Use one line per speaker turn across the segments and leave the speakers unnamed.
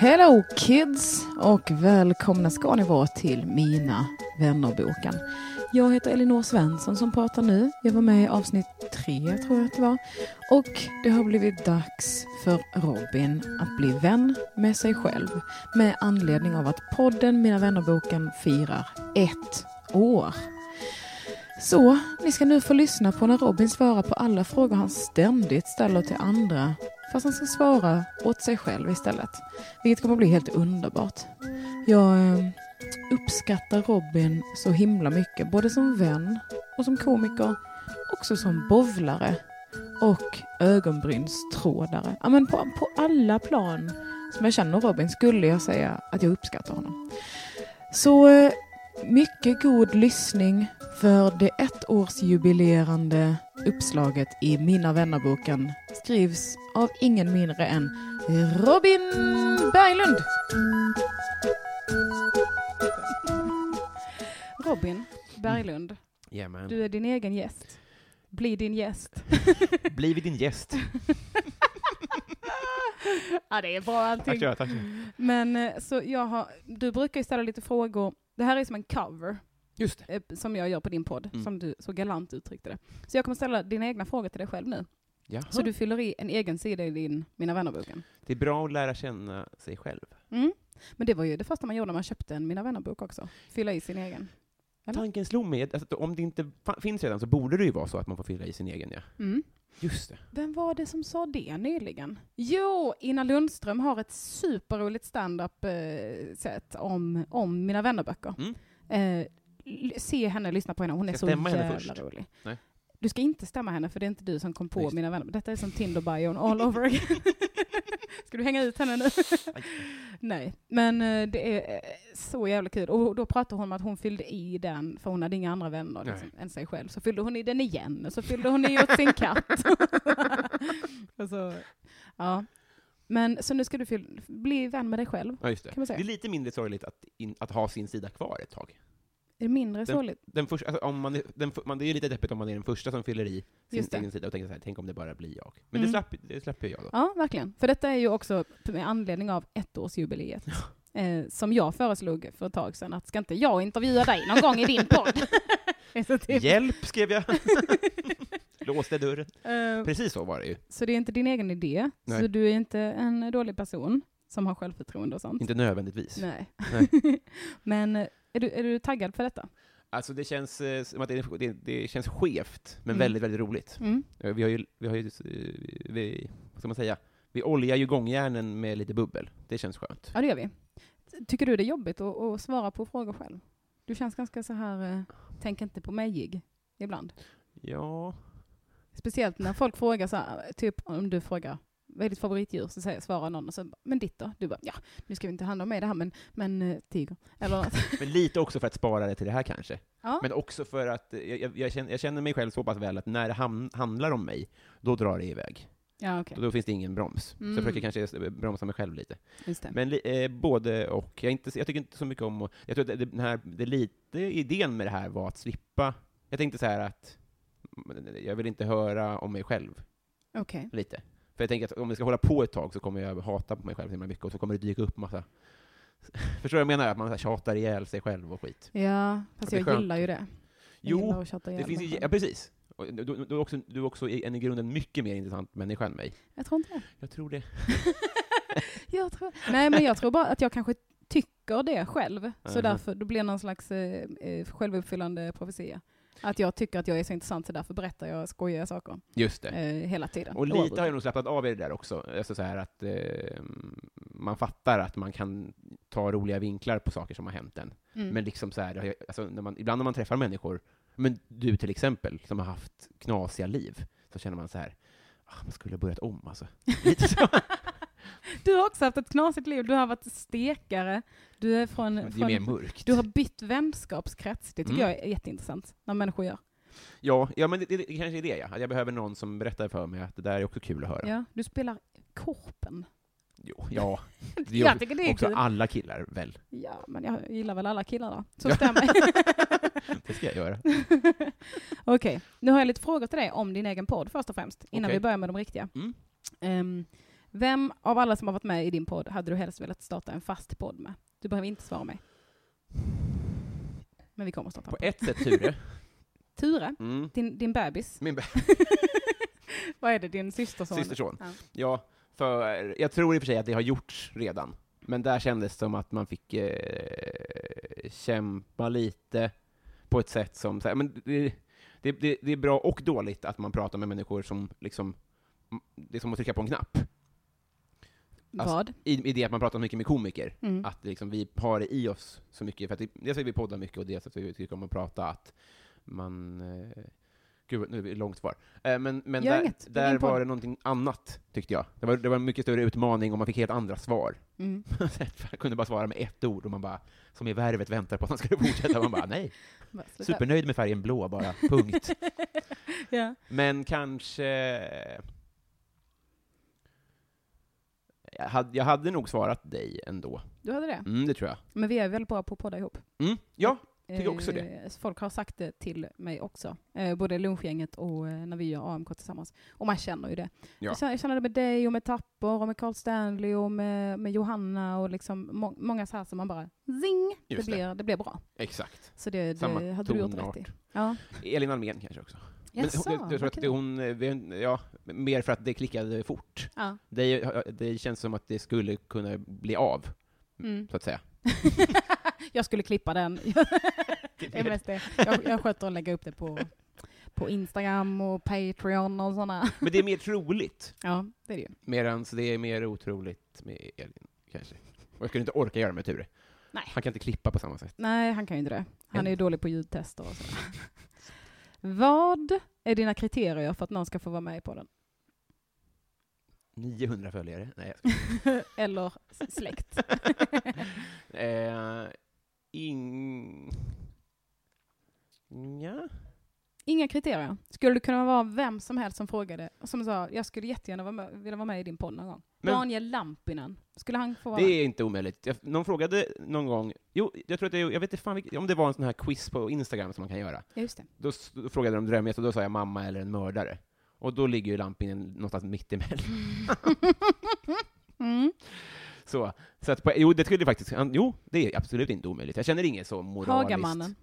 Hello kids och välkomna ska ni vara till Mina vännerboken. Jag heter Elinor Svensson som pratar nu. Jag var med i avsnitt tre tror jag att det var. Och det har blivit dags för Robin att bli vän med sig själv. Med anledning av att podden Mina vännerboken firar ett år. Så, ni ska nu få lyssna på när Robin svarar på alla frågor han ständigt ställer till andra, fast han ska svara åt sig själv istället. Vilket kommer att bli helt underbart. Jag eh, uppskattar Robin så himla mycket, både som vän och som komiker, också som bovlare och ögonbrynstrådare. Ja, men på, på alla plan som jag känner Robin skulle jag säga att jag uppskattar honom. Så eh, mycket god lyssning för det ettårsjubilerande uppslaget i Mina vännerboken skrivs av ingen mindre än Robin Berglund.
Robin Berglund,
Jajamän.
du är din egen gäst. Bli din gäst.
Blivit din gäst.
ja, det är bra allting.
Tack så tack.
Men eh, så jag har, du brukar ju ställa lite frågor. Det här är som en cover
Just det.
eh, som jag gör på din podd,
Mm.
som du så galant uttryckte det. Så jag kommer ställa dina egna frågor till dig själv nu.
Jaha.
Så du fyller i en egen sida i din Mina vännerboken.
Det är bra att lära känna sig själv.
Mm. Men det var ju det första man gjorde när man köpte en Mina vännerbok också. Fylla i sin egen. Eller?
Tanken slog mig, alltså, att om det inte fa- finns redan så borde det ju vara så att man får fylla i sin egen, ja.
Mm.
Just det.
Vem var det som sa det nyligen? Jo, Ina Lundström har ett superroligt standup-sätt om, om Mina vännerböcker.
Mm.
Eh, l- se henne, lyssna på henne. Hon är
Ska
så
stämma henne
jävla
först?
rolig.
Nej.
Du ska inte stämma henne, för det är inte du som kom på
Just det.
Mina vänner. Detta är som Tinder-bion all over again. ska du hänga ut henne nu? Nej, men eh, det är eh, så jävla kul. Och då pratade hon om att hon fyllde i den, för hon hade inga andra vänner
Nej.
liksom, än sig själv. Så fyllde hon i den igen, och så fyllde hon i åt sin katt. och så, ja. Men så nu ska du fyll, bli vän med dig själv.
Ja, just det.
Kan man säga.
Det är lite mindre sorgligt att, in, att ha sin sida kvar ett tag.
Är det mindre
Den-
sorgligt?
Den första, alltså, om man, är- den, f- man, det är ju lite deppigt om man är den första som fyller i sin
Just det.
egen sida och tänker så här, tänk om det bara blir jag. Men
Mm.
det, slapp, det släpper jag då.
Ja, verkligen. För detta är ju också med anledning av ettårsjubileet. Eh, som jag föreslog för ett tag sedan, att ska inte jag intervjua dig någon gång i din podd? Det är så typ-
Hjälp, skrev jag. Låste dörren.
Eh,
Precis så var det ju.
Så det är inte din egen idé,
Nej.
så du är inte en dålig person som har självförtroende och sånt.
Inte nödvändigtvis.
Nej.
Nej.
Men eh, är du, är du taggad för detta?
Alltså det känns, eh, som att det, är- det, det känns skevt, men
Mm.
väldigt, väldigt roligt.
Mm.
Eh, Vi har ju, vi har ju, eh, vi, vad ska man säga, vi oljar ju gångjärnen med lite bubbel. Det känns skönt.
Ja, det gör vi. Tycker du det är jobbigt att, att svara på frågor själv? Du känns ganska så här, eh, tänk inte på mig-gig ibland.
Ja,
Speciellt när folk frågar så här, typ om du frågar vad är ditt favoritdjur? Så säger, svarar någon och så bara, men ditt då? Du bara, ja, nu ska vi inte handla om mig det här, men, men eh, tiger. Eller något.
men lite också för att spara det till det här kanske.
Ja.
Men också för att eh, jag, jag, jag, känner, jag känner mig själv så pass väl att när det ham- handlar om mig, då drar det iväg.
Ja, okej.
Och då finns det ingen broms. Så
Mm.
jag försöker kanske eh, bromsa mig själv lite.
Just det.
Men li, eh, både och. Jag, är inte, jag tycker inte så mycket om att, Jag tror att det, den här, det lite idén med det här var att slippa... Jag tänkte så här att jag vill inte höra om mig själv
Okej.
lite. För jag tänker att om vi ska hålla på ett tag så kommer jag hata på mig själv så himla mycket och så kommer det dyka upp massa... Förstår du vad jag menar? Att man så här tjatar ihjäl sig själv och skit.
Ja, fast
Det är
jag
skönt.
gillar ju det. Jag
Jo,
gillar att tjatta
Det
ihjäl
finns
mig
ju,
själv.
ja, precis. Och du, du, du, är också, du är också i- en i grunden mycket mer intressant människa än mig.
Jag tror inte det.
Jag tror det.
jag tror, nej, men jag tror bara att jag kanske tycker det själv. Så
Mhm.
därför då blir det någon slags eh, eh, självuppfyllande profetia. Att jag tycker att jag är så intressant så därför berättar jag skojiga saker
Just det.
eh, hela tiden.
Och lite har
Oavbrutet.
jag nog slappnat av i det där också. Alltså så här att eh, man fattar att man kan ta roliga vinklar på saker som har hänt en.
Mm.
Men liksom så här, det har jag- alltså när man, ibland när man träffar människor, men du till exempel, som har haft knasiga liv, så känner man så här, ah, man skulle ha börjat om alltså. Lite så.
Du har också haft ett knasigt liv. Du har varit stekare. Du är från...
Det är ju
från
mer mörkt.
du har bytt vänskapskrets. Det tycker
Mm.
jag är jätteintressant, när människor gör.
Ja, ja, men det, det, det kanske är det, ja. Att jag behöver någon som berättar för mig att det där är också kul att höra.
Ja, du spelar korpen.
Jo, ja. Det
jag
gör
tycker det är
också
kul.
alla killar, väl?
Ja, men jag gillar väl alla killar då. Så
Ja.
stämmer.
Det ska jag göra.
Okej, nu har jag lite frågor till dig om din egen podd först och främst, innan
Okej.
vi börjar med de riktiga.
Mm.
Ehm, vem av alla som har varit med i din podd hade du helst velat starta en fast podd med? Du behöver inte svara mig. Men vi kommer starta
På
en podd.
ett sätt, Ture.
Ture,
Mm.
din, din bebis.
Min
Vad är det, din systerson?
systerson.
Ja.
Ja. för jag tror i och för sig att det har gjorts redan, men där kändes det som att man fick eh, kämpa lite på ett sätt som, så här, men det, det, det, det är bra och dåligt att man pratar med människor som liksom, det är som att trycka på en knapp, Alltså-
Vad?
i, i det att man pratar mycket med komiker
Mm.
att liksom vi har det i oss så mycket, för att vi, dels att vi poddar mycket och dels att vi tycker om att prata, att man... Eh, gud, nu är det långt kvar. Eh, men men
Gör
där,
inget, det är
där
din podd.
var det någonting annat, tyckte jag. Det var, det var en mycket större utmaning och man fick helt andra svar.
Mm.
Man kunde bara svara med ett ord och man bara, som i värvet väntar på att han skulle fortsätta, man bara nej.
Vad- sluta.
Supernöjd med färgen blå bara, punkt.
ja.
Men kanske... Jag hade, jag hade nog svarat dig ändå.
Du hade det?
Mm, det tror jag.
Men vi är väldigt bra på att podda ihop.
Mm, ja, Tycker
Eh,
också det.
så Folk har sagt det till mig också, eh, både lunchgänget och eh, när vi gör AMK tillsammans. Och man känner ju det.
Ja.
Jag, känner, jag känner det med dig och med Tapper och med Carl Stanley och med, med Johanna och liksom må, många så här som man bara zing, det
Just det.
blir, det blir bra.
exakt.
Så det,
Samma
det hade du gjort rätt i.
tonart.
Ja.
Elin Almén kanske också. Men
Jaså,
hon, jag, jag tror att
okej.
det- hon, eh, vi har en- ja, mer för att det klickade fort.
Ja.
Det, det känns som att det skulle kunna bli av,
Mm.
så att säga.
jag skulle klippa den. det är mest det. Jag, jag sköter att lägga upp det på, på Instagram och Patreon och sådana.
Men det är mer troligt,
Ja, det är det ju.
medan det är mer otroligt med Elin, kanske. Och jag skulle inte orka göra det med Ture.
Nej.
Han kan inte klippa på samma sätt.
Nej, han kan ju inte det. Han är ju
Ändå.
dålig på ljudtester och så. Vad är dina kriterier för att någon ska få vara med i podden?
900 följare? Nej, jag
Eller s- släkt?
skojar. eh, ing... Nja.
Inga kriterier. Skulle du kunna vara vem som helst som frågade, som sa jag skulle jättegärna vara med, vilja vara med i din podd någon gång?
Men-
Daniel Lampinen, skulle han få vara
Det
med?
är inte omöjligt. Jag, någon frågade någon gång, jo, jag tror att det, jag vet inte fan vilk- om det var en sån här quiz på Instagram som man kan göra.
Ja, just det.
Då, s- då frågade de drömmet och då sa jag mamma eller en mördare. Och då ligger ju Lampinen någonstans mittemellan.
Mm.
Så, så att på, jo, det skulle faktiskt, han- jo, det är absolut inte omöjligt. Jag känner inget så moraliskt.
Hagamannen.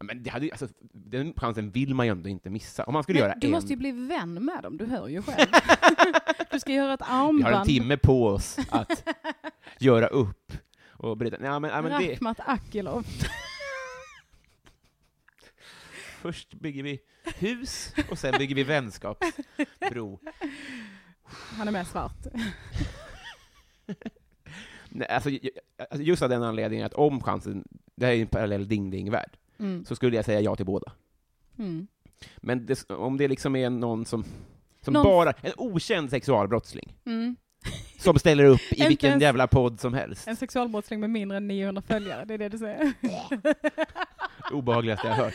Men det hade, ju- alltså, den chansen vill man ju ändå inte missa. Om man skulle göra
Men du
en,
måste ju bli vän med dem, du hör ju själv. du ska göra ett armband.
vi har en timme på oss att göra upp och berätta. Nej, men, nej, men det,
Rakhmat Akilov.
Först bygger vi hus och sen bygger vi vänskapsbro.
Han är med svart.
Nej, alltså, ju- alltså, just av den anledningen att om chansen, det här är ju en parallell ding-ding-värld,
Mm.
så skulle jag säga ja till båda.
Mm.
Men det, om det liksom är någon som, som
Någon-
bara, en okänd sexualbrottsling,
Mm.
som ställer upp i
Inte
vilken
ens-
jävla podd som helst.
En sexualbrottsling med mindre än 900 följare, det är det du säger.
Obehagligaste jag har hört.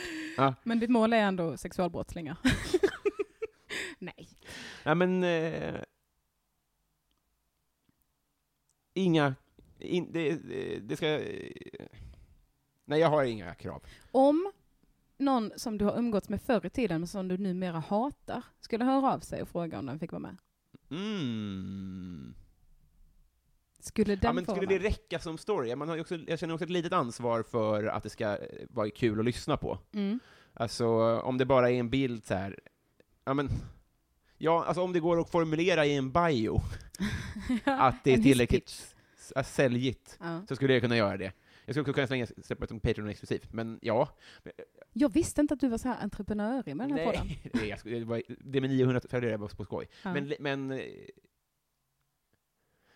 Men ditt mål är ändå sexualbrottslingar. Nej.
Ja, men... Eh, inga... In, det, det- det ska... eh, Nej, jag har inga krav.
Om någon som du har umgåtts med förr i tiden, men som du numera hatar, skulle höra av sig och fråga om den fick vara med.
Mm.
Skulle den
Ja, men
få
skulle
vara
det
med?
räcka som story? Man har ju också, jag känner också ett litet ansvar för att det ska eh, vara kul att lyssna på.
Mm.
Alltså, om det bara är en bild så här, ja men, ja, alltså om det går att formulera i en bio att det är
En
tillräckligt s- säljigt,
Ja.
så skulle jag kunna göra det. Jag skulle också kunna slänga, släppa det som Patreon exklusivt, men ja.
Jag visste inte att du var så här entreprenörig med den här podden.
Nej, det, jag skulle, det, var, det med 900 följare var på skoj.
Ja.
Men, men, eh,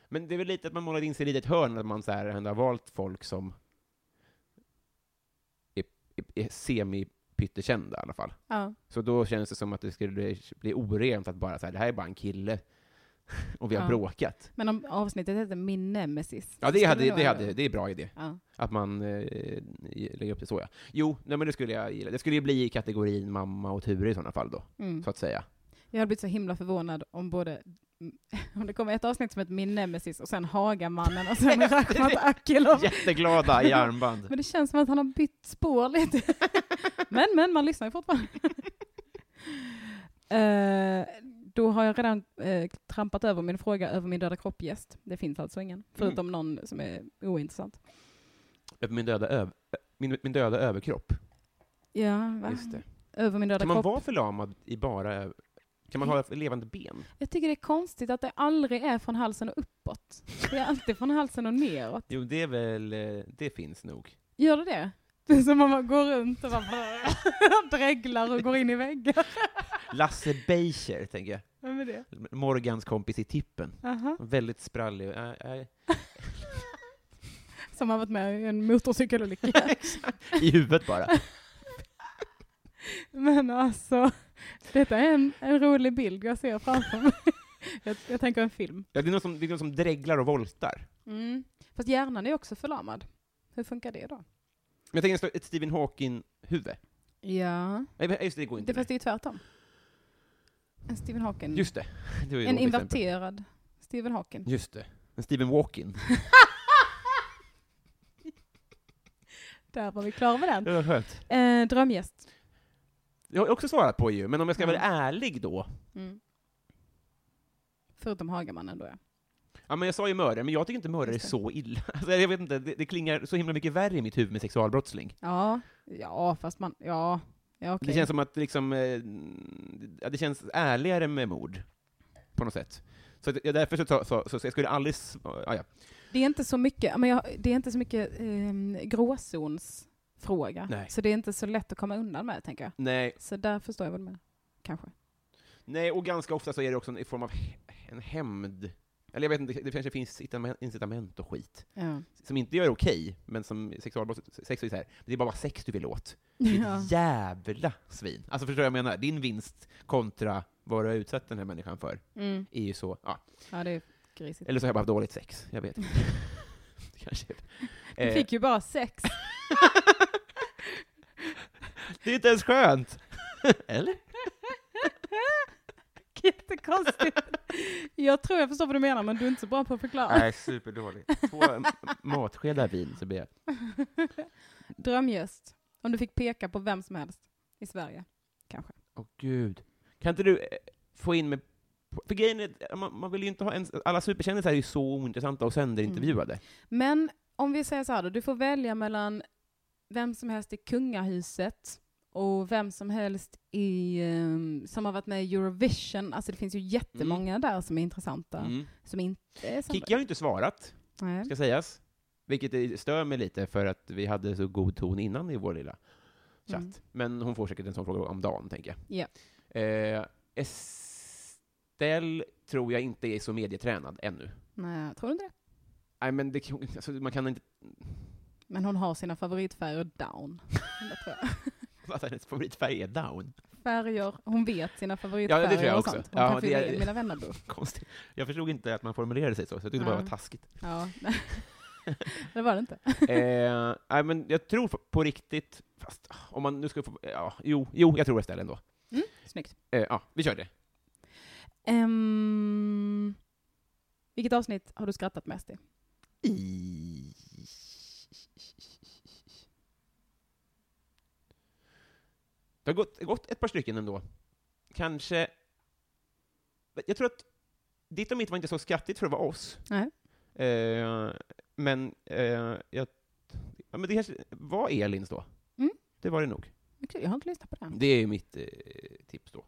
men det är väl lite att man målade in sig i ett litet hörn, att man så här ändå har valt folk som är, är, är semi-pyttekända i alla fall.
Ja.
Så då känns det som att det skulle bli, bli orent att bara så här, det här är bara en kille, och vi har
Ja.
bråkat.
Men om avsnittet heter Min Nemesis.
Ja, det,
skulle
hade,
då
det,
ändå-
hade, det är en bra idé.
Ja.
Att man eh, lägger upp det så, ja. Jo, nej, men det skulle jag gilla. Det skulle ju bli i kategorin mamma och Ture i sådana fall då,
Mm.
så att säga.
Jag hade blivit så himla förvånad om både om det kommer ett avsnitt som heter Min Nemesis och sen Hagamannen och sen Rakhmat Akilov.
Jätteglada i armband.
Men det känns som att han har bytt spår lite. men, men, man lyssnar ju fortfarande. Eh, då har jag redan eh, trampat över min fråga över min döda kropp-gäst. Det finns alltså ingen,
Mm.
förutom någon som är ointressant.
Över min döda, öv- min, min döda överkropp.
Ja, va?
Just det.
Över min döda
Kan man
kropp.
vara förlamad i bara öv- Kan man ha ett levande ben?
Jag tycker det är konstigt att det aldrig är från halsen och uppåt. Det är alltid från halsen och neråt.
Jo, det är väl... eh, Det finns nog.
Gör det det? Det är som om man går runt och bara dreglar och går in i väggar.
Lasse Beischer, tänker jag.
Vem är det?
Morgans kompis i Tippen.
Aha.
Väldigt sprallig. Äh, äh,
Som har varit med i en motorcykelolycka.
I huvudet bara.
Men alltså, detta är en, en rolig bild jag ser framför mig. Jag, jag tänker en film.
Ja, det, är någon som, det är någon som dreglar och voltar.
Mm. Fast hjärnan är också förlamad. Hur funkar det då?
Men jag tänker ett Stephen Hawking-huvud.
Ja,
Nej, men- eh, just det, det går inte.
det, fast det är ju tvärtom. En Stephen Hawking.
Just det. det var ju
en
ett exempel.
inverterad Stephen Hawking.
Just det. En Stephen Walking.
Där var vi klara med den.
Det var skönt.
Eh, drömgäst.
Jag har också svarat på ju, men om jag ska
Mm.
vara ärlig då.
Mm. Förutom Hagamannen då ja.
Ja, men jag sa ju mördare, men jag tycker inte mördare är
Just det.
så illa. Alltså, jag vet inte, det, det klingar så himla mycket värre i mitt huvud med sexualbrottsling.
Ja, ja fast man, ja, ja okej.
Det känns som att liksom, eh, ja, det känns ärligare med mord, på något sätt. Så att, ja, därför så, så, så, så jag skulle aldrig, s- ja, ja.
Det är inte så mycket, men jag, det är inte så mycket ehm, gråzonsfråga.
Nej.
Så det är inte så lätt att komma undan med, tänker jag.
Nej,
Så där förstår jag vad du menar. Kanske.
nej, och ganska ofta så är det också en, i form av he- en hämnd, eller jag vet inte, det kanske finns incitament- incitament och skit,
Ja.
som inte gör okej, men som sexualbrott, sex är så här, det är bara sex du vill åt.
Ja.
Ditt jävla svin. Alltså förstår du vad jag menar? Din vinst kontra vad du har utsatt den här människan för
Mm.
är ju så, ja.
ja, det är grisigt.
Eller så har jag bara haft dåligt sex, jag vet inte. Det Kanske.
Du
Eh,
fick ju bara sex.
Det är inte ens skönt! Eller?
Jättekonstigt. Jag tror jag förstår vad du menar, men du är inte så bra på att förklara.
Nej, superdåligt. Två matskedar vin så blir jag...
Drömgäst. Om du fick peka på vem som helst i Sverige. Kanske.
Åh gud. Kan inte du eh, få in mig... på- För grejen är, eh, man, man vill ju inte ha en... Alla superkändisar är ju så ointressanta och sönderintervjuade.
Men om vi säger så här då, du får välja mellan vem som helst i kungahuset och vem som helst i, eh, som har varit med i Eurovision. Alltså det finns ju jättemånga där som är intressanta.
Mm.
Som Mm. inte är samma.
Kikki har ju inte svarat.
Nej.
ska sägas. Vilket är- stör mig lite, för att vi hade så god ton innan i vår lilla chatt.
Mm.
Men hon får säkert en sån fråga om dagen, tänker jag.
Ja.
Eh, Estelle tror jag inte är så medietränad ännu.
Nej, tror du inte det?
Nej, men det, alltså, man kan inte...
Men hon har sina favoritfärger down. Det tror jag.
Alltså, hennes favoritfärg är down.
Färger, hon vet sina
Ja,
favoritfärger
det tror jag
och
också.
sånt. Hon
Ja,
kan fylla
det är-
i mina vännerbok.
Konstigt. Jag förstod inte att man formulerade sig så, så jag tyckte bara det var
Ja.
taskigt.
Ja. det var det inte.
eh, nej, men jag tror på riktigt, fast om man nu ska få... Ja, jo, jo jag tror Estelle ändå.
Snyggt.
Eh, ja, vi kör det.
Ehm, vilket avsnitt har du skrattat mest i?
I... Det har gått, gått ett par stycken ändå. Kanske... Jag tror att ditt och mitt var inte så skrattigt för att vara oss.
Nej.
Eh, men eh, jag... Ja, men det kanske var Elins då.
Mm.
Det var det nog.
Okej. Kul, jag har inte lyssnat på den.
Det är ju mitt eh, tips då.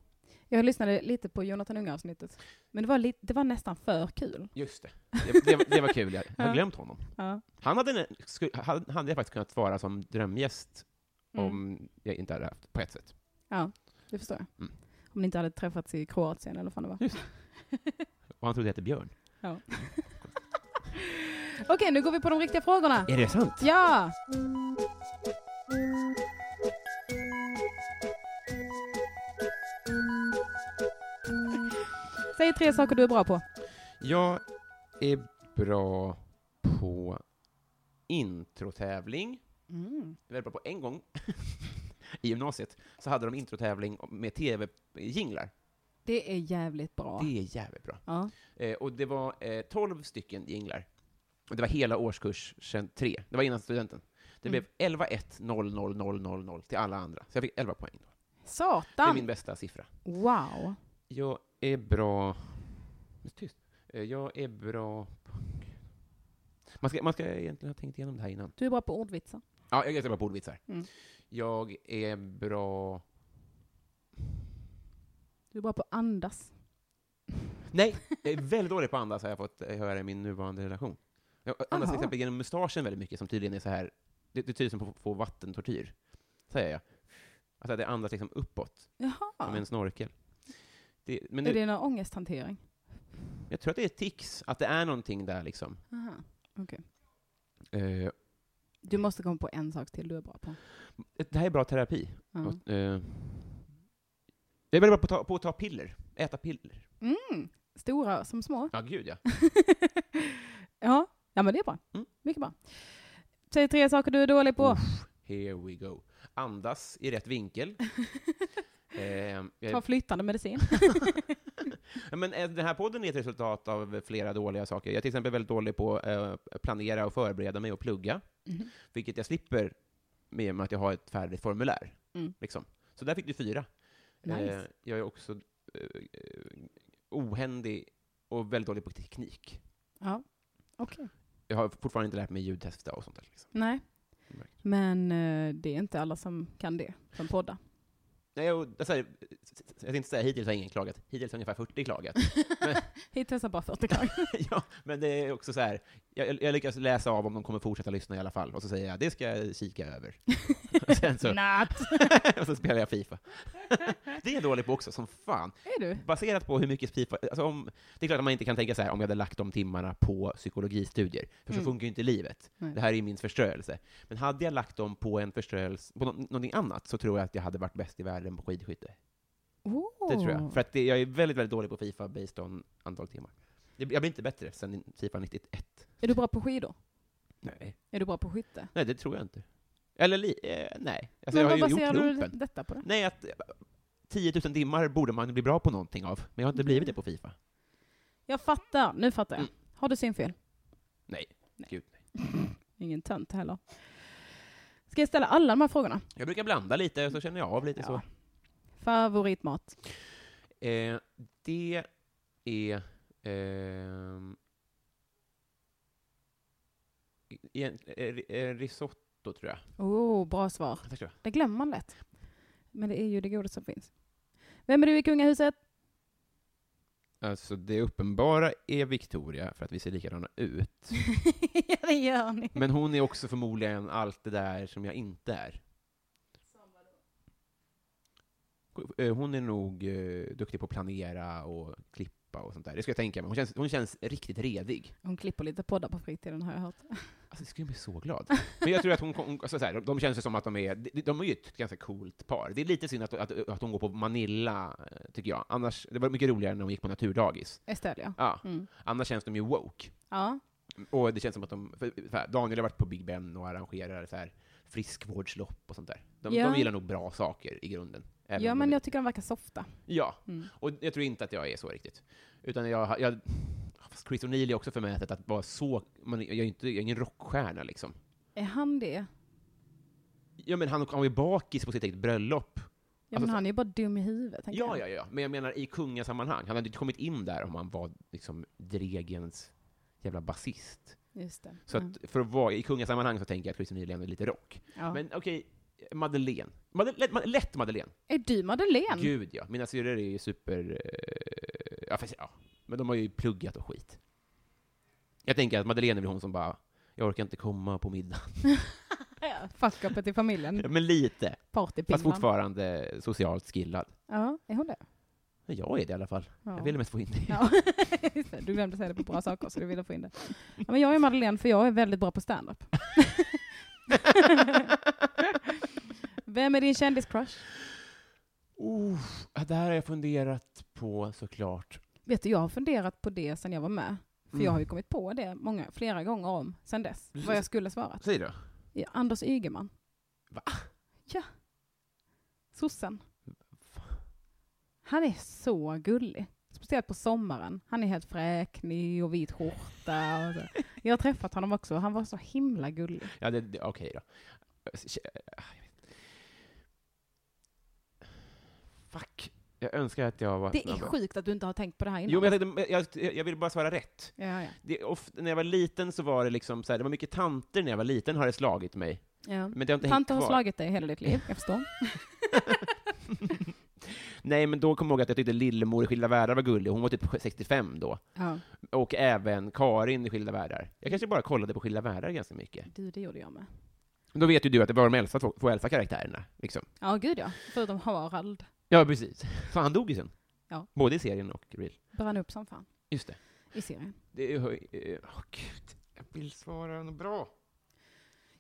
Jag lyssnade lite på Jonathan Unge-avsnittet. Men det var, li- det var nästan för kul.
Just det. Det, det, det var kul, jag jag
Ja.
har glömt honom.
Ja.
Han hade, en- sku- han- hade jag faktiskt kunnat svara som drömgäst
Mm.
om jag inte hade haft, på ett sätt.
Ja, det förstår jag.
Mm.
Om ni inte hade träffats i Kroatien eller vad fan det var.
Och han trodde jag hette Björn.
Okej, nu går vi på de riktiga frågorna.
Är det sant?
Ja! Säg tre saker du är bra på.
Jag är bra på introtävling.
Mm.
Väldigt bra på en gång i gymnasiet så hade de introtävling med tv-jinglar.
Det är jävligt bra.
Det är jävligt bra.
Ja.
Eh, och det var eh, 12 stycken jinglar. Och det var hela årskurs sen 3. Det var innan studenten. Det
Mm.
blev 11 1 0 0 0 0 0 till alla andra. Så jag fick 11 poäng. Då. Det är
Satan!
min bästa siffra.
Wow!
Jag är bra... Tyst. Eh, Jag är bra... på- Man ska, man ska egentligen ha tänkt igenom det här innan.
Du är bra på ordvitsar.
Ja, jag är jättebra på ordvitsar.
Mm.
Jag är bra...
Du är bra på att andas.
Nej, jag är väldigt dålig på att andas har jag fått eh, höra i min nuvarande relation. Jag andas till
Jaha.
exempel genom mustaschen väldigt mycket, som tydligen är så här... Det, det är tydligen som att få vattentortyr, säger jag. Alltså att jag andas liksom uppåt,
Jaha.
som en snorkel. Det, men
Är
det,
det någon ångesthantering?
jag tror att det är tics, att det är någonting där liksom.
Aha.
Eh,
Du måste komma på en sak till du är bra på.
det här är bra terapi.
Ja.
Och, eh, jag är väldigt bra på att, ta, på att ta piller, äta piller.
Mm. Stora som små.
Ja, gud ja.
ja. ja, men det är bra.
Mm.
Mycket bra. Säg tre saker du är dålig på.
Uff, here we go. Andas i rätt vinkel. Ehm, jag-
Ta flyttande medicin.
Ja, men eh, den här podden är ett resultat av flera dåliga saker. Jag är till exempel väldigt dålig på att planera och förbereda mig och plugga,
Mhm.
vilket jag slipper med med att jag har ett färdigt formulär.
Mm.
Liksom. Så där fick du fyra.
Nice.
Eh, jag är också eh, eh, ohändig och väldigt dålig på teknik.
Ja, okej.
Jag har fortfarande inte lärt mig ljudtesta och sånt där. Liksom.
Nej.
Märkt.
Men eh, det är inte alla som kan det, som poddar.
Nej, och, jag, säger, jag tänkte inte säga hittills har ingen klagat. Hittills har ungefär 40 klagat.
Hittills har bara 40 klart.
ja, men det är också så här, jag, jag lyckas läsa av om de kommer fortsätta lyssna i alla fall, och så säger jag det ska jag kika över. och, sen så,
Natt!
och så spelar jag Fifa. det är jag dålig på också, som fan.
Är du?
Baserat på hur mycket Fifa, alltså om, det är klart att man inte kan tänka så här om jag hade lagt de timmarna på psykologistudier, för så
Mm.
funkar ju inte livet.
Nej.
Det här är ju min förstörelse. Men hade jag lagt dem på en förstörelse, på nå- någonting annat, så tror jag att jag hade varit bäst i världen på skidskytte.
Oh.
Det tror jag. För att det, jag är väldigt, väldigt dålig på Fifa based on antal timmar. Jag jag blir inte bättre sen Fifa 91.
Är du bra på skidor?
Nej.
Är du bra på skytte?
Nej, det tror jag inte. Eller li- eh, nej.
men
Alltså, jag har
vad
ju
baserar
gjort
du
lumpen.
detta på då?
Nej, att eh, 10 000 timmar borde man bli bra på någonting av, men jag har inte blivit det på Fifa.
Jag fattar, nu fattar jag.
Mm.
Har du synfel?
Nej. Gud, nej.
Ingen tönt heller. Ska jag ställa alla de här frågorna?
Jag brukar blanda lite, och så känner jag av lite så.
Favoritmat?
Eh, det är... ehm, i- en- eh, ri- eh, risotto, tror jag.
Oh, bra svar.
Tack ska du ha.
Det glömmer man lätt. Men det är ju det godaste som finns. Vem är du i kungahuset?
Alltså, det uppenbara är Victoria, för att vi ser likadana ut.
ja, det gör ni.
Men hon är också förmodligen allt det där som jag inte är. Eh, Hon är nog eh, duktig på att planera och klippa och sånt där. Det ska jag tänka mig. Hon känns, hon känns riktigt redig.
Hon klipper lite poddar på fritiden har jag hört.
Alltså, det skulle jag bli så glad. Men jag tror att hon, hon alltså, så här, de känns ju som att de är, de, de är ju ett ganska coolt par. Det är lite synd att, att, att hon går på Manilla, eh, tycker jag. Annars, det var mycket roligare när hon gick på naturdagis.
Estelle, ja.
Ja,
Mm.
annars känns de ju woke.
Ja,
Och det känns som att de, för, för, här, Daniel har varit på Big Ben och arrangerar så här, friskvårdslopp och sånt där. De,
Ja.
de gillar nog bra saker i grunden. även
ja
om
men
de-
jag tycker de verkar softa.
ja,
Mm.
och jag tror inte att jag är så riktigt. Utan jag, jag fast Chris O'Neill är också förmätet att vara så, man, jag, är inte, jag är ingen rockstjärna liksom.
Är han det?
Ja men han han var ju bakis på sitt eget bröllop.
Ja,
Alltså,
men han är ju bara dum i huvudet. tänker
Ja,
jag.
ja, ja, men jag menar i kungasammanhang. Han hade inte kommit in där om han var liksom Dregens jävla basist.
Just det.
Så
Mm.
att för att vara i kungasammanhang så tänker jag att Chris O'Neill är ändå lite rock.
ja.
Men okej, Madeleine. Madele- ma- lätt Madeleine.
Är du Madeleine?
Gud ja. Mina syrror är ju super... eh, Ja, fast, ja. Men de har ju pluggat och skit. Jag tänker att Madeleine är väl hon som bara, jag orkar inte komma på middag.
Ja, Fuckupet i familjen.
Men lite. Fast
Partypinnan.
fortfarande socialt skillad.
Ja, är hon det?
Men Jag är det i alla fall.
Ja.
Jag ville mest få in det.
Ja. Just det, du glömde säga det på bra saker, så du ville få in det. Ja, men jag är Madeleine, för jag är väldigt bra på stand-up. Vem är din kändiscrush?
Oh, det här har jag funderat på såklart.
Vet du, jag har funderat på det sen jag var med. För
Mm.
jag har ju kommit på det många, flera gånger om sen dess, vad jag skulle svara.
Säg då.
Ja, Anders Ygeman.
Va?
Ja. Sossen. Han är så gullig. Speciellt på sommaren. Han är helt fräknig och vit skjorta. Och så. Jag har träffat honom också. Han var så himla gullig.
Ja, det, det, okej då. Ah, jag vet. Fuck. Jag önskar att jag var...
Det är sjukt att du inte har tänkt på det här innan.
Jo, men jag, tänkte, jag, jag vill bara svara rätt.
ja, ja.
Det, ofta, när jag var liten så var det liksom så här, det var mycket tanter när jag var liten har det slagit mig.
Ja.
Men det har inte hängt
Tante har
kvar.
slagit dig hela ditt liv, jag förstår.
Nej, men då kommer jag ihåg att jag tyckte Lillemor i Skilda Världar var gullig. Hon var typ 65 då.
Ja.
Och även Karin i Skilda Världar. Jag kanske bara kollade på Skilda Världar ganska mycket.
Du, det gjorde jag med.
Då vet ju du att det var de äldsta två, två äldsta karaktärerna. Liksom.
Ja, gud ja. Förutom Harald.
Ja, precis. Fan, han dog ju sen.
Ja.
Både i serien och real.
Brann upp som fan
Just det.
i serien.
det är, ju- eh, åh, gud. Jag vill svara något bra.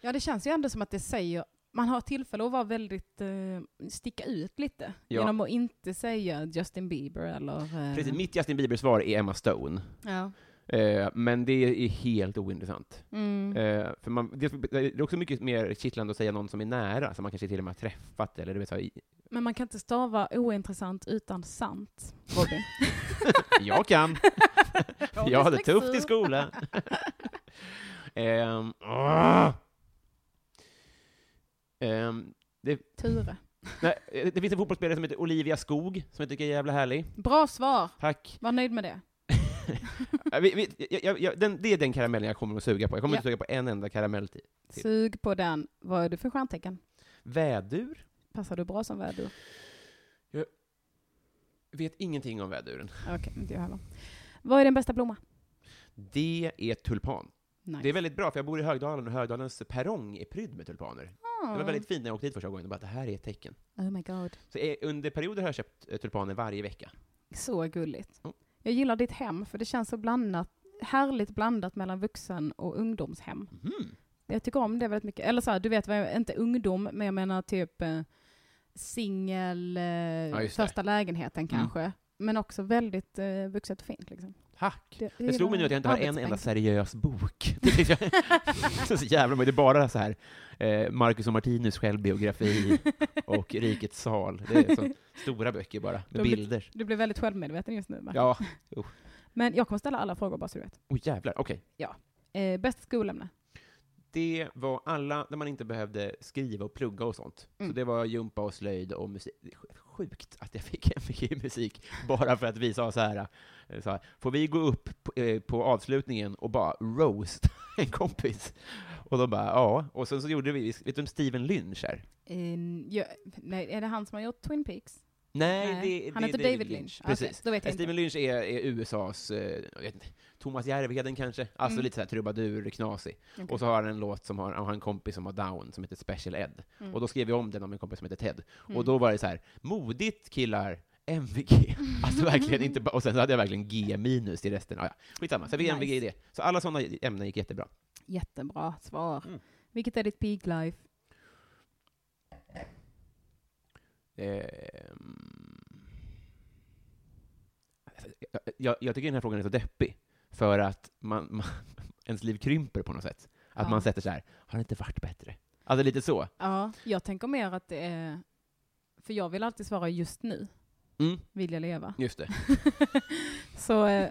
Ja, det känns ju ändå som att det säger... Man har tillfälle att vara väldigt, eh, sticka ut lite.
Ja.
Genom att inte säga Justin Bieber eller... Eh,
Precis, mitt Justin Bieber-svar är Emma Stone.
ja.
Eh, men det är helt ointressant.
mm.
Eh, för man, det, det är också mycket mer kittlande att säga någon som är nära, som man kanske till och med har träffat, eller du vet så, här,
Men man kan inte stava ointressant utan sant, Robin.
jag kan, jag hade
Dyslexi.
tufft i skolan. Ehm, åh! Ehm,
Ture.
nej, eh, det finns en fotbollsspelare som heter Olivia Skog som jag tycker är jävla härlig.
Bra svar!
Tack.
Var nöjd med det.
Eh, vi, vi, jag, jag, jag, den, det är den karamellen jag kommer att suga på. Jag kommer
Ja.
inte suga på en enda karamell till. Till.
Sug på den. Vad är du för stjärntecken?
Vädur?
Passar du bra som vädur?
Vet ingenting om väduren.
Okej, inte jag heller. Vad är din bästa blomma?
Det är tulpan.
Nice.
Det är väldigt bra, för jag bor i Högdalen och Högdalens perrong är prydd med tulpaner.
Ah.
Det var väldigt fint när jag åkte dit första gången och bara, det här är ett tecken.
Oh my god.
Så eh, under perioder har jag köpt eh, tulpaner varje vecka.
Så gulligt.
Mm.
Jag gillar ditt hem, för det känns så blandat, härligt blandat mellan vuxen och ungdomshem.
Mhm.
Jag tycker om det väldigt mycket. Eller så här, du vet, vad jag- inte ungdom, men jag menar typ eh, singel, eh,
just det. Mm.
första lägenheten kanske. Men också väldigt eh, vuxet och fint. Liksom.
Tack!
Det,
Det slog mig nu att jag inte har en enda
arbetsbänk.
seriös bok. Det tyckte jag- det är så jävla men Det är bara så här, eh, Marcus och Martinus självbiografi och Rikets sal. Det är så stora böcker bara, med
De blir-
bilder.
Du blir väldigt självmedveten just nu. va?
Ja,
Men jag kommer ställa alla frågor bara så du vet.
oh jävlar. Okej.
Eh, bästa skolämne?
Det var alla där man inte behövde skriva och plugga och sånt.
Mm.
Så det var jumpa och slöjd och musik. Det är sj- Sjukt att jag fick, jag fick i musik bara för att vi sa så här, eh, så här får vi gå upp på, eh, på avslutningen och bara roast en kompis? Och de bara ja, och sen så gjorde vi, vet du vem Steven Lynch är?
Eh, jag, nej, är det han som har gjort Twin Peaks?
Nej,
Nej,
det,
han
det,
heter
är
David Lynch. Ah, Okej,
Precis.
då vet jag inte.
Steven Lynch är, är USAs, eh, jag vet inte, Thomas Järvheden kanske? Alltså
Mm.
lite så här trubadur, knasig.
Okej.
Och så har han en låt som har, han har en kompis som har down, som heter Special Ed.
Mm.
Och då skrev jag om den om en kompis som heter Ted.
Mm.
Och då var det så här, modigt killar, MVG. Alltså verkligen inte bara, och sen så hade jag verkligen G minus i resten. Ah, ja. Skitsamma, så jag fick
Nice.
MVG i det. Så alla sådana ämnen gick jättebra.
Jättebra svar.
Mm.
Vilket är ditt peak life?
Ehm. Jag, jag, jag tycker den här frågan är så deppig, för att man, man, ens liv krymper på något sätt. Att
Ja.
man sätter så här, har det inte varit bättre? Alltså lite så.
Ja, jag tänker mer att det är... För jag vill alltid svara just nu,
Mm,
vill jag leva.
just det.
så eh,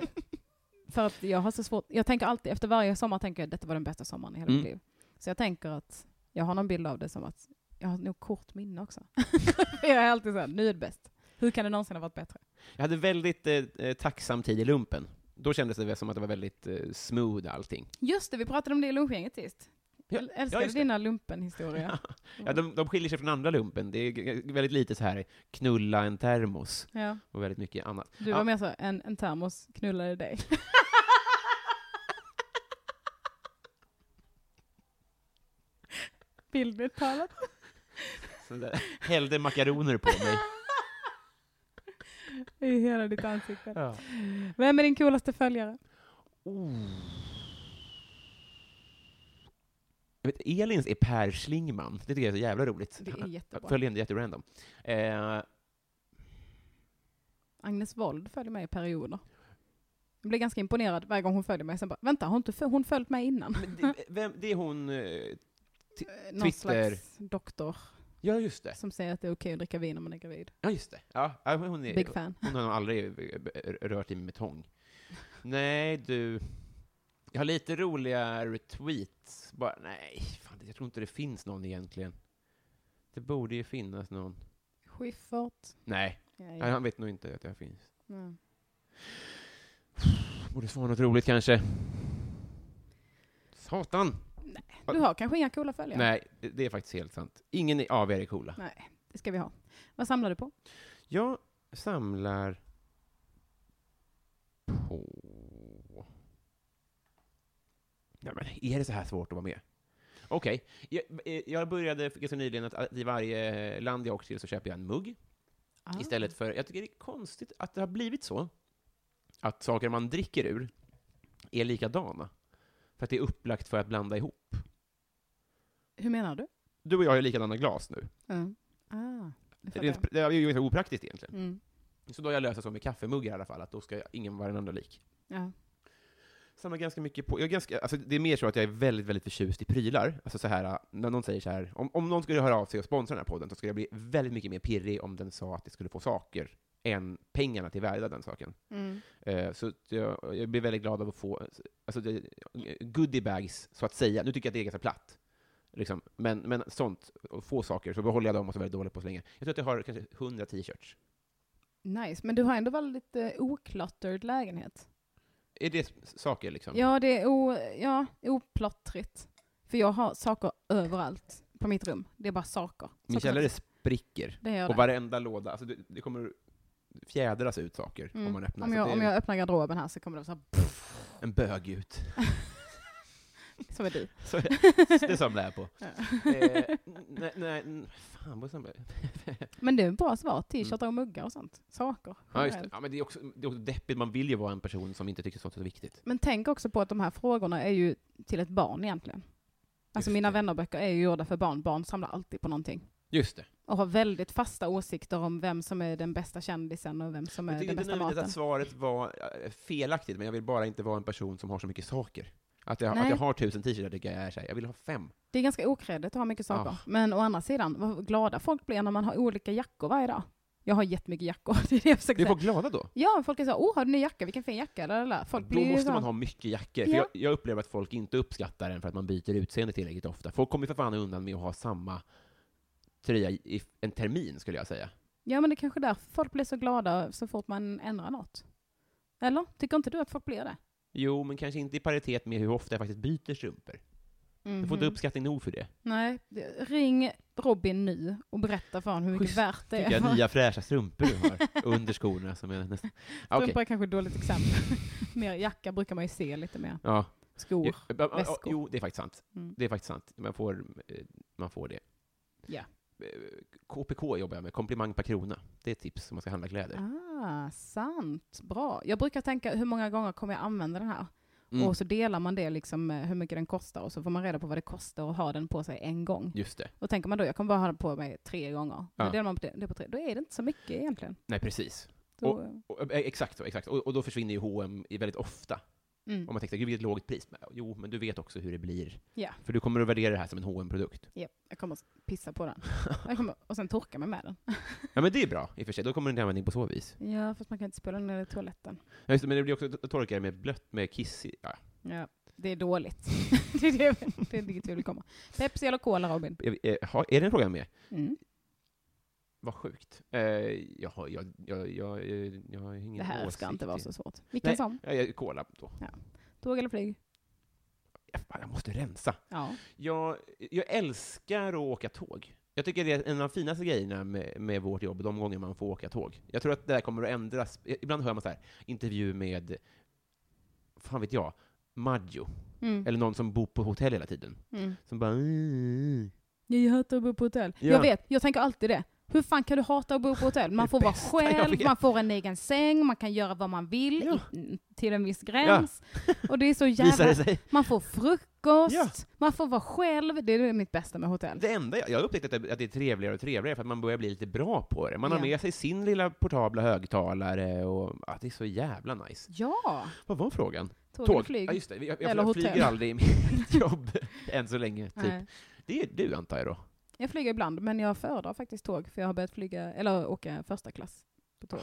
för att jag har så svårt, jag tänker alltid, efter varje sommar tänker jag detta var den bästa sommaren i hela
Mm.
mitt liv. Så jag tänker att jag har någon bild av det som att jag har nog kort minne också. jag är alltid såhär, nu är det bäst. Hur kan det någonsin ha varit bättre?
Jag hade väldigt eh, eh, tacksam tid i lumpen. Då kändes det väl som att det var väldigt eh, smooth allting.
Just det, vi pratade om det i lunchgänget sist.
Ja,
Jag älskar
just det.
dina lumpenhistoria.
Ja, de, de skiljer sig från andra lumpen. Det är g- g- väldigt lite så här knulla en termos
ja.
och väldigt mycket annat.
Du
Ja.
var mer så, en, en termos knullade dig. Bildligt talat.
Så där, hällde makaroner på mig.
I hela ditt ansikte.
Ja.
Vem är din coolaste följare?
Jag vet, Elins är Per Schlingman. Det tycker jag är så jävla roligt.
Det är jättebra.
Följande jätterandom. Eh,
Agnes Wold följer mig i perioder. Jag blir ganska imponerad varje gång hon följer mig. Sen bara, vänta, har inte föl- hon följt mig innan?
men det, vem, det är hon... eh,
Eh, Någon
Twitter.
slags doktor
Ja, just det.
som säger att det är okej att dricka vin om man är gravid.
Ja, just det. Ja, ja, men hon, är,
Big fan.
hon har nog aldrig eh, rört i mig med tång. Nej, du. Jag har lite roliga retweets. Bara, nej, fan, jag tror inte det finns någon egentligen. Det borde ju finnas någon.
Schyffert.
Nej,
Ja,
nej, han vet nog inte att jag finns.
Mm.
Borde svara något roligt kanske. Satan!
Du har kanske inga coola följare?
Nej, det- det är faktiskt helt sant. Ingen i- av er är coola.
Nej, det ska vi ha. Vad samlar du på?
Jag samlar på... Nej, men är det så här svårt att vara med? Okej, jag, eh, jag började ganska nyligen att- att i varje land jag åker till så köper jag en mugg istället för... Jag tycker det är konstigt att det har blivit så. Att saker man dricker ur är likadana. För att det är upplagt för att blanda ihop.
Hur menar du?
Du och jag är likadana glas nu.
Mm. Ah, nu fattar
Rent,
jag.
det är ju ganska opraktiskt egentligen.
Mm.
Så då har jag löst det så med kaffemuggar i alla fall, att då ska ingen vara den andra lik.
Ja.
samlar ganska mycket på, jag är ganska, alltså det är mer så att jag är väldigt, väldigt förtjust i prylar. Alltså så här, när någon säger så här, om, om någon skulle höra av sig och sponsra den här podden så skulle jag bli väldigt mycket mer pirrig om den sa att det skulle få saker än pengarna till värde av den saken.
Mm.
Eh, Så att jag, jag blir väldigt glad av att få alltså, det- goodiebags, så att säga. Nu tycker jag att det är ganska platt. Liksom. Men, men sånt, och få saker, så behåller jag dem och så är jag väldigt dålig på att slänga. Jag tror att jag har kanske 100 t-shirts.
Nice, men du har ändå väldigt eh, okluttered lägenhet.
Är det s- saker liksom?
Ja, det är o, ja, oplottrigt. För jag har saker överallt på mitt rum. Det är bara saker.
Min
saker,
källare spricker.
Det gör
Och
det.
varenda låda, alltså det, det kommer fjädras ut saker
Mm.
om man öppnar.
Om
så
jag,
det är
om jag öppnar garderoben här så kommer det så här,
En bög ut.
som är du.
Så det samlar jag på. eh, nej, nej, n- fan vad samlar jag?
Men det är ett bra svar. T-shirtar och muggar och sånt. Saker.
Mm. Ja, just det.
generellt.
Ja, men det, är också, det är också deppigt, man vill ju vara en person som inte tycker sånt är viktigt.
Men tänk också på att de här frågorna är ju till ett barn egentligen. Alltså
Just
mina
det.
vännerböcker är ju gjorda för barn. Barn samlar alltid på någonting.
Just det.
och har väldigt fasta åsikter om vem som är den bästa kändisen och vem som
Jag
är
tycker
den
inte
bästa
nödvändigtvis
maten.
att svaret var eh, felaktigt, men jag vill bara inte vara en person som har så mycket saker. Att jag, att
Nej.
jag har tusen t-shirtar tycker jag är så här, jag vill ha fem.
Det är ganska okreddigt att ha mycket saker.
Ja.
Men å andra sidan, vad glada folk blir när man har olika jackor varje dag. Jag har jättemycket jackor, det är det jag försöker
Blir
säga.
folk glada då?
Ja, folk är så åh har du ny jacka, vilken fin jacka, eller, eller. Folk
Då
blir ju
måste
så-
man ha mycket jackor. För
Ja.
jag, jag upplever att folk inte uppskattar den för att man byter utseende tillräckligt ofta. Folk kommer för fan undan med att ha samma tröja i en termin, skulle jag säga.
Ja men det är kanske är därför folk blir så glada så fort man ändrar något. Eller? Tycker inte du att folk blir det?
Jo, men kanske inte i paritet med hur ofta jag faktiskt byter strumpor. Jag får inte
Mhm.
uppskattning nog för det.
Nej, det- ring Robin nu och berätta för honom hur mycket
Schysst,
värt det
Tycker
är.
jag nya fräscha strumpor du har under skorna som jag nästan... Ah, Okej.
Strumpor är kanske ett dåligt exempel. mer jacka brukar man ju se lite mer.
Ja.
Skor.
Jo, ja, ja, ja,
Oh, väskor.
jo, det är faktiskt sant.
Mm.
Det är faktiskt sant. Man får, eh, man får det.
Ja.
Eh, KPK jobbar jag med, komplimang per krona. Det är ett tips om man ska handla kläder.
Ah, sant. Bra. Jag brukar tänka hur många gånger kommer jag använda den här?
Mm.
Och så delar man det liksom eh, hur mycket den kostar och så får man reda på vad det kostar att ha den på sig en gång.
Just det.
Och tänker man då, jag kommer bara ha den på mig tre gånger.
Ja.
Då delar man på det, det på tre, då är det inte så mycket egentligen.
Nej, precis.
Då,
Och, eh, Exakt så, exakt. Och, och då försvinner ju H&M i väldigt ofta.
mm.
Om man tänker, gud vilket lågt pris. Men, Jo, men du vet också hur det blir.
Ja.
För du kommer att värdera det här som en hm produkt
Japp, jag kommer att pissa på den. Jag kommer, och sen torka mig med den.
Ja, men det är bra i och för sig. Då kommer den till användning på så vis.
Ja, fast man kan inte spela ner i toaletten.
Ja, just det, men det blir också att torka det med blött, med kiss i. Ja.
Ja, det är dåligt. det är det, det är dit vi vill komma. Pepsi eller Cola, Robin?
Eh, eh, ha- Är den frågan med?
Mm.
Vad sjukt. Eh, jag, har- jag, jag, jag, eh, jag har ingen
Det här
åsikt
ska inte vara
i-
så svårt. Vilken
Nej.
som?
Ja, jag, kola då.
Tåg eller flyg?
Ja, fan, jag måste rensa.
Ja.
Jag, jag älskar att åka tåg. Jag tycker det är en av de finaste grejerna med, med vårt jobb, de gånger man får åka tåg. Jag tror att det där kommer att ändras. Ibland hör man så här, intervju med, fan vet jag, Maggio.
Mm.
Eller någon som bor på hotell hela tiden.
Mm.
Som bara... "Mm."
Jag hatar att bo på hotell.
Ja.
Jag vet, jag tänker alltid det. Hur fan kan du hata att bo på hotell? Man
Det
får vara
bästa jag
själv,
vet.
man får en egen säng, man kan göra vad man vill
Ja.
i, till en viss gräns. Och det är så
Visar det
jävla...
sig.
Man får frukost,
Ja.
man får vara själv. Det är mitt bästa med hotell.
Det enda jag, jag har upptäckt att det, att det är trevligare och trevligare för att man börjar bli lite bra på det. Man har
Ja.
med sig sin lilla portabla högtalare och att det är så jävla nice.
Ja!
Vad var frågan?
Tåg,
Tåg?
eller flyg.
Ja, just det. Jag, jag,
Eller
jag flyger
hotell.
aldrig i mitt jobb än så länge. Typ.
Nej.
Det är du antar jag då?
Jag flyger ibland, men jag föredrar faktiskt tåg, för jag har börjat flyga, eller åka första klass på tåg.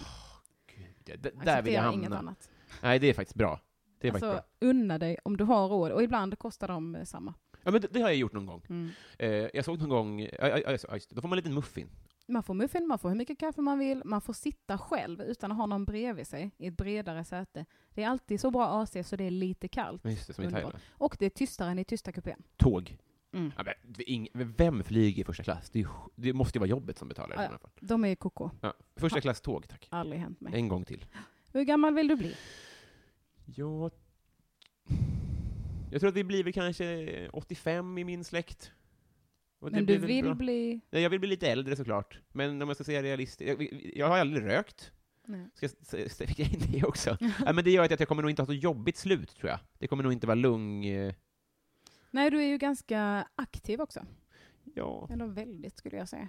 Gud, d- där vill jag
Accepterar inget
hamna.
annat.
Nej, det är faktiskt bra. Det är
Alltså,
faktiskt bra.
unna dig om du har råd, och ibland kostar de eh, samma.
Ja, men det, det har jag gjort någon gång.
Mm.
Eh, jag såg någon gång, ja, ja, ja, just det. Ja, just det. då får man en liten muffin.
Man får muffin, man får hur mycket kaffe man vill, man får sitta själv utan att ha någon bredvid sig i ett bredare säte. Det är alltid så bra AC så det är lite kallt.
Ja, Just det, som i
Underbart.
Thailand.
Och det är tystare än i tysta kupén.
Tåg.
Mm.
Ja, men, det är ing- men vem flyger i första klass? Det, är ju, det måste ju vara jobbet som betalar.
Ja,
i
ja.
alla fall.
De är ju koko.
Ja. Första klass tåg, tack.
Aldrig hänt mig.
En gång till.
Hur gammal vill du bli?
Jag... jag tror att vi blir väl kanske 85 i min släkt. Och det
Men
blir
du
väl
vill
bra.
bli...
Nej, Jag vill bli lite äldre såklart, men om jag ska säga realistiskt, jag, jag har aldrig rökt.
Nej.
Ska jag s- fick jag in det också? Nej, men det gör att jag kommer nog inte ha så jobbigt slut, tror jag. Det kommer nog inte vara lugn... eh,
Nej, du är ju ganska aktiv också.
Ja,
Eller väldigt skulle jag säga.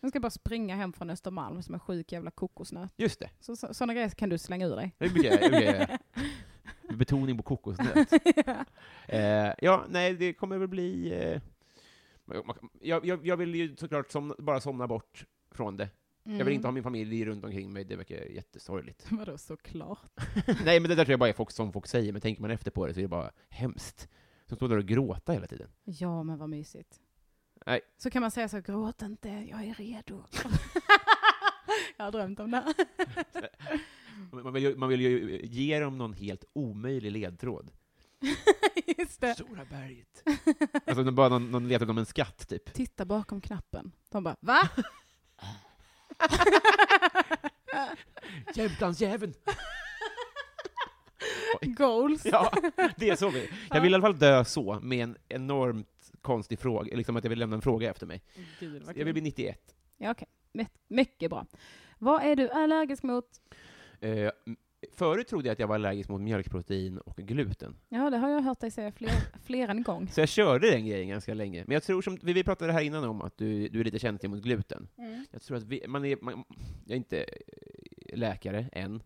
Jag ska bara springa hem från Östermalm som är sjuk jävla kokosnöt.
just det.
Så, så, sådana grejer kan du slänga ur dig.
Det brukar jag, det brukar jag göra. Med betoning på kokosnöt. Eh, ja, nej, det kommer väl bli... Eh, man- man- jag, jag, jag vill ju såklart som, bara somna bort från det. Jag
Mm.
vill inte ha min familj runt omkring mig, det verkar jättesorgligt.
Vadå såklart?
nej, men det där tror jag bara är folk, som folk säger, men tänker man efter på det så är det bara hemskt. Som står där och gråta hela tiden.
Ja, men vad mysigt.
Nej.
Så kan man säga så, gråt inte, jag är redo. jag har drömt om det. här.
Man man vill, ju, man vill ju ge dem någon helt omöjlig ledtråd.
Just det.
Stora berget. Alltså de bara någon, någon letar om en skatt, typ.
Titta bakom knappen. De bara, va?
Jämtlandsjäveln!
Goals.
Ja, det är så vi. Jag vill i alla fall dö så, med en enormt konstig fråga, liksom att jag vill lämna en fråga efter mig.
Gud, vad
Jag vill
kul.
bli 91.
Ja, okej. My- Mycket bra. Vad är du allergisk mot?
Eh, m- förut trodde jag att jag var allergisk mot mjölkprotein och gluten.
Ja, det har jag hört dig säga fler, fler än en gång.
Så jag körde den grejen ganska länge. Men jag tror som, vi vi pratade här innan om att du, du är lite känslig mot gluten.
Mm.
Jag tror att vi, man är, man, jag är inte eh, läkare än,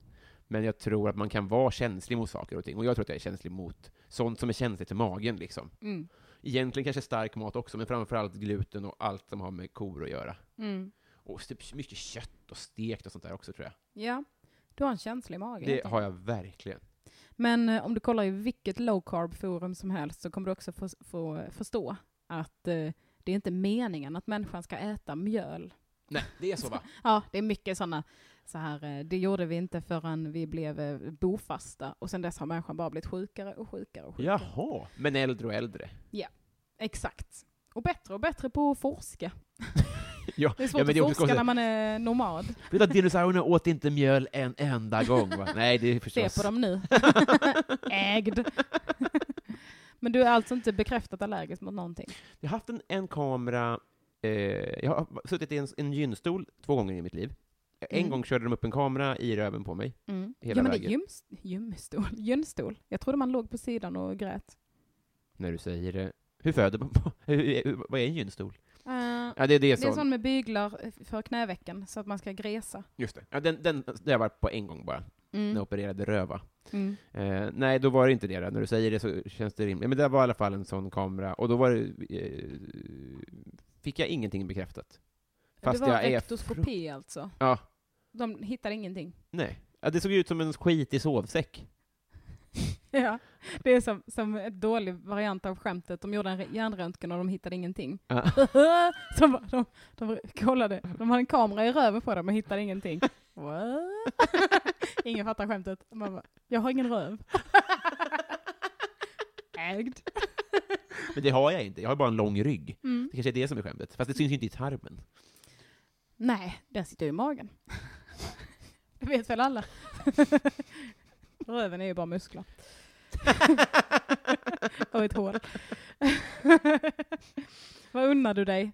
men jag tror att man kan vara känslig mot saker och ting. Och jag tror att jag är känslig mot sånt som är känsligt i magen liksom.
Mm.
Egentligen kanske stark mat också, men framförallt gluten och allt som har med kor att göra.
Mm.
Och typ mycket kött och stekt och sånt där också tror jag.
Ja, du har en känslig mage. helt
Det har jag verkligen.
Men eh, om du kollar i vilket low carb forum som helst så kommer du också få, få förstå att eh, det är inte meningen att människan ska äta mjöl.
Nej, det är så va?
Ja, det är mycket sådana, så här, eh, det gjorde vi inte förrän vi blev eh, bofasta och sedan dess har människan bara blivit sjukare och sjukare och sjukare.
Jaha. Men äldre och äldre.
Exakt. Och bättre och bättre på att forska.
Ja,
Det är svårt
men det är också
att forska
konstigt.
när man är nomad.
Vet du att dinosaurierna åt inte mjöl en enda gång va? Nej, det är
Se
förstås.
på dem nu. Ägd. Men du är alltså inte bekräftat allergisk mot någonting?
Jag har haft en, en kamera, eh, jag har suttit i en, en gynstol två gånger i mitt liv. En
Mm.
gång körde de upp en kamera i röven på mig.
Mm.
Hela
ja, men det är
vägen.
gyms, gymstol, gynstol. Jag trodde man låg på sidan och grät.
När du säger det. Hur föder man på? Hur, hur, vad är en gynstol? Ja, det, det är
Eh, det är
sån.
sån med byglar eh, för knävecken, så att man ska gresa.
Just det. Ja, den, den, det har jag varit på en gång bara, när jag opererade röva.
Mm.
Eh, nej, då var det inte det. Då. När du säger det så känns det rimligt. Men det var i alla fall en sån kamera, och då var det, eh, fick jag ingenting bekräftat. Fast
det var
jag är
rektoskopi alltså.
Ja.
De hittade ingenting.
Nej. Ja, det såg ut som en skitig sovsäck.
Ja. Det är som, som en dålig variant av skämtet. De gjorde en re- hjärnröntgen och de hittade ingenting.
Ja.
Som var- de, de kollade, de hade en kamera i röven på dem och hittade ingenting. What? Ingen fattar skämtet. Man bara, jag har ingen röv. ägd.
Men det har jag inte, jag har bara en lång rygg.
Mm.
Det kanske är det som är skämtet. Fast det syns ju inte i tarmen.
Nej, den sitter ju i magen. Det vet väl alla. Röven är ju bara muskler. Och ett hål. Vad unnar du dig?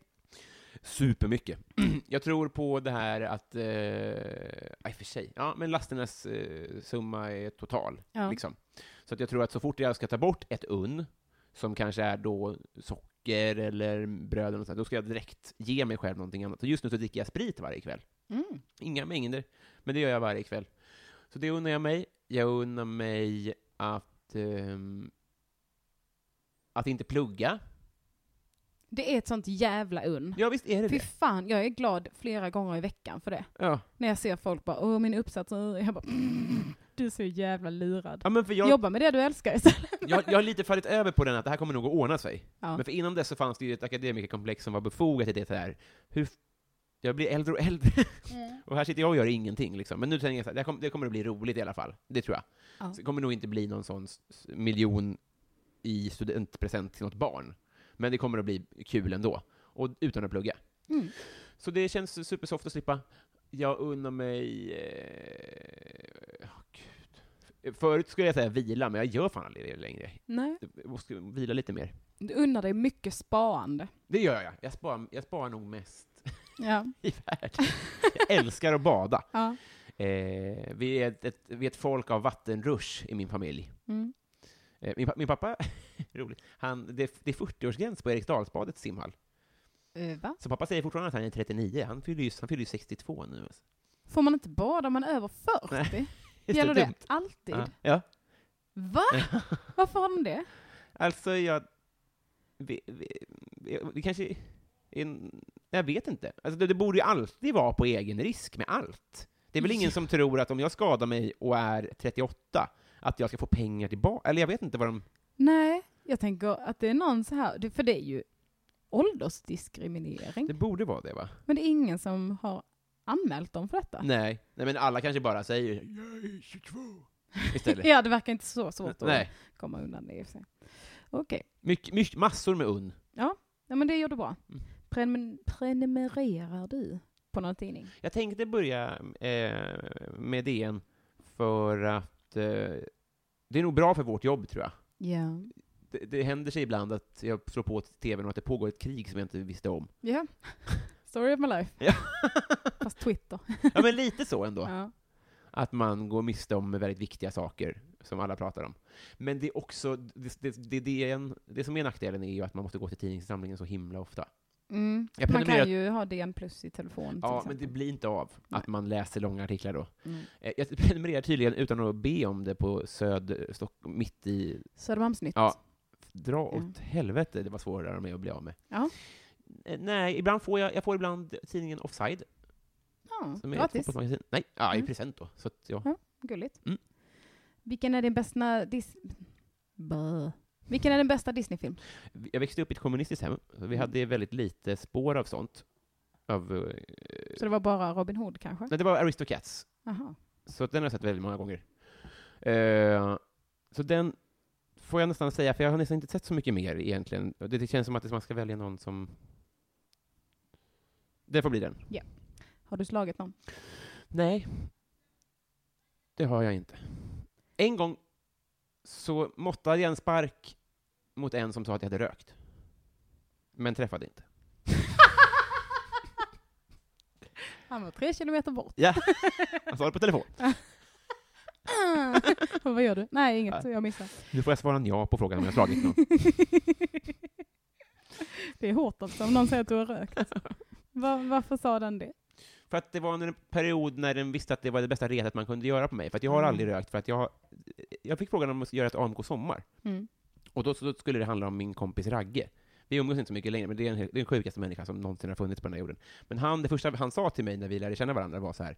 Supermycket. jag tror på det här att, eh, ja, i och för sig, ja men lasternas eh, summa är total.
Ja.
Liksom. Så att jag tror att så fort jag ska ta bort ett unn, som kanske är då socker eller bröd eller något sånt, då ska jag direkt ge mig själv någonting annat. Och just nu så dricker jag sprit varje kväll.
Mm.
Inga mängder, men det gör jag varje kväll. Så det unnar jag mig. Jag unnar mig att, ehm, att inte plugga.
Det är ett sånt jävla unn.
Ja, visst är det
Fy
det.
fan, jag är glad flera gånger i veckan för det.
Ja.
När jag ser folk bara åh min uppsats, åh", jag bara "Mm, du är så jävla lurad.
Ja, men för jag,
Jobba med det du älskar istället.
jag, jag har lite fallit över på den att det här kommer nog att ordna sig.
Ja.
Men för innan dess så fanns det ju ett akademikerkomplex som var befogat i det här. Hur, f- jag blir äldre och äldre.
Mm.
Och här sitter jag och gör ingenting. Liksom. Men nu tänker jag så här, det, här kommer, det kommer att bli roligt i alla fall. Det tror jag.
Ja.
Så det kommer nog inte bli någon sån s- s- miljon i studentpresent till något barn. Men det kommer att bli kul ändå. Och utan att plugga.
Mm.
Så det känns supersoft att slippa. Jag unnar mig... Eh, åh, gud. Förut skulle jag säga vila, men jag gör fan aldrig det längre.
Nej.
Jag måste vila lite mer.
Du unnar dig mycket spaande.
Det gör jag. Jag sparar, jag sparar nog mest
Ja.
i världen. Jag älskar att bada.
ja.
Eh, vi, är ett, ett, vi är ett folk av vattenrush i min familj.
Mm.
Eh, min, pa- min pappa, roligt, han, det, är- det är 40-årsgräns på Eriksdalsbadets simhall.
Eh, va?
Så pappa säger fortfarande att han är 39. Han fyller ju, han fyller ju 62 nu. Alltså.
Får man inte bada om man är över 40?
Det är så
Gäller det
dumt.
alltid?
Ja. ja.
Va? Varför har de det?
Alltså, jag... Vi, vi, vi, vi kanske... En, jag vet inte. Alltså, det, det borde ju alltid vara på egen risk med allt. Det är väl ingen som tror att om jag skadar mig och är 38, att jag ska få pengar tillbaka. Eller jag vet inte vad de...
Nej, jag tänker att det är någon så här, det- för det är ju åldersdiskriminering.
Det borde vara det, va?
Men det är ingen som har anmält dem för detta.
Nej. Nej, men alla kanske bara säger ”Jag är 22” istället.
Ja, det verkar inte så svårt att
Nej.
komma undan det i och för sig. Okej,
Mycket, mycket, massor med unn.
ja, men det gör du bra.
Mm.
Prenum- prenumererar du på någon tidning?
Jag tänkte börja eh, med DN för att eh, det är nog bra för vårt jobb, tror jag.
Ja.
det, det händer sig ibland att jag slår på tvn och att det pågår ett krig som jag inte visste om.
Ja. Story of my life.
Ja.
Fast Twitter.
Ja, men lite så ändå.
Ja.
Att man går miste om väldigt viktiga saker som alla pratar om. Men det är också, det, det, det, det, är en, det som är nackdelen är ju att man måste gå till tidningssamlingen så himla ofta.
Mm.
Jag
Man
prenumererar-
kan ju ha DN plus i telefon till
Ja, men det
exempel.
blir inte av att man läser långa artiklar då.
Mm.
Eh, Jag prenumererar tydligen utan att be om det på Söd, eh, Stock, mitt i
Södermalmsnytt.
Ja. Mm. Dra åt
Ja.
helvete, det var svårare med att bli av med.
Ja.
Eh, Nej, ibland får jag, jag får ibland tidningen Offside,
Mm. Ja,
som är ett
gratis.
fotbollsmagasin. Nej, ja, i
Mm.
present då. Så att, ja.
Gulligt.
Mm.
Vilken är din bästa dis... Bö. Vilken är den bästa Disneyfilm?
Jag växte upp i ett kommunistiskt hem, så vi
Mm.
hade väldigt lite spår av sånt. Av, eh,
Så det var bara Robin Hood kanske?
nej, det var Aristocats,
Jaha.
så att den har jag sett väldigt många gånger. Eh, så den får jag nästan säga, för jag har nästan inte sett så mycket mer egentligen. Och Det, det känns som att man ska välja någon som... Det får bli den.
Har du slagit någon?
Nej, det har jag inte. En gång så måttade jag en spark mot en som sa att jag hade rökt, men träffade inte.
Han var tre kilometer bort.
Ja, han sa det på telefon.
Och Ah! vad gör du? Nej, inget.
Nej.
Jag missar.
Nu får jag svara ja på frågan om jag slagit någon.
det är hårt också om någon säger att du har rökt. Va- varför sa den det?
För att det var en period när den visste att det var det bästa retet man kunde göra på mig, för att jag har
Mm.
aldrig rökt, för att jag, jag fick frågan om att göra ett AMK Sommar,
Mm.
och då, då skulle det handla om min kompis Ragge. Vi umgås inte så mycket längre, men det är, en, det är den sjukaste människan som någonsin har funnits på den här jorden. Men han, det första han sa till mig när vi lärde känna varandra var så här,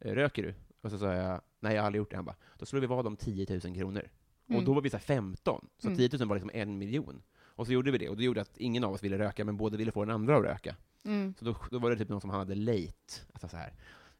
"Eh, röker du? Och så sa jag, nej jag har aldrig gjort det. Han bara, då slår vi vad om 10 000 kronor.
Mm.
Och då var vi så här 15, så
Mm.
10 000 var liksom en miljon. Och så gjorde vi det, och det gjorde att ingen av oss ville röka, men båda ville få den andra att röka.
Mm.
Så då, då var det typ någon som han hade lejt. Alltså så här.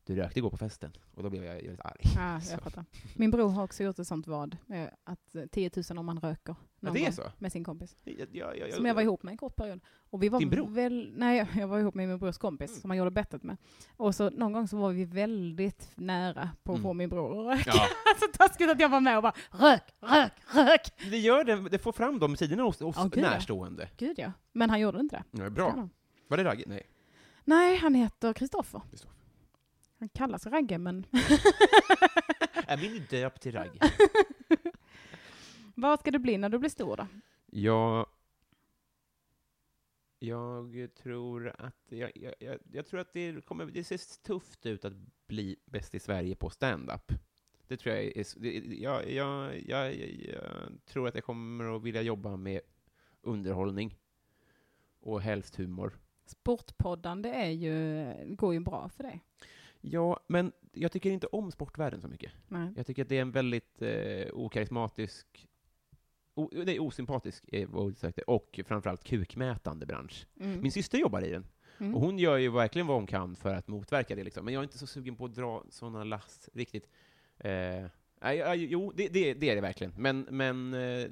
du rökte igår på festen. Och då blev jag väldigt arg.
Ja,
Så.
Ah, jag fattar. Min bror har också gjort ett sånt vad, med att eh, 10 000 om man röker.
Ja,
någon
det är
gång
så?
Med sin kompis.
Jag, jag, jag,
Som jag var ihop med en kort period. Och vi var
Din bror?
Väl, nej, jag var ihop med min brors kompis
Mm.
som han gjorde bettet med. Och så någon gång så var vi väldigt nära på att
Mm.
få min bror att röka.
Ja.
så taskigt att jag var med och bara rök, rök, rök.
Det gör det, det får fram de sidorna hos, hos
Ja, gud, ja.
närstående.
Gud ja. Men han gjorde inte det.
Ja,
Ja,
bra.
då.
Var det raggigt? Nej.
Nej, han heter Kristoffer.
Kristoffer.
Han kallas Ragge, men
Är min döpt till ragg?
vad ska du bli när du blir stor då?
Jag... Jag tror att... Jag, jag, jag, jag tror att det kommer... Det ser tufft ut att bli bäst i Sverige på stand-up. Det tror jag är... s- Det, jag, jag, jag, jag, jag tror att jag kommer att vilja jobba med underhållning. Och helst humor.
Sportpoddande är ju, går ju bra för dig.
Ja, men jag tycker inte om sportvärlden så mycket.
Nej.
Jag tycker att det är en väldigt eh, okarismatisk, o, nej, osympatisk, eh, vad jag sökte, och framförallt kukmätande bransch.
Mm.
Min syster jobbar i den,
Mm.
och hon gör ju verkligen vad hon kan för att motverka det, liksom. men jag är inte så sugen på att dra sådana lass riktigt. Eh, nej, ja, jo, det, det, det är det verkligen, men, men eh,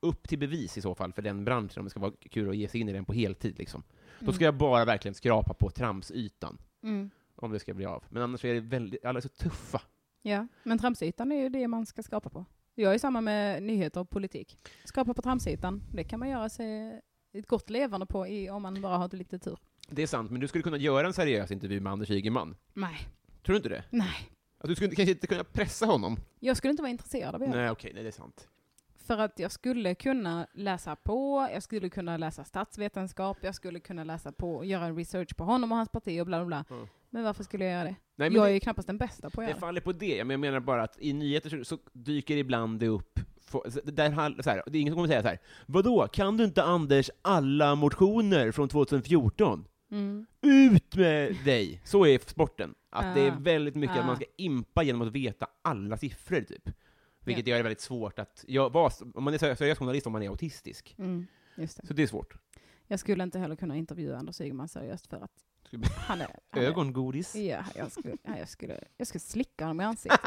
upp till bevis i så fall för den branschen, om det ska vara kul att ge sig in i den på heltid. Liksom. Då ska jag bara verkligen skrapa på tramsytan,
Mm.
om det ska bli av. Men annars är det väldigt, alla är så tuffa.
Ja, men tramsytan är ju det man ska skapa på. Jag är samma med nyheter och politik. Skapa på tramsytan, det kan man göra sig ett gott levande på i, om man bara har lite tur.
Det är sant, men du skulle kunna göra en seriös intervju med Anders Ygeman.
Nej,
Tror du inte det?
nej.
Att du skulle kanske inte kunna pressa honom?
Jag skulle inte vara intresserad av det.
Nej, okej, nej, det är sant.
För att jag skulle kunna läsa på, jag skulle kunna läsa statsvetenskap, jag skulle kunna läsa på, göra en research på honom och hans parti och bla bla bla.
Mm.
Men varför skulle jag göra det?
Nej, men
jag är
det,
ju knappast den bästa på att
det
göra det.
faller på det. Men jag menar bara att i nyheter så, så dyker ibland det upp... få- så- Där, han- så här, det är ingen som kommer säga så här. Vadå, kan du inte Anders alla motioner från 2014?
Mm.
Ut med dig! Så är sporten. Att det är
Ah.
väldigt mycket att man
Ah.
ska impa genom att veta alla siffror, typ. Vilket gör det väldigt svårt att... Jag, vad, om man är seriös journalist om man är autistisk.
Mm. Just det.
Så det är svårt.
Jag skulle inte heller kunna intervjua Anders Ygeman seriöst för att
Skulle bli-
han är... Han är
Ögongodis.
Ja, jag skulle, nej, jag skulle, jag skulle slicka honom i ansiktet.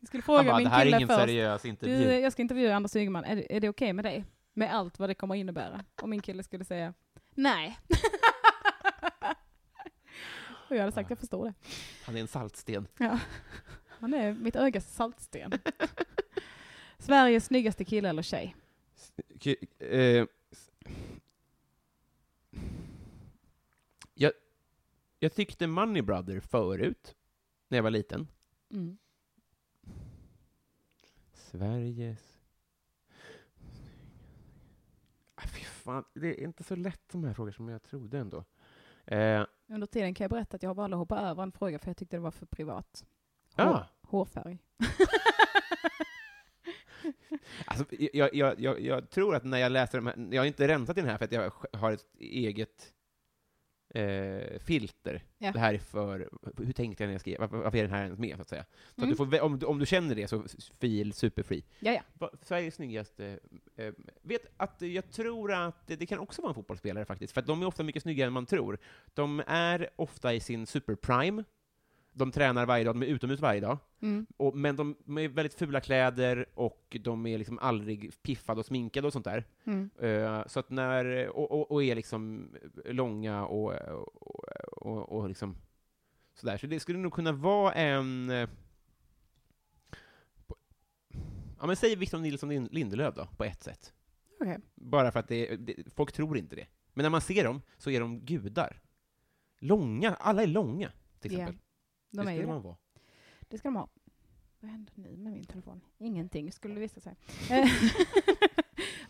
Jag skulle
Han
fråga
bara, det
min
här är
kille
ingen
först.
seriös
Du,
intervju.
jag ska intervjua Anders Ygeman, är, det- är det okej med dig? Med allt vad det kommer innebära. Och min kille skulle säga, nej. Och jag hade sagt, jag förstår det.
Han är en saltsten.
Ja. Han är mitt ögas saltsten. Sveriges snyggaste kille eller tjej? eh,
jag, jag tyckte Money Brother förut, när jag var liten.
Mm.
Sveriges... Ah, fy fan, det är inte så lätt de här frågorna som jag trodde ändå. Eh,
Under tiden kan jag berätta att jag valde att hoppa över en fråga för jag tyckte det var för privat. Hår,
ah,
Hårfärg.
alltså, jag, jag, jag, jag tror att när jag läser de här, jag har inte rensat i den här för att jag har ett eget eh, filter.
Ja.
Det här är för, hur tänkte jag när jag skrev, varför, varför är den här ens med så att säga? Så
Mm.
att du får, vä- om, du- om du känner det så s- feel superfri.
Ja, ja.
Va- Sveriges snyggaste, eh, vet att eh, jag tror att det det kan också vara en fotbollsspelare faktiskt, för att de är ofta mycket snyggare än man tror. De är ofta i sin superprime, de tränar varje dag, de är utomhus varje dag,
Mm.
och, men de, de är väldigt fula kläder och de är liksom aldrig piffade och sminkade och sånt där.
Mm.
Eh, Så att när, och, och, och är liksom långa och, och, och, och liksom sådär. Så det skulle nog kunna vara en... eh, på- Ja men säg Victor Nilsson Lin- Lindelöf då, på ett sätt.
Okej.
Bara för att det, det, folk tror inte det. Men när man ser dem så är de gudar. Långa, alla är långa, till
Ja,
exempel.
De
det
är ju
skulle
det.
man vara.
Det ska de ha. Vad händer nu med min telefon? Ingenting, skulle det visa sig.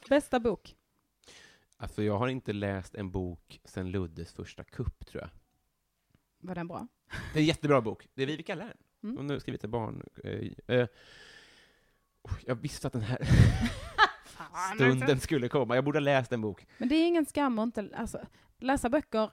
Bästa bok?
Alltså jag har inte läst en bok sen Luddes första kupp, tror jag.
Var den bra?
Det är en jättebra bok. Det är Vivica Lärn.
Mm.
Hon har skrivit till barn. Eh, eh, oh, jag visste att den här stunden skulle komma. Jag borde ha läst en bok.
Men det är ingen skam att inte alltså, läsa böcker.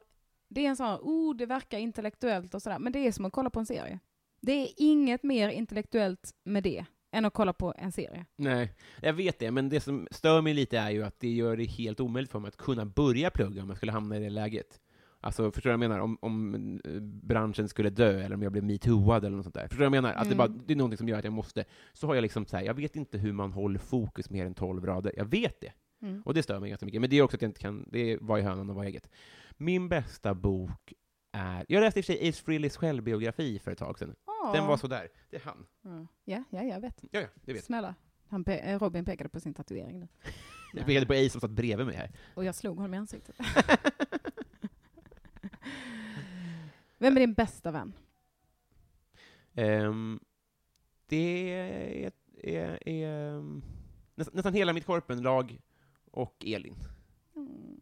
Det är en sån här, oh, det verkar intellektuellt och sådär, men det är som att kolla på en serie. Det är inget mer intellektuellt med det än att kolla på en serie.
Nej, jag vet det, men det som stör mig lite är ju att det gör det helt omöjligt för mig att kunna börja plugga om jag skulle hamna i det läget. Alltså, förstår du vad jag menar? Om, om eh, branschen skulle dö, eller om jag blev metooad eller något sånt där. Förstår du vad jag menar? Att det,
Mm.
bara, det är någonting som gör att jag måste... Så har jag liksom så här, jag vet inte hur man håller fokus mer än 12 rader. Jag vet det.
Mm.
Och det stör mig ganska mycket. Men det är också att jag inte kan... Det är vad är hönan och vad är ägget? Min bästa bok är... Jag läste i och för sig Ace Frehleys självbiografi för ett tag sedan.
Ah.
Den var sådär. Det är han.
Mm. Ja, ja, jag vet.
Ja, ja, det vet jag.
Snälla. Han pe- eh, Robin pekade på sin tatuering nu.
Jag pekade på Ace som satt bredvid mig här.
Och jag slog honom i ansiktet. Vem är din bästa vän?
Ehm, det är, är, är nästan, nästan hela mitt korpenlag och Elin.
Mm.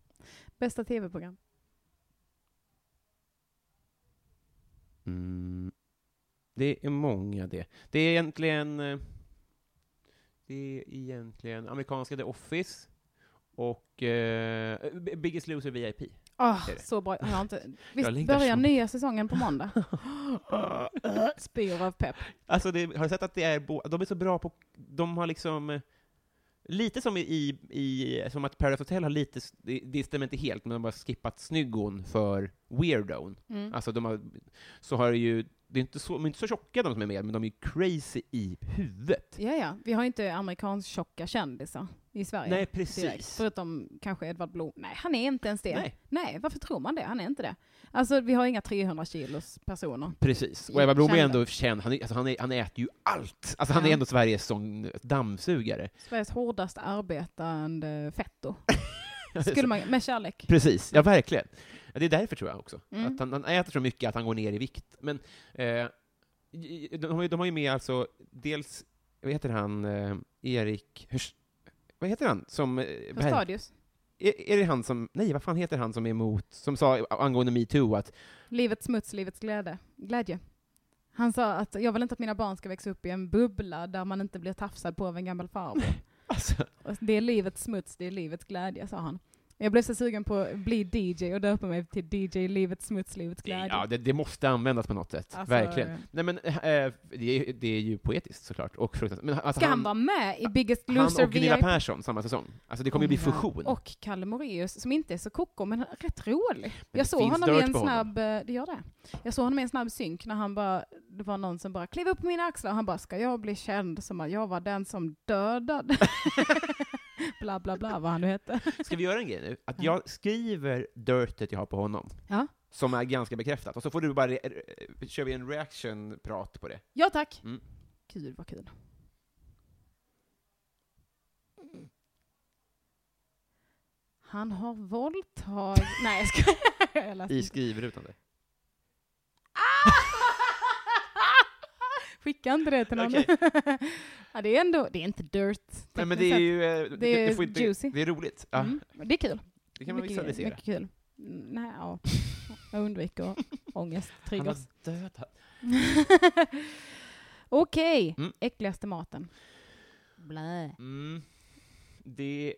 Bästa tv-program?
Mm. Det är många det. Det är egentligen... eh, Det är egentligen amerikanska The Office och eh, B- Biggest Loser VIP.
Ah,
Det är det.
så bra. Jag har inte... Visst
längtar
börjar
så-
nya säsongen på måndag? Spyr av pepp.
Alltså, det, har du sett att det är bo- de är så bra på... De har liksom... eh, Lite som i, i, i som att Paradise Hotel har lite, s- det, det stämmer inte helt, men de har skippat snyggon för weirdown.
Mm.
Alltså de har, så har det ju, det är inte så, de är inte så tjocka de som är med, men de är ju crazy i huvudet.
Ja, ja. Vi har inte amerikansk tjocka kändisar i Sverige.
Nej,
direkt.
precis.
Förutom kanske Edvard Blom. Nej, han är inte ens det.
Nej.
Nej, varför tror man det? Han är inte det. Alltså, vi har inga 300 kilos personer.
Precis. Och Eva Blom är
Kända.
ändå känd, han, är, alltså, han, är, han äter ju allt! Alltså han
Ja.
är ändå Sveriges sån dammsugare.
Sveriges hårdast arbetande fetto. Skulle man, med kärlek.
Precis, ja verkligen. Ja, Det är därför tror jag också.
Mm.
Att han, han äter så mycket att han går ner i vikt. Men eh, de, har ju, de har ju med alltså, dels, vad heter han, eh, Erik, Hörs- vad heter han som... eh, verk-
Stadius.
Är, är det han som, nej vad fan heter han som är emot, som sa angående metoo att
Livets smuts, livets glädje. glädje. Han sa att jag vill inte att mina barn ska växa upp i en bubbla där man inte blir tafsad på av en gammal farbror.
alltså,
Och Det är livets smuts, det är livets glädje, sa han. Jag blev så sugen på att bli DJ och döpa mig till DJ Livets smuts, livets glädje.
ja, alltså det, det måste användas på något sätt,
Alltså,
verkligen. Nej men, eh, det, är- det är ju poetiskt såklart, och fruktansvärt. Men alltså,
Ska han, vara med i Biggest Loser
han och Gunilla
VIP?
Persson samma säsong. Alltså det kommer ju
Oh
bli
my God.
fusion.
Och Kalle Moraeus, som inte är så koko, men han är rätt rolig.
det
jag såg
finns
honom i
dirt
en
på honom.
snabb, eh, det gör det. Jag såg honom i en snabb synk när han bara, det var någon som bara klev upp på mina axlar och han bara, ska jag bli känd som att jag var den som dödade? bla bla bla vad han nu hette.
Ska vi göra en grej nu? Att jag skriver dirtet jag har på honom,
Ja.
som är ganska bekräftat, och så får du bara, re- re- kör vi en reaction-prat på det.
Ja tack!
Mm.
Kul vad kul. Han har våldtagit... Nej jag skojar. Jag läste
I
inte. Ah!
skrivrutan där.
Skicka inte det till någon.
Okej.
ja, det är ändå, det är inte dirt.
Nej men
tekniskt
det är
sett.
ju, eh, det,
är
det får inte,
juicy.
det är roligt. Ja,
Mm, det är kul.
Det kan man
Mycket-
visualisera.
Mycket kul. Mm, Nej, ja. Jag undviker ångest,
Han har
triggers.
dödat.
Okej,
Mm.
äckligaste maten. Blä.
Mm. Det...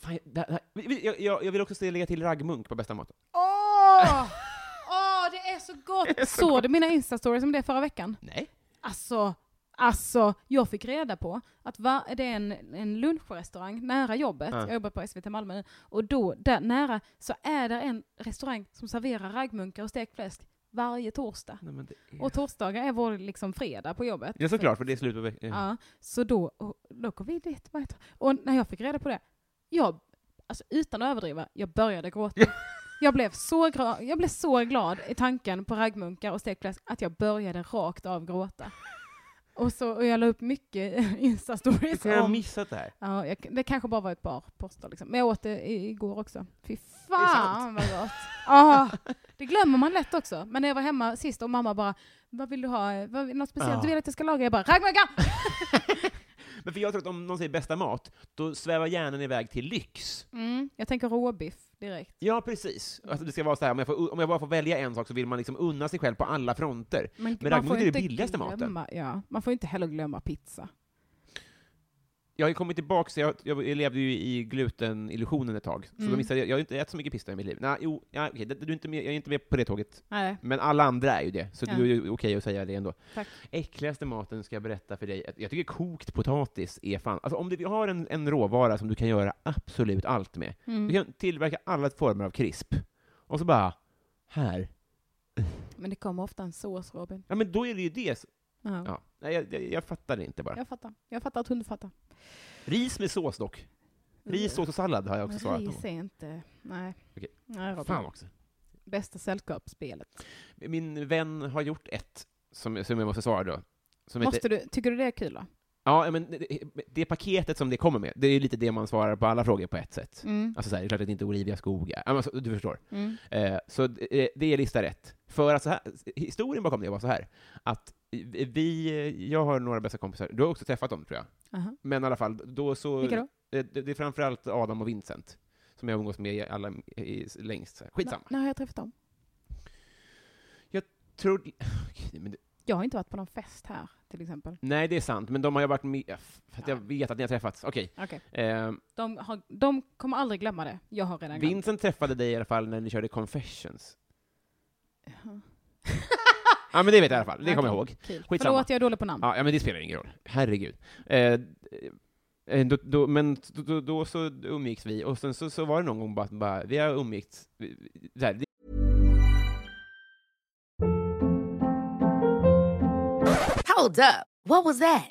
Fan, det, det jag, jag, jag vill också se- lägga till raggmunk på bästa maten.
Åh! Åh, det är så gott!
Det är så
Såg du mina instastories om det förra veckan?
Nej.
Alltså, alltså, jag fick reda på att va, det är en, en lunchrestaurang nära jobbet,
Ja.
jag jobbar på SVT Malmö nu, och då, där nära, så är det en restaurang som serverar raggmunkar och stekt fläsk varje torsdag.
Nej, men det är...
Och torsdagar är vår liksom fredag på jobbet.
ja, såklart, för det är slut på veckan.
Ja, så då, och då går vi dit. varje torsdag. Och när jag fick reda på det, jag, alltså utan att överdriva, jag började gråta. Jag blev, så gra- jag blev så glad i tanken på raggmunkar och stekt fläsk att jag började rakt av gråta. Och, så, och jag la upp mycket
Jag
instastories
kan ha
om...
missat det här.
Ja, jag, det kanske bara var ett par poster liksom. Men jag åt det i- igår också. Fy
sant.
fan vad gott! Ah, det glömmer man lätt också. Men när jag var hemma sist och mamma bara vad vill du ha? Vad, något speciellt du
Ja.
vill att jag ska laga? Jag bara raggmunkar!
Men för jag tror att om någon säger bästa mat, då svävar hjärnan iväg till lyx.
Mm, jag tänker råbiff direkt.
Ja, precis. Alltså, det ska vara så här, om jag, får, om jag bara får välja en sak så vill man liksom unna sig själv på alla fronter.
Men,
raggmunk är det billigaste maten.
glömma, Ja, man får inte heller glömma pizza.
Jag har ju kommit tillbaka, så jag, jag levde ju i glutenillusionen ett tag, så
Mm.
då missade jag, jag har ju inte ätit så mycket pista i mitt liv. Nej, jo, ja, okej, det- du är inte med, jag är inte med på det tåget
Nej.
Men alla andra är ju det, så
Ja.
det är ju okej att säga det ändå.
Tack.
Äckligaste maten ska jag berätta för dig, jag tycker kokt potatis är fan... Alltså om du har en, en råvara som du kan göra absolut allt med, du
Mm.
kan tillverka alla former av krisp, Och så bara, här.
Men det kommer ofta en sås, Robin.
Ja, men då är det ju det. s-
Ja.
Ja. Nej, jag, jag, jag fattar det inte bara.
Jag fattar. Jag fattar att du inte fattar.
Ris med sås dock. Mm. Ris, sås och sallad har jag också svarat på.
Ris är inte... Nej.
Okej.
Nej, Robin.
Fan också.
Bästa sällskapsspelet.
Min vän har gjort ett, som, som jag måste svara då. Som heter-
Måste du, tycker du det är kul då?
Ja, men det, det paketet som det kommer med, det är ju lite det man svarar på alla frågor på ett sätt.
Mm.
Alltså så här, det är klart att det inte är Olivia Skog är. Ja, men Alltså, du förstår.
Mm.
Eh, så det, det är lista rätt. För att så här, historien bakom det var så här, att vi, jag har några bästa kompisar, du har också träffat dem tror jag,
Aha.
men i alla fall, då så...
Vilka då?
Eh, Det, det är framförallt Adam och Vincent, som jag umgås med i alla, i, längst. Så här. Skitsamma.
När har jag träffat dem?
Tror, Okej, men det,
Jag har inte varit på någon fest här, till exempel.
nej, det är sant, men de har jag varit med, ja, för att jag
Ja.
vet att ni har träffats. Okej.
Okej.
Eh,
De, har, de kommer aldrig glömma det. Jag har redan glömt.
Vincent träffade dig i alla fall när ni körde Confessions.
Jaha.
Ja, men det vet jag i alla fall. Det kommer jag ihåg.
Okej, Kul.
Skitsamma.
Förlåt, jag är dålig på namn.
Ja, ja, men det spelar ingen roll. Herregud. Eh, eh, då, då, men då, då, då så umgicks vi, och sen så, så var det någon gång bara, bara vi har umgicks, vi- vi- så här, det,
Hold up. What was that?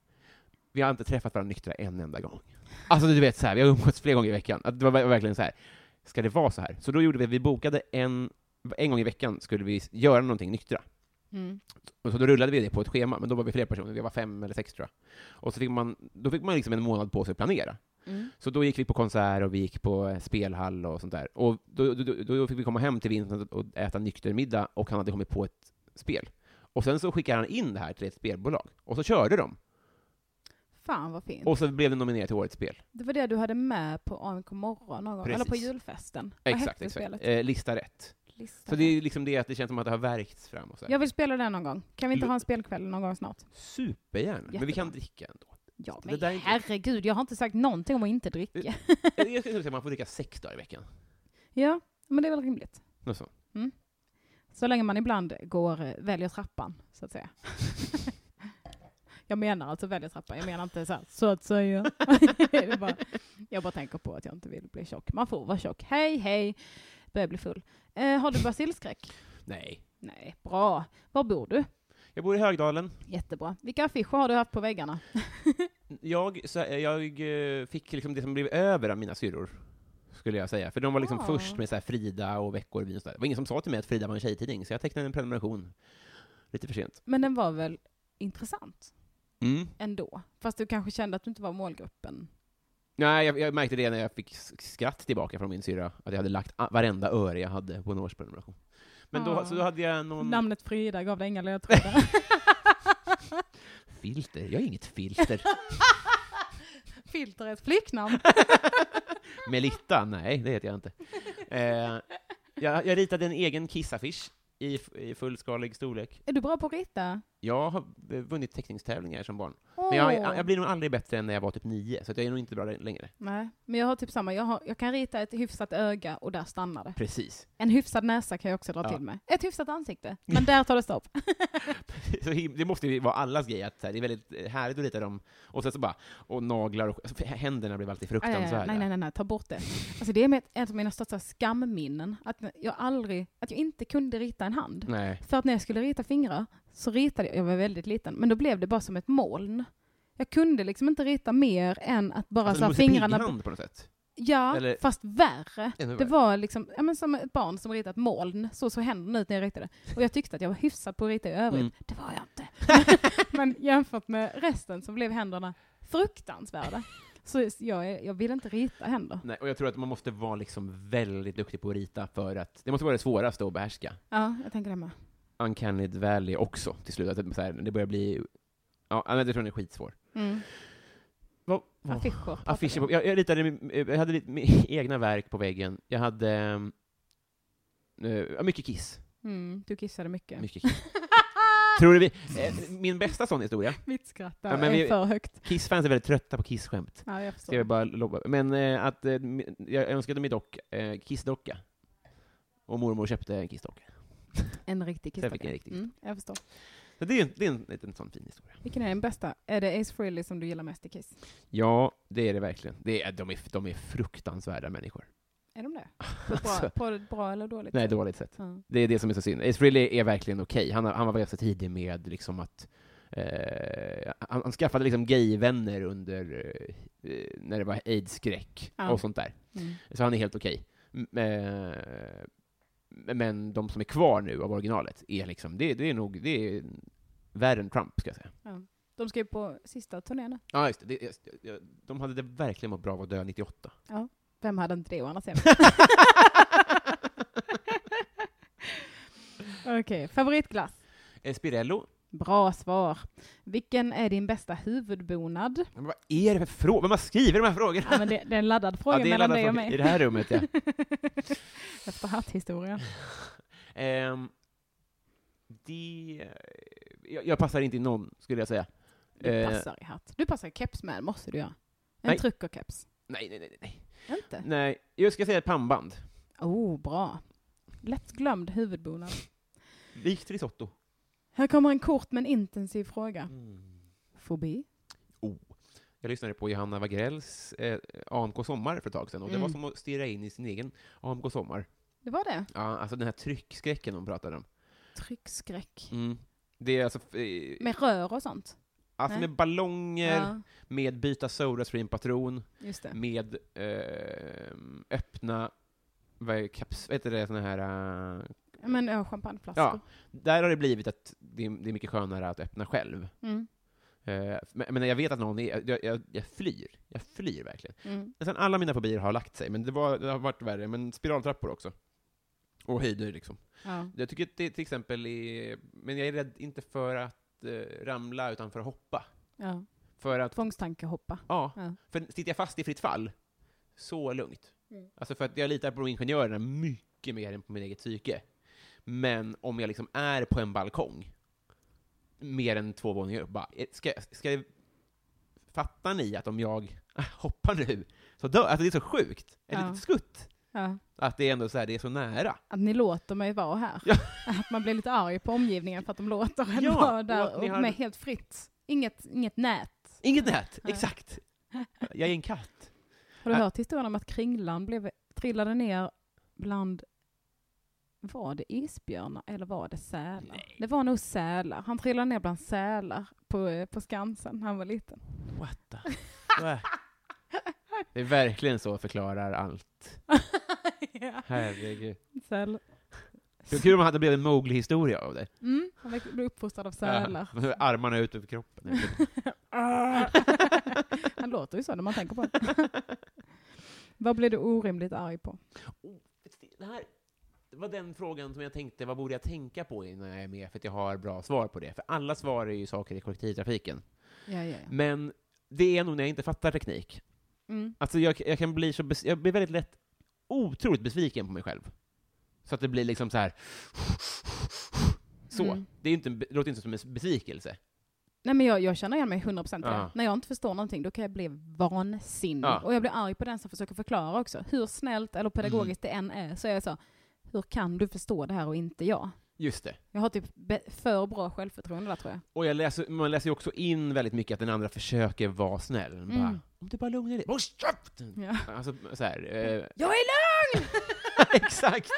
Vi har inte träffat varandra nyktra en enda gång. Alltså du vet så här, vi har umgåtts flera gånger i veckan. Att Det var ver- verkligen så här. ska det vara så här? Så då gjorde vi, vi bokade en, en gång i veckan skulle vi s- göra någonting nyktra.
Mm.
Och så då rullade vi det på ett schema, men då var vi fler personer, vi var fem eller sex tror jag. Och så fick man, då fick man liksom en månad på sig att planera.
Mm.
Så då gick vi på konsert och vi gick på eh, spelhall och sånt där. Och då, då, då, då fick vi komma hem till Vincent och äta nykter middag och han hade kommit på ett spel. Och sen så skickade han in det här till ett spelbolag och så körde de.
Fan vad fint.
Och så blev det nominerat till årets spel.
Det var det du hade med på AMK morgon någon gång, eller på
Precis.
julfesten. Vad
Exakt,
hette
exakt.
spelet?
Eh, lista rätt.
Lista.
Så det är liksom det att det känns som att det har värkts fram och så här.
Jag vill spela det någon gång. Kan vi inte
Lu-
ha en spelkväll någon gång snart?
Supergärna. Men vi
Jättebra.
kan dricka ändå.
Ja,
Det
men
där är inte- Eh.
herregud, jag har inte sagt någonting om att inte dricka.
Jag skulle säga att man får dricka sex dagar i veckan.
ja, men det är väl rimligt.
Något sånt.
Så länge man ibland går, eh, väljer trappan, så att säga. jag menar alltså väljer trappan, jag menar inte så här, så att säga. Det är bara, jag bara tänker på att jag inte vill bli tjock. Man får vara tjock. Hej, hej. Börjar bli full. Eh, har du basilskräck?
Nej.
Nej, bra. Var bor du?
Jag bor i Högdalen.
Jättebra. Vilka affischer har du haft på väggarna?
Jag, så, jag eh, fick liksom det som blev över av mina syrror, skulle jag säga. För de var liksom
Ah.
först med så här Frida och Veckorevyn och sådär. Det var ingen som sa till mig att Frida var en tjejtidning, så jag tecknade en prenumeration. Lite för sent.
Men den var väl intressant
Mm.
ändå? Fast du kanske kände att du inte var målgruppen?
Nej, jag, jag märkte det när jag fick s- skratt tillbaka från min syrra, att jag hade lagt a- varenda öre jag hade på en årsprenumeration. Men då,
Ah.
så då hade jag någon...
Namnet Frida gav dig inga ledtrådar.
Filter? Jag är inget filter.
Filter är ett flicknamn.
Melitta? Nej, det heter jag inte. Eh, jag, jag ritade en egen kissafisch i, f- i fullskalig storlek.
Är du bra på att rita?
Jag har eh, vunnit teckningstävlingar som barn.
Åh.
Men jag, jag blir nog aldrig bättre än när jag var typ nio, så att jag är nog inte bra där längre.
Nej, men jag har typ samma. Jag, har, jag kan rita ett hyfsat öga och där stannar det.
Precis.
En hyfsad näsa kan jag också dra
Ja.
till med. Ett hyfsat ansikte, men där tar det stopp.
Så him- det måste ju vara allas grej, att så här, det är väldigt eh, härligt att rita dem, och sen så bara, och naglar och alltså, händerna blev alltid
Aj, aj, aj.
fruktansvärda.
nej, nej, nej, nej, ta bort det. Alltså det är mitt- ett av mina största skamminnen, att jag aldrig, att jag inte kunde rita en hand.
Nej.
För att när jag skulle rita fingrar så ritade jag, jag var väldigt liten, men då blev det bara som ett moln. Jag kunde liksom inte rita mer än att bara
Alltså,
så här,
Musse
fingrarna...
Pigg-hand på något sätt.
Ja,
Eller-
fast värre.
Ännu
Det
värre.
var liksom, ja, men som ett barn som ritat moln, så såg händerna ut när jag ritade. Och jag tyckte att jag var hyfsad på att rita i övrigt.
Mm.
Det var jag inte. men jämfört med resten så blev händerna fruktansvärda. Så jag, är- jag vill inte rita händer.
Nej, och jag tror att man måste vara liksom väldigt duktig på att rita för att det måste vara det svåraste att behärska.
Ja, jag tänker det med.
Uncanny Valley också till slut. Att det, så här, det börjar bli... Ja, men jag tror den är skitsvår.
Mm.
Vad, vad-
Affischer. pratar
affischer
vi om.
på, jag, jag ritade, min- jag hade lite mina egna verk på väggen. Jag hade... ehm, eh, ja, mycket kiss.
Mm, du kissade mycket.
Mycket kiss. Tror du vi... eh, Min bästa sån historia.
Mitt skratt där
Ja, men
är
vi-
för högt.
Kiss-fans är väldigt trötta på Kiss-skämt.
Ja, jag
Ska jag
förstår.
bara lobba. Men eh, att eh, mi- jag önskade mig dock eh, Kiss-docka. Och mormor köpte en Kiss-docka.
En riktig
Sen fick jag
kissdocka.
en riktig
Mm, jag förstår.
Så det är, en- det är en liten sån fin historia.
Vilken är den bästa? Är det Ace Frehley som du gillar mest i Kiss?
Ja, det är det verkligen. Det är, de, är, de är fruktansvärda människor.
Är de det? På, ett bra,
Alltså,
på ett bra eller dåligt
nej,
sätt?
dåligt sätt.
Ja.
Det är det som är så synd. Ace Frehley är verkligen okej. Han, har- han var ganska tidig med liksom att eh, han, han skaffade liksom gayvänner under eh, när det var aids-skräck
Ja.
och sånt där.
Mm.
Så han är helt okej. M- Eh, men de som är kvar nu av originalet är liksom, det, det är nog, det är värre än Trump, ska jag säga.
De ska ju på sista turnén. nu.
Ja, just det. det just, ja, de hade det verkligen mått bra av att dö 98.
Vem hade inte det å andra sidan? Okej, favoritglass.
Eh, Spirello.
Bra svar. Vilken är din bästa huvudbonad?
Men vad är det för fråga? Man skriver de här frågorna!
Ja, men det, det är en laddad fråga
Ja, det är en
mellan
laddad
dig och
fråga.
mig.
I det här rummet, ja.
Efter hatthistorien.
Ehm, det... Jag, jag passar inte i någon, skulle jag säga.
Du
Eh.
passar i hatt. Du passar i keps med, måste du göra. En
Nej.
truckerkeps.
Nej, nej, nej. Nej,
Inte?
nej jag ska säga ett pannband.
Oh, bra. Lätt glömd huvudbonad.
Likt risotto.
Här kommer en kort men intensiv fråga. Mm. Fobi?
Jag lyssnade på Johanna Wagrells eh, AMK Sommar för ett tag sedan, och det
Mm.
var som att stirra in i sin egen AMK Sommar.
Det var det.
Ja, alltså den här tryckskräcken hon pratade om.
Tryckskräck.
Mm. Det är alltså... Eh,
Med rör och sånt.
alltså
nej.
med ballonger, med byta Sodastream-patron,
just det.
med eh, öppna... Vad är kaps... Vad heter det? Såna här... eh,
Men ja, champagneflaskor.
Ja, där har det blivit att det är, det är mycket skönare att öppna själv.
Mm,
Eh, men, men jag vet att någon är, jag, jag, jag flyr. Jag flyr verkligen.
mm.
Nästan alla mina fobier har lagt sig, men det, var, det har varit värre. Men spiraltrappor också. Och höjder liksom.
Ja.
Jag tycker att det till exempel är, men jag är rädd inte för att eh, ramla, utan för att hoppa.
ja.
För att,
Tvångstankehoppa.
ja,
Ja.
för sitter jag fast i fritt fall, så lugnt.
Mm.
Alltså för att jag litar på ingenjörerna mycket mer än på mitt eget psyke. Men om jag liksom är på en balkong, mer än två våningar upp, bara, eh, ska, ska jag, fattar ni att om jag hoppar nu, så dör Alltså det är så sjukt. Ett
Ja.
litet skutt.
Ja.
Att det är ändå så här, det är så nära.
Att ni låter mig vara här.
Ja.
Att man blir lite arg på omgivningen för att de låter en
Ja,
vara
och
där
att
och
ni har-
med helt fritt. Inget, inget nät.
Inget nät,
Nej.
exakt. Jag är en katt.
Har du
Ja.
hört historien om att Kringlan blev, trillade ner bland var det isbjörnar eller var det sälar? Det var nog sälar. Han trillade ner bland sälar på, eh, på Skansen när han var liten.
What the... Det är verkligen så förklarar allt.
ja.
Herregud.
Säl.
Det var kul om man hade blivit en Mowgli-historia av det.
Mm, han verkar bli uppfostrad av sälar.
Ja, med armarna ut över kroppen.
han låter ju så när man tänker på det. Vad blev du orimligt arg på?
det här det var den frågan som jag tänkte, vad borde jag tänka på innan jag är med? För att jag har bra svar på det. För alla svar är ju saker i kollektivtrafiken.
Ja, ja, ja.
Men det är nog när jag inte fattar teknik.
Mm.
Alltså jag, jag kan bli så bes- jag blir väldigt lätt otroligt besviken på mig själv. Så att det blir liksom så här. Så.
Mm.
Det, är inte, en be- det låter inte som en besvikelse.
Nej, men jag, jag känner igen mig 100 procent.
Ja.
När jag inte förstår någonting, då kan jag bli vansinnig.
Ja.
Och jag blir arg på den som försöker förklara också. Hur snällt eller pedagogiskt
Mm.
det än är, så är jag så, hur kan du förstå det här och inte jag?
Just det.
Jag har typ be- för bra självförtroende där, tror jag.
Och jag läser, man läser ju också in väldigt mycket att den andra försöker vara snäll. Bara, om du bara lugnar dig. Håll käften!
Mm. Ja.
Alltså så här. Eh,
Jag är lugn!
exakt!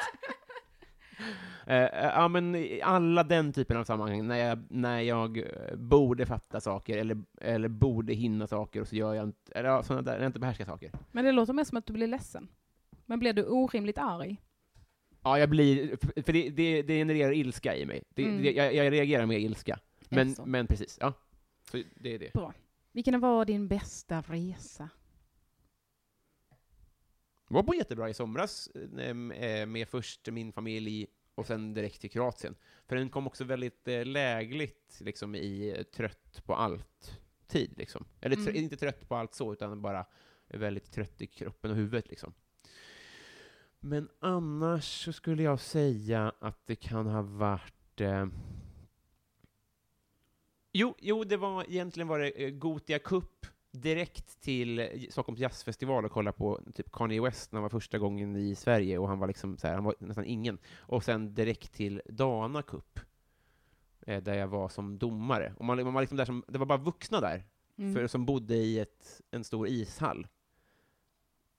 Eh, eh, ja, men i alla den typen av sammanhang, när jag, när jag eh, borde fatta saker eller, eller borde hinna saker och så gör jag inte, eller ja, sådana där, när jag inte behärskar saker.
Men det låter mer som att du blir ledsen. Men blev du orimligt arg?
Ja, jag blir, för- för det, det, det genererar ilska i mig. Det,
Mm.
det, jag, jag reagerar med ilska. Men,
Alltså.
men precis, ja. Så det är det.
Bra. Vilken var din bästa resa?
Jag var på jättebra i somras eh, med först min familj och sen direkt till Kroatien. För den kom också väldigt eh, lägligt liksom, i eh, trött på allt-tid. Liksom. Eller tr-
Mm.
inte trött på allt så, utan bara väldigt trött i kroppen och huvudet. Liksom. Men annars så skulle jag säga att det kan ha varit... Eh... Jo, jo, det var egentligen var det eh, Gotia Cup direkt till Stockholms jazzfestival och kolla på typ Kanye West när han var första gången i Sverige och han var liksom så här, han var nästan ingen. Och sen direkt till Dana Cup, eh, där jag var som domare. Och man, man var liksom där som, det var bara vuxna där,
Mm.
för, som bodde i ett, en stor ishall.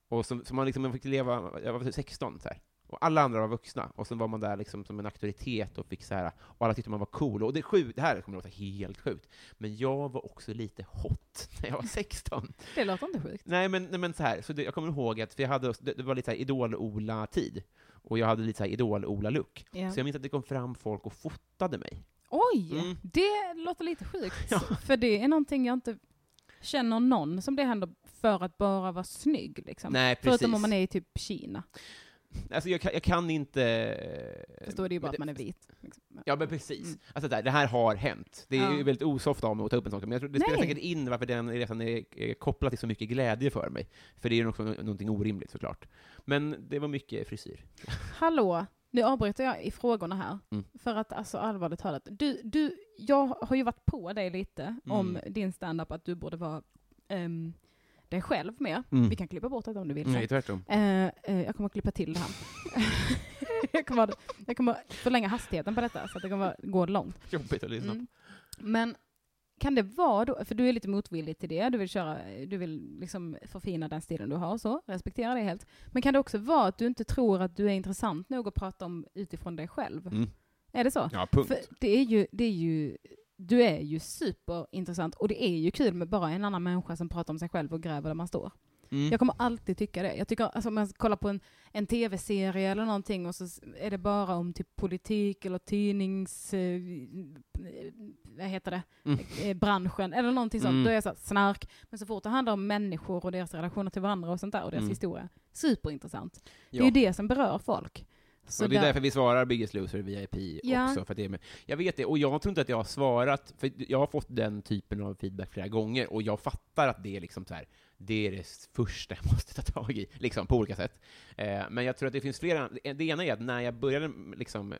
Och som, som man liksom man fick leva, jag var typ 16 så här. Och alla andra var vuxna, och sen var man där liksom som en auktoritet och fick så här, och alla tyckte man var cool. Och det, är sjukt, det här kommer att låta helt sjukt, men jag var också lite hot när jag var 16.
Det låter inte sjukt.
Nej men, nej, men så här, så det, jag kommer ihåg att för jag hade, det, det var lite så här Idol-Ola-tid, och jag hade lite så här Idol-Ola-look.
Ja.
Så jag minns att det kom fram folk och fotade mig.
Oj!
Mm.
Det låter lite sjukt.
Ja.
För det är någonting jag inte känner någon som det händer för att bara vara snygg. Liksom.
Nej,
Förutom om man är i typ Kina.
Alltså jag kan, jag kan inte...
Fast då är det ju bara
men
att man är vit. Liksom.
Ja men precis.
Mm.
Alltså det, här, det här har hänt. Det är
Ja.
ju väldigt osoft av mig att ta upp en sak, men jag tror, det spelar
Nej.
säkert in varför den resan är, är kopplad till så mycket glädje för mig. För det är ju också nå- någonting orimligt såklart. Men det var mycket frisyr.
Hallå, nu avbryter jag i frågorna här.
Mm.
För att alltså allvarligt talat, du, du, jag har ju varit på dig lite
Mm.
om din standup att du borde vara ehm, dig själv mer.
Mm.
Vi kan klippa bort det om du vill. sen.
tvärtom.
Eh, eh, jag kommer att klippa till det här. jag, kommer, att- jag kommer att förlänga hastigheten på detta så att det kommer att gå långt.
Jobbigt att lyssna på.
Mm. Men kan det vara då, för du är lite motvillig till det, du vill köra, du vill liksom förfina den stilen du har och så, respektera det helt. Men kan det också vara att du inte tror att du är intressant nog att prata om utifrån dig själv?
Mm.
Är det så?
Ja, punkt.
För det är ju, det är ju, du är ju superintressant och det är ju kul med bara en annan människa som pratar om sig själv och gräver där man står.
Mm.
Jag kommer alltid tycka det. Jag tycker, alltså, om man kollar på en, en tv-serie eller någonting och så s- är det bara om typ politik eller tidnings... Eh, eh, vad heter det?
Mm.
Eh, branschen eller någonting sånt.
Mm.
Då är jag så här, snark. Men så fort det handlar om människor och deras relationer till varandra och sånt där och deras
Mm.
historia. Superintressant. Det är
Ja.
ju det som berör folk. Så
och det är
där-
därför vi svarar Biggest Loser VIP
Ja.
också. För att det är med. Jag vet det, och jag tror inte att jag har svarat, för jag har fått den typen av feedback flera gånger, och jag fattar att det är liksom så här, det är det första jag måste ta tag i, liksom, på olika sätt. Eh, men jag tror att det finns flera, eh, det ena är att när jag började liksom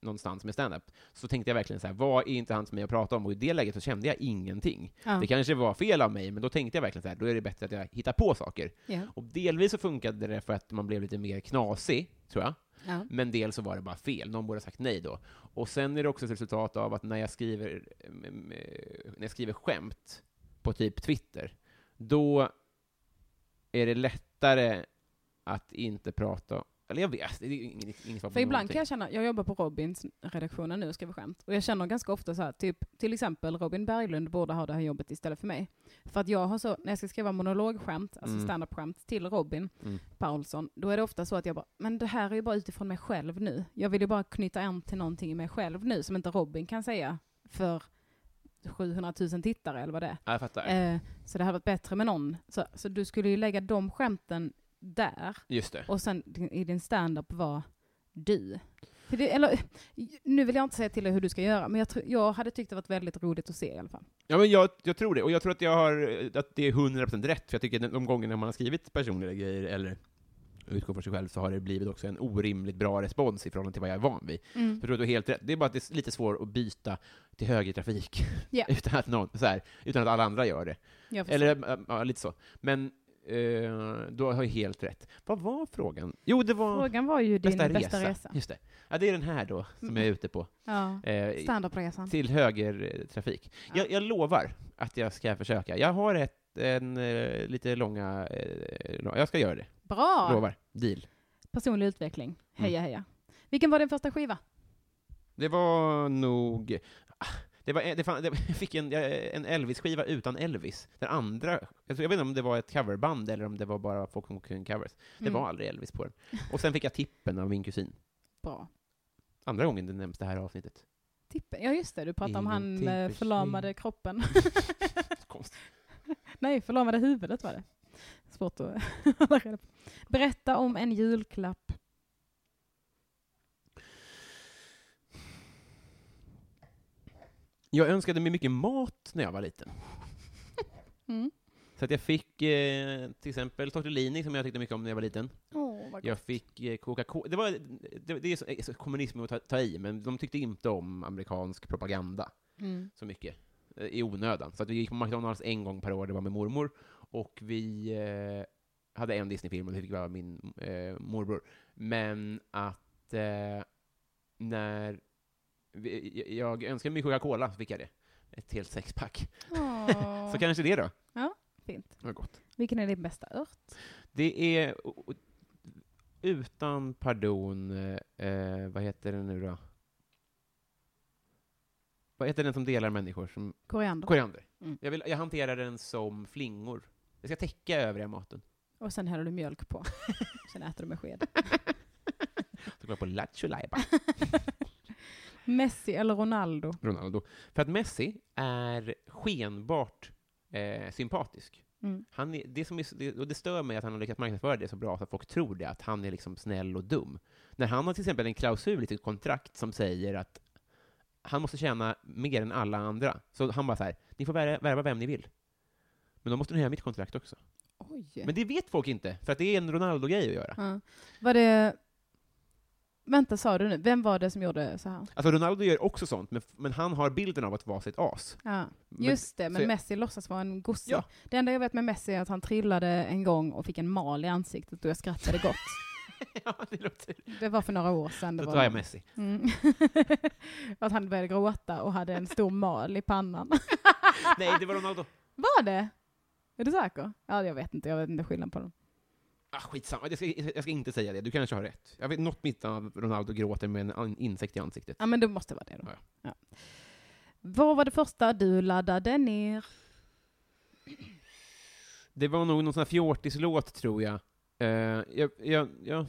någonstans med stand-up, så tänkte jag verkligen så här, vad är inte han för mig att prata om? Och i det läget så kände jag ingenting.
ja.
Det kanske var fel av mig, men då tänkte jag verkligen så här, då är det bättre att jag hittar på saker.
ja.
Och delvis så funkade det för att man blev lite mer knasig, tror jag.
Ja.
Men dels så var det bara fel, någon borde ha sagt nej då. Och sen är det också ett resultat av att när jag skriver, em, em, eh, när jag skriver skämt på typ Twitter, då är det lättare att inte prata, eller jag vet, det är inget, inget svar på
För ibland
någonting.
kan jag känna, jag jobbar på Robins redaktionen nu och skriver skämt, och jag känner ganska ofta så här, typ, till exempel Robin Berglund borde ha det här jobbet istället för mig. För att jag har så, när jag ska skriva monologskämt, alltså
Mm.
standup-skämt till Robin
Mm.
Paulsson, då är det ofta så att jag bara, men det här är ju bara utifrån mig själv nu. Jag vill ju bara knyta an till någonting i mig själv nu som inte Robin kan säga för 700 000 tittare eller vad det är.
Ja, jag fattar.
Eh, så det hade varit bättre med någon. Så, så du skulle ju lägga de skämten där.
Just det.
Och sen din- i din stand-up var du. För det, eller, nu vill jag inte säga till dig hur du ska göra, men jag, tror- jag hade tyckt det varit väldigt roligt att se i alla fall.
Ja, men jag, jag tror det, och jag tror att, jag har, eh, att det är 100% rätt, för jag tycker att de gångerna man har skrivit personliga grejer, eller utgår från sig själv, så har det blivit också en orimligt bra respons i förhållande till vad jag är van vid. Jag tror att du är helt rätt. Det är bara att det är lite svårt att byta till högertrafik
Ja.
utan, att någon, så här, utan att alla andra gör det.
Jag förstår.
Eller äh, ja, lite så. Men eh, du har ju helt rätt. Vad var frågan? Jo, det var
Frågan var ju din
bästa,
bästa,
resa.
resa. Mm.
Just det. Ja, det är den här då som jag är ute på.
Ja.
Eh,
Stand-up-resan.
till högertrafik. Jag, jag lovar att jag ska försöka. Jag har ett, en eh, lite långa... Eh, lång- jag ska göra det.
Bra!
Lovar. Mm. Deal.
Personlig utveckling. Heja, heja. Vilken var din första skiva?
Det var nog... ah, Det var, det fan, det, jag fick en, en Elvis-skiva utan Elvis. Den andra, jag tror- jag vet inte om det var ett coverband eller om det var bara folk som kunde covers. Det
Mm.
var aldrig Elvis på den. Och sen fick jag tippen av min kusin.
Bra.
Andra gången det nämns det här avsnittet.
Tippen. Ja just det, du pratade om han
Ingenting
med
försvinner.
förlamade kroppen.
Konstigt.
Nej, förlamade huvudet var det. Svårt att hålla reda på. Berätta om en julklapp.
Jag önskade mig mycket mat när jag var liten.
Mm.
Så att jag fick eh, till exempel tortellini som jag tyckte mycket om när jag var liten.
Åh, vad gott.
Jag fick eh, Coca-Cola. Det, var, det, det är så, eh, så kommunism att ta, ta i, men de tyckte inte om amerikansk propaganda
Mm.
så mycket eh, i onödan. Så att vi gick på McDonalds en gång per år, det var med mormor, och vi eh, hade en Disney-film och det fick vara min eh, morbror. Men att eh, när vi, jag önskade mig Coca-Cola så fick jag det. Ett helt sexpack.
Åh,
Så kanske det då.
fint.
Vad gott.
Vilken är din bästa ört?
Det är o- o- utan pardon, eh, vad heter den nu då? Vad heter den som delar människor? Som,
Koriander.
koriander.
Mm.
Jag, vill, jag hanterar den som flingor. Jag ska täcka övriga maten.
Och sen häller du mjölk på. Sen äter du med sked.
Så kollar jag på Lattjo Lajban.
Messi eller Ronaldo?
Ronaldo. För att Messi är skenbart eh, sympatisk.
Mm.
Han är, det, som är, det, och det stör mig att han har lyckats marknadsföra det så bra så att folk tror det, att han är liksom snäll och dum. När han har till exempel en klausul i sitt kontrakt som säger att han måste tjäna mer än alla andra. Så han bara så här, ni får värva, värva vem ni vill. Men då måste ni höja mitt kontrakt också.
Oj.
Men det vet folk inte, för att det är en Ronaldo-grej att göra.
Ja. Var det... Vänta, sa du nu? Vem var det som gjorde så här?
Alltså Ronaldo gör också sånt, men, men han har bilden av att vara sitt as.
Ja.
Men-
Just det,
så
men
jag-
Messi låtsas vara en gosse.
Ja.
Det enda jag vet med Messi är att han trillade en gång och fick en mal i ansiktet och jag skrattade gott.
ja, det låter...
Det var för några år sedan. Det
Då
var
tar jag Messi.
Mm. att han började gråta och hade en stor mal i pannan.
Nej, det var Ronaldo.
Var det? Är du säker? Ja, jag vet inte. Jag vet inte skillnaden på dem.
Ah, skitsamma, jag ska, jag ska inte säga det. Du kanske har rätt. Jag vet något mitt av Ronaldo gråter med en an- insekt i ansiktet.
Ja, men det måste vara det då.
Ja,
Ja. Vad var det första du laddade ner?
Det var nog någon sån här fjortislåt, tror jag. Eh, jag, jag, jag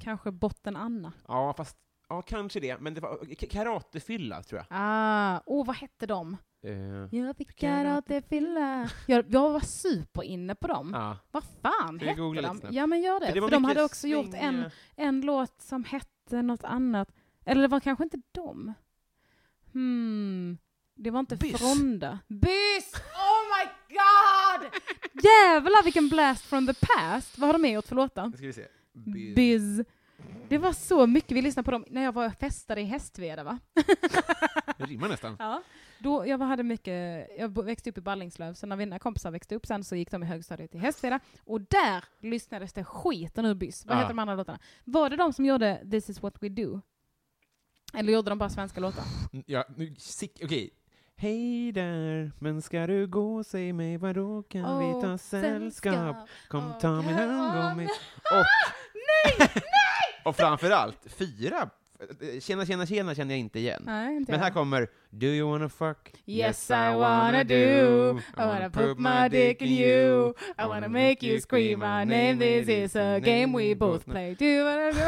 Kanske Botten Anna?
ja, fast... Ja, kanske det. Men det var k- karatefylla, tror jag.
Ah, oh, vad hette de?
Eh,
Jag fick karatefylla. Jag, jag var superinne på dem.
ja.
Vad fan
Ska vi
hette
googla lite
de?
snabbt?
Ja, men gör det.
Men
För,
var
de
mycket
hade också gjort en,
slängiga-
en låt som hette något annat. Eller det var kanske inte dem. Hmm. Det var inte
Byss.
Fronda. Byss! Oh my god! Jävlar vilken blast from the past. Vad har de med gjort för låtar?
Nu ska vi se. By-
Biz. Det var så mycket vi lyssnade på dem när jag var och festade i Hästveda va?
Det rimmar nästan.
Ja. Då, jag hade mycket, jag bo- växte upp i Ballingslöv, så när mina kompisar växte upp sen så gick de i högstadiet i Hästveda, och där lyssnades det skiten ur byss. Vad
Ja.
heter de andra låtarna? Var det de som gjorde This is what we do? Eller gjorde de bara svenska låtar?
Ja, nu, sick, okej. Hej där, men ska du gå, säg mig var då kan vi ta sällskap? Kom
Åh,
ta min hand, gå med... Och,
Nej!
och framförallt, fyra... Tjena, tjena, tjena känner jag inte igen.
Nej, inte
Men
jag.
här kommer Do you wanna fuck?
Yes I wanna do, I wanna put my dick in you, I wanna make you scream my name, this is a game we both play. Do you wanna do?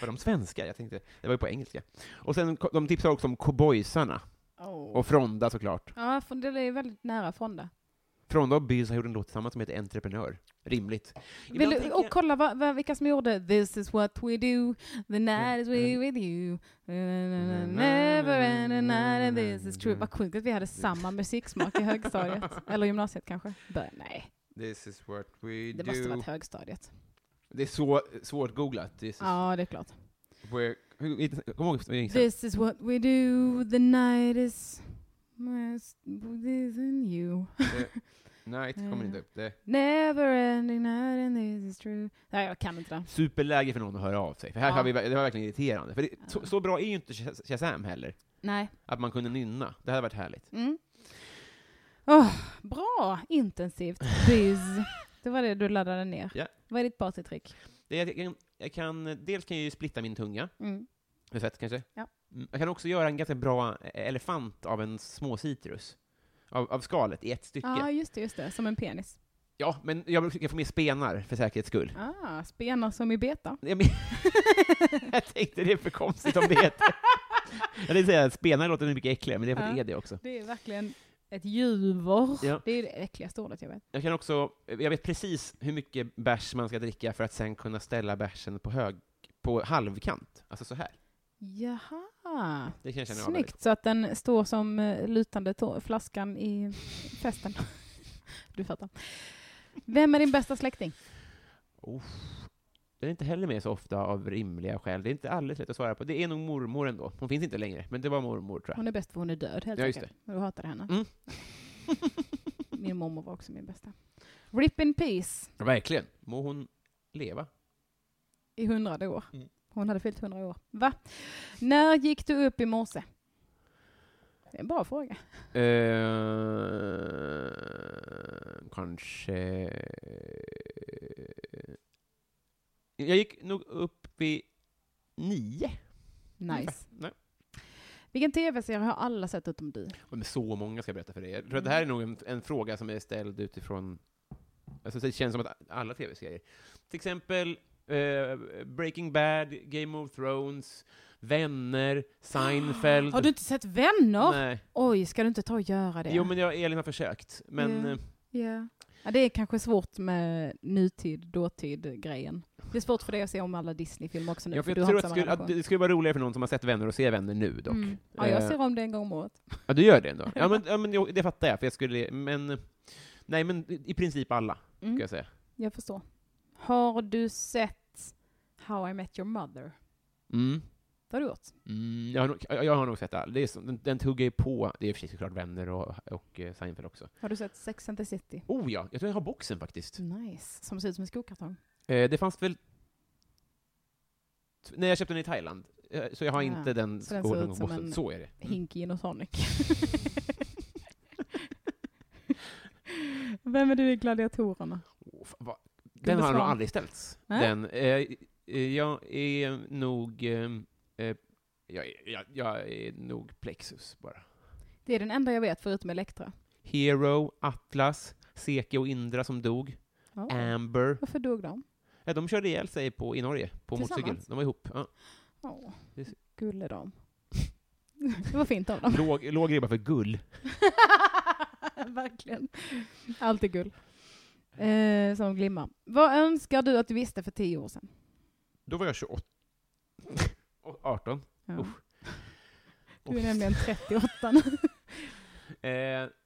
Var de svenska? Jag tänkte, det var ju på engelska. Och sen, ko- de tipsar också om cowboysarna. Och Fronda såklart.
Oh. Ja, för det är väldigt nära från det.
Fronda och Bys har gjort en låt tillsammans som heter Entreprenör. Rimligt.
Vill
Ibland
du,
tänker
och
jag-
kolla vad, vad, vilka som gjorde This is what we do, the night is we
Mm.
with you, never end a night and this is true. Vad sjukt att vi hade samma musiksmak i högstadiet. Eller gymnasiet kanske? Bör, nej,
This is what we
det
do.
måste varit högstadiet.
Det är så svårt googlat. This is
Ja, det är klart.
where... hur- Kom ihåg, gissa.
This is what we do, the night is... This and you.
Nej, det
Mm.
kommer inte upp. Det.
Never ending night and this is true. Nej, jag kan inte det.
Superläge för någon att höra av sig. För här
Ja.
har vi, det var verkligen irriterande. För det,
Ja.
så, så bra är ju inte Shaz- Shazam heller.
Nej.
Att man kunde nynna. Det hade varit härligt.
Mm. Åh, bra! Intensivt. Buzz. Det var det du laddade ner.
Ja.
Vad är ditt partytrick?
Det, jag, kan, jag kan, dels kan jag ju splitta min tunga,
Mm.
med fett kanske.
Ja.
Mm, Jag kan också göra en ganska bra eh, elefant av en små citrus. Av, av skalet i ett stycke.
Ja, just det, just det. Som en penis.
Ja, men jag vill försöka få med spenar för säkerhets skull.
Ah, spenar som i beta.
Jag, men- jag tänkte det är för konstigt om det heter... Jag tänkte säga att spenar låter mycket äckligare, men det är för att det
Ja.
är det också.
Det är verkligen ett juver.
Ja.
Det är det äckligaste ordet jag vet.
Jag kan också... Jag vet precis hur mycket bärs man ska dricka för att sen kunna ställa bärsen på hög... På halvkant. Alltså så här.
Jaha.
Det kan jag känna av väldigt.
Snyggt, så att den står som eh, lutande tå- flaskan i festen. du fattar. Vem är din bästa släkting?
Den är inte heller med så ofta av rimliga skäl. Det är inte alldeles lätt att svara på. Det är nog mormor ändå. Hon finns inte längre, men det var mormor tror jag.
Hon är bäst för hon är död, helt
Ja, just
enkelt. Och du hatar henne.
Mm.
Min mormor var också min bästa. Rip in peace
Verkligen. Må hon leva.
i hundrade år.
Mm.
Hon hade fyllt hundra år. Va? När gick du upp i morse? Det är en bra fråga.
Eh, kanske... Jag gick nog upp vid nio.
Nice.
Nej.
Vilken tv-serie har alla sett utom du?
Men så många ska jag berätta för dig. Jag tror att det här är nog en, en fråga som är ställd utifrån... Alltså det känns som att alla tv-serier. Till exempel eh, Breaking Bad, Game of Thrones, Vänner, Seinfeld.
Har du inte sett Vänner?
Nej.
Oj, ska du inte ta och göra det?
Jo, men jag, Elin har försökt. Men
Ja.
eh,
Ja. Ja, det är kanske svårt med nutid, dåtid-grejen. Det är svårt för dig att se om alla Disney-filmer också nu,
jag,
för
jag
du
tror
har
att,
inte samma
det skulle, att
relation.
det skulle vara roligare för någon som har sett Vänner och ser Vänner nu dock.
Mm. Ja, jag
Eh,
ser om det en gång om året.
Ja, du gör det ändå? Ja, men, ja, men jo, det fattar jag, för jag skulle... Men, nej, men i princip alla,
Mm.
ska jag säga.
Jag förstår. Har du sett How I Met Your Mother?
Mm.
Det har du gjort.
Mm, jag, har nog, jag jag har nog sett alla. Det är, så- den, den tuggar ju på. Det är i och för sig såklart Vänner och, och eh, Seinfeld också.
Har du sett Sex and the City?
Oh ja, jag tror jag har boxen
Mm.
faktiskt.
Nice. Mm. Som ser ut som en skokartong.
Eh, det fanns väl... t- Nej, jag köpte den i Thailand. Eh, Så jag har
Ah,
inte den
så den
skålen
ser ut
och
som
boxen.
en-
Så är det. Mm.
Hink gin och tonic. Vem är du i Gladiatorerna?
Åh, fan, vad- Den har
Svan.
nog aldrig ställts.
Nej.
Den, eh, eh, jag är nog... Eh, eh, jag, är- jag, jag är nog Plexus bara.
Det är den enda jag vet förutom Elektra.
Hero, Atlas, Seke och Indra som dog.
Ja.
Amber.
Varför dog de?
Ja, de körde ihjäl sig på, i Norge, på motorcykel.
Tillsammans?
De var ihop. Ja.
Åh,
Det är-
gulle de. Det var fint av dem.
Låg, låg ribba för gull.
Verkligen. Allt är guld. Eh, som glimmar. Vad önskar du att du visste för tio år sedan?
Då var jag 28. Och 18.
Ja.
Usch.
Du är nämligen 38 nu.
Eh,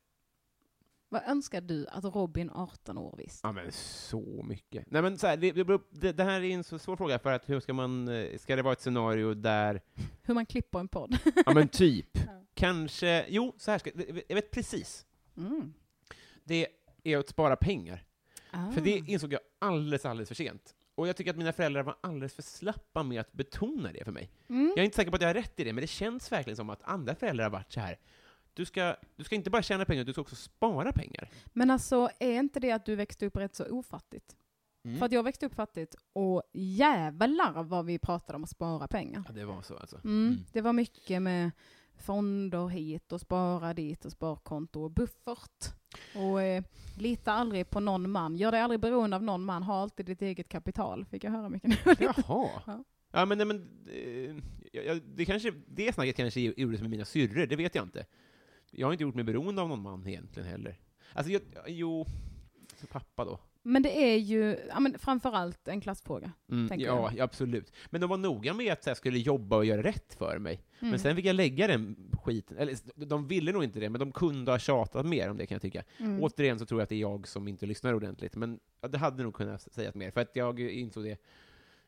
Vad önskar du att Robin, 18 år, visste?
ja, men så mycket. Nej, men så här, det, det, beror- det, det här är en så svår fråga, för att hur ska man... eh, Ska det vara ett scenario där...
Hur man klipper en podd.
Ja, men typ.
Ja.
Kanske... Jo, så här ska... Jag vet precis.
Mm.
Det är att spara pengar.
Ah.
För det insåg jag alldeles, alldeles för sent. Och jag tycker att mina föräldrar var alldeles för slappa med att betona det för mig.
Mm.
Jag är inte säker på att jag har rätt i det, men det känns verkligen som att andra föräldrar har varit så här. Du ska, du ska inte bara tjäna pengar, du ska också spara pengar.
Men alltså, är inte det att du växte upp rätt så ofattigt?
Mm.
För att jag växte upp fattigt, och jävlar vad vi pratade om att spara pengar.
Ja, det var så alltså.
Mm.
Mm.
Det var mycket med fonder hit och spara dit och sparkonto och buffert. Och eh, lita aldrig på någon man. Gör dig aldrig beroende av någon man. Ha alltid ditt eget kapital, fick jag höra mycket när jag var liten.
Jaha.
Ja.
Ja, men, nej, men eh, jag- jag, det, kanske, det snacket kanske gjordes med mina syrror, det vet jag inte. Jag har inte gjort mig beroende av någon man egentligen heller. Alltså, jag, jo... Så pappa då.
Men det är ju ja, men framförallt en klassfråga.
Mm,
tänker
ja, ja, absolut. Men de var noga med att jag skulle jobba och göra rätt för mig.
Mm.
Men sen fick jag lägga den skiten, eller s- de ville nog inte det, men de kunde ha tjatat mer om det kan jag tycka.
Mm.
Återigen så tror jag att det är jag som inte lyssnar ordentligt, men ja, det hade nog kunnat s- sägas mer, för att jag insåg det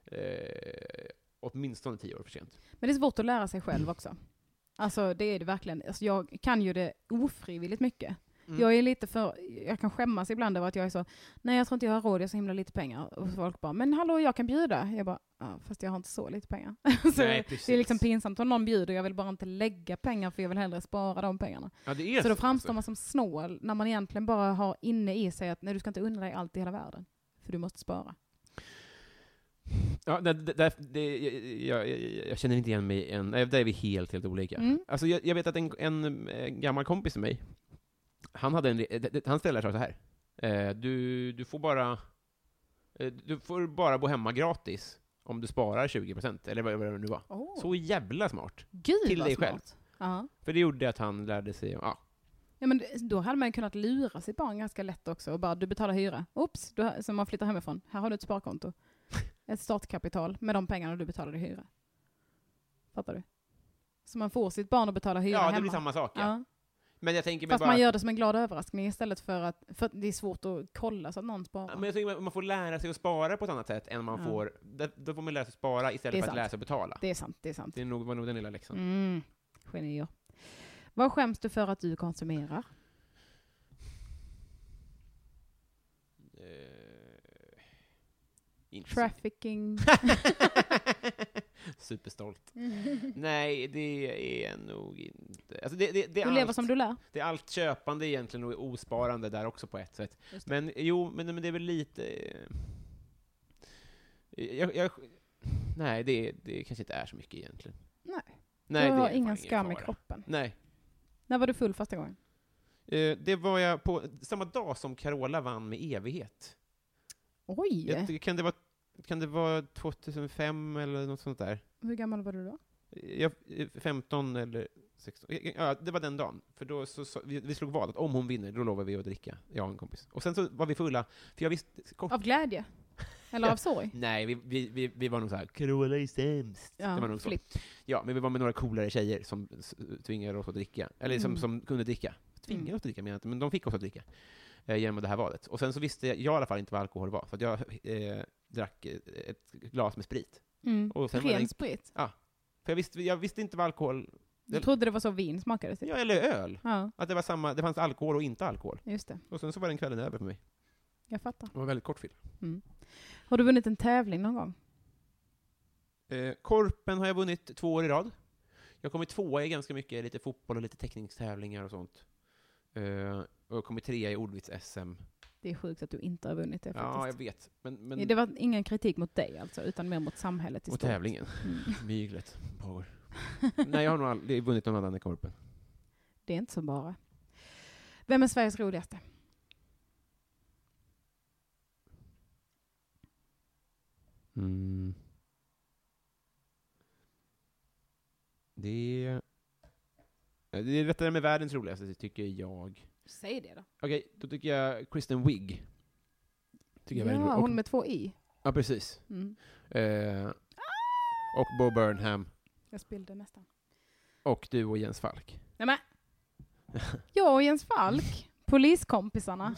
eh, åtminstone tio år för sent.
Men det är svårt att lära sig själv också. Alltså det är det verkligen. Alltså, jag kan ju det ofrivilligt mycket.
Mm.
Jag är lite för, jag kan skämmas ibland över att jag är så, nej jag tror inte jag har råd, jag har så himla lite pengar. Och folk bara, men hallå jag kan bjuda. Jag bara, ja, fast jag har inte så lite pengar. så
precis.
det är liksom pinsamt om någon bjuder, jag vill bara inte lägga pengar för jag vill hellre spara de pengarna.
ja, det är
Så då
så,
framstår
alltså.
man som snål när man egentligen bara har inne i sig att nej du ska inte unna dig allt i hela världen. För du måste spara.
Ja, det, det, det, det, jag, jag, jag känner inte igen mig än. Nej, Där är vi helt, helt olika.
Mm.
Alltså, jag, jag vet att en, en eh, gammal kompis till mig, han, hade en, re- det- det- han ställde sig så här. Eh, Du, du, får bara, eh, du får bara bo hemma gratis om du sparar 20%, eller vad vad det nu var.
Oh.
Så jävla smart.
Gud
till
vad
dig
smart.
själv.
Ja.
För det gjorde att han lärde sig, ja,
ja, men det- då hade man ju kunnat lura sitt barn ganska lätt också och bara du betalar hyra. Oops, du har, som man flyttar hemifrån. Här har du ett sparkonto. Ett startkapital med de pengarna du betalade i hyra. Fattar du? Så man får sitt barn att betala hyra
ja
hemma.
det blir samma sak. Ja.
Ja.
Men jag tänker mig
Fast
bara...
man gör det som en glad överraskning istället för att, för att det är svårt att kolla så att någon sparar.
Men jag tycker man- man får lära sig att spara på ett annat sätt än man
Ja.
får... Där, då får man lära sig att spara
Det är
istället för att
sant.
lära sig att betala.
Det är sant, det är sant.
Det är nog, var nog den lilla läxan.
Mm, genier. Vad skäms du för att du konsumerar?
Alltså-
Mm.
Eh, inte så-
Trafficking?
Superstolt. Nej, det är nog inte... Alltså det, det, det, är
Du lever
allt,
som du lär?
det är allt köpande egentligen och osparande där också på ett sätt.
Just
Men jo, men, men det är väl lite... eh, Jag, jag, nej, det, det kanske inte är så mycket egentligen.
Nej.
Nej,
du
det
har
är
ingen
fan
skam i
fara.
kroppen.
Nej,
När var du full första gången?
Eh, det var jag på samma dag som Carola vann med evighet.
Oj!
Jag tycker- kan, det vara, kan det vara 2005 eller något sånt där?
Hur gammal var du då?
Jag, eh, 15 eller 16? Eh, eh, Ja, det var den dagen. För då så, så, vi, vi slog vad att om hon vinner, då lovar vi att dricka, jag och en kompis. Och sen så var vi fulla, för jag visste... Kort,
Av glädje? Eller av sorg?
Nej, vi, vi, vi, vi var nog så här. Carola är sämst.
Ja,
det var nog så.
flipp.
Ja, men vi var med några coolare tjejer som s- tvingade oss att dricka. Eller som,
Mm.
som kunde dricka. Tvingade
Mm.
oss att dricka menar jag inte, men de fick oss att dricka. Eh, genom det här valet. Och sen så visste jag, jag i alla fall inte vad alkohol var, så att jag eh, drack eh, ett glas med sprit.
Mm.
Och sen var
Ren
det-
sprit?
För jag visste, jag visste inte vad alkohol...
Du trodde det var så vin smakade? Typ.
Ja, eller öl.
Ja,
Att det var samma, det fanns alkohol och inte alkohol.
just det.
Och sen så var den kvällen över för mig.
Jag fattar.
Det var väldigt kort film.
Har du vunnit en tävling någon gång?
Eh, korpen har jag vunnit två år i rad. Jag har kommit tvåa i ganska mycket, lite fotboll och lite teckningstävlingar och sånt. Eh, och jag kommer trea i ordvits-SM.
Det är sjukt att du inte har vunnit det
Ja, jag
faktiskt.
vet. Men, men...
Det var ingen kritik mot dig alltså, utan mer mot samhället i
och
stort.
tävlingen.
Mm.
Myglet pågår. Nej, jag har nog aldrig vunnit någon annan än korpen.
Det är inte så bara. Vem är Sveriges roligaste?
Mm. Det är... Ja, Det är rättare med världens roligaste, tycker jag.
Säg det då.
Okej, då tycker jag Kristen Wiig. Tycker jag är väldigt
ja,
rolig.
hon med två i.
Ja, precis.
Mm.
Eh, och Bo Burnham.
Jag spillde nästan.
Och du och Jens Falk.
Nej, men. Jag och Jens Falk, poliskompisarna.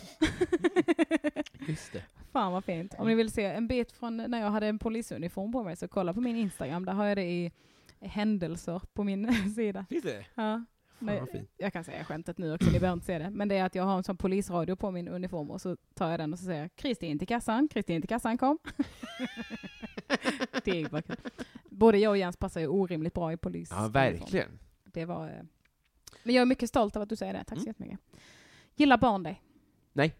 Just det.
Fan vad fint. Om ni vill se en bit från när jag hade en polisuniform på mig så kolla på min Instagram. Där har jag det i händelser på min sida.
Finns det?
Ja.
Fan,
Nej,
vad fint.
jag kan säga skämtet nu också, ni behöver inte se det. Men det är att jag har en sån polisradio på min uniform och så tar jag den och så säger jag Kristin till kassan, Kristin till kassan kom. det är bara kul. Både jag och Jens passar ju orimligt bra i polis.
Ja, verkligen.
Det var, eh, men jag är mycket stolt över att du säger det, tack så jättemycket. Gillar barn dig?
Mm. Nej.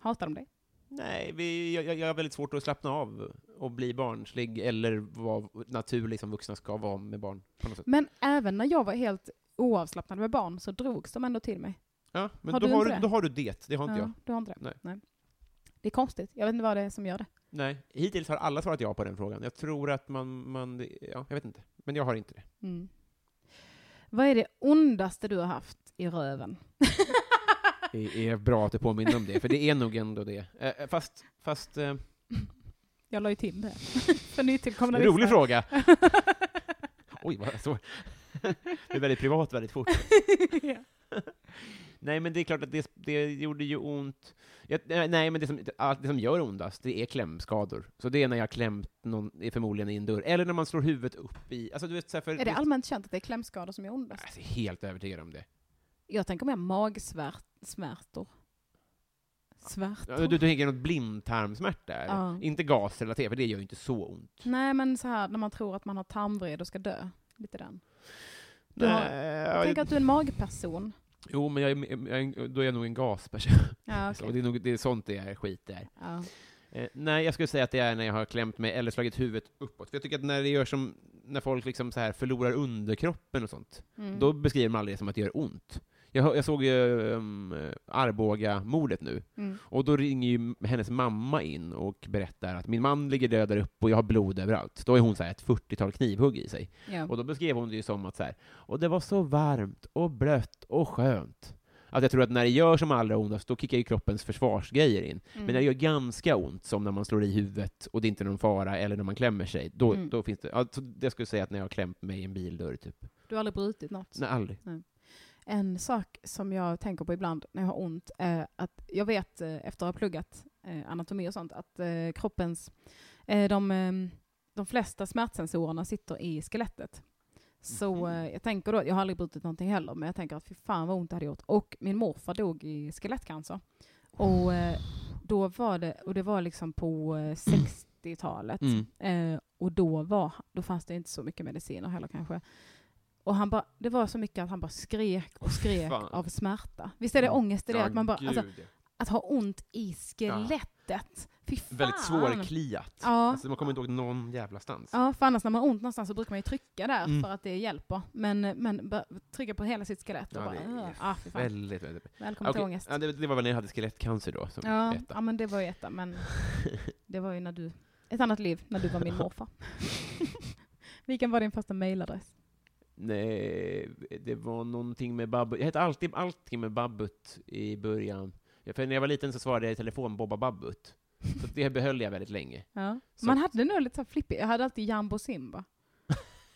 Hatar de dig?
Nej, vi, jag, jag jag har väldigt svårt att slappna av och bli barnslig eller vara naturlig som vuxna ska vara med barn. På något sätt.
Men även när jag var helt oavslappnad med barn så drogs de ändå till mig.
Ja, men
Har
då,
du
har
inte
du,
det?
då har du det, det har inte jag.
Ja, du har inte det?
Nej.
Det är konstigt, jag vet inte vad det är som gör det.
Nej. Hittills har alla svarat ja på den frågan. Jag tror att man, man ja, jag vet inte. Men jag har inte det.
Mm. Vad är det ondaste du har haft i röven?
Det är bra att du påminner om det, för det är nog ändå det. Eh, fast, fast eh,
Jag la ju till det. För nytillkomna
Rolig fråga. Oj, vad svårt. Det är väldigt privat väldigt fort.
Ja.
Nej, men det är klart att det, det gjorde ju ont. Jag, nej, men det som, allt det som gör ondast, det är klämskador. Så det är när jag har klämt någon, förmodligen i en dörr, eller när man slår huvudet upp i... Alltså, du vet, så här för,
Är det allmänt känt att det är klämskador som är ondast?
Alltså, jag är helt övertygad om det.
Jag tänker mer magsmärtor. Svärtor?
Ja, Du, du tänker något blindtarmsmärta? eller?
Ja.
Inte gasrelaterat, för det gör ju inte så ont.
Nej, men så här när man tror att man har tarmvred och ska dö. Lite den. Du har-
Nej, ja,
Tänk
jag-
att du är en magperson.
Jo, men jag, är- jag, är- då är jag nog en gasperson.
Ja,
Så Det, är nog, det är sånt det är skit där.
ja.
Eh, nej, jag skulle säga att det är när jag har klämt mig eller slagit huvudet uppåt. För jag tycker att när det gör som, när folk liksom så här förlorar underkroppen och sånt,
Mm.
då beskriver man aldrig det som att det gör ont. Jag, hör- jag såg ju um, Arboga-mordet nu,
Mm.
och då ringer ju hennes mamma in och berättar att min man ligger död där uppe och jag har blod överallt. Då har hon så här ett 40-tal knivhugg i sig.
Ja.
Och då beskrev hon det ju som att så här, och det var så varmt och blött och skönt. Att jag tror att när det gör som allra ondast, då kickar ju kroppens försvarsgrejer in.
Mm.
Men när det gör ganska ont, som när man slår i huvudet och det inte är någon fara, eller när man klämmer sig, då,
Mm.
då finns det... Ja, så det skulle jag säga att när jag har klämt mig i en bildörr, typ.
Du har aldrig brutit något?
Nej, aldrig.
En sak som jag tänker på ibland när jag har ont är att jag vet eh, efter att ha pluggat eh, anatomi och sånt att eh, kroppens, eh, de, eh, de flesta smärtsensorerna sitter i skelettet. Så eh, jag tänker då, jag har aldrig brutit någonting heller, men jag tänker att fy fan vad ont det hade gjort. Och min morfar dog i skelettcancer. Och eh, då var det, och det var liksom på eh, 60-talet.
Mm.
Eh, och då, var, då fanns det inte så mycket mediciner heller kanske. Och han bara, det var så mycket att han bara skrek och skrek
fan.
av smärta. Visst är det ångest i det? att, man bara, alltså,
gud.
att ha ont i skelettet. Fy fan!
Väldigt svårkliat.
Ja.
Alltså, man kommer inte ihåg någon jävla stans.
Ja, för annars när man har ont någonstans så brukar man ju trycka där
Mm.
för att det hjälper. Men, men bara trycka på hela sitt skelett och
Ja,
bara,
det är
"Ugh, ah, fy fan.
Väldigt, väldigt.
Välkommen till
Okej,
ångest.
Ja, det, det var väl när jag hade skelettcancer då, som
Ja,
etta.
ja, men det var ju etta, men det var ju när du, ett annat liv, när du var min morfar. Vilken var din första mailadress?
Nej, det var någonting med Babbut. Jag hette alltid allting med Babbut i början. Ja, För när jag var liten så svarade jag i telefon Bobba Babbut. Så det behöll jag väldigt länge.
Ja.
Så-
Man hade nog lite så här flippigt. Jag hade alltid Jambo Simba.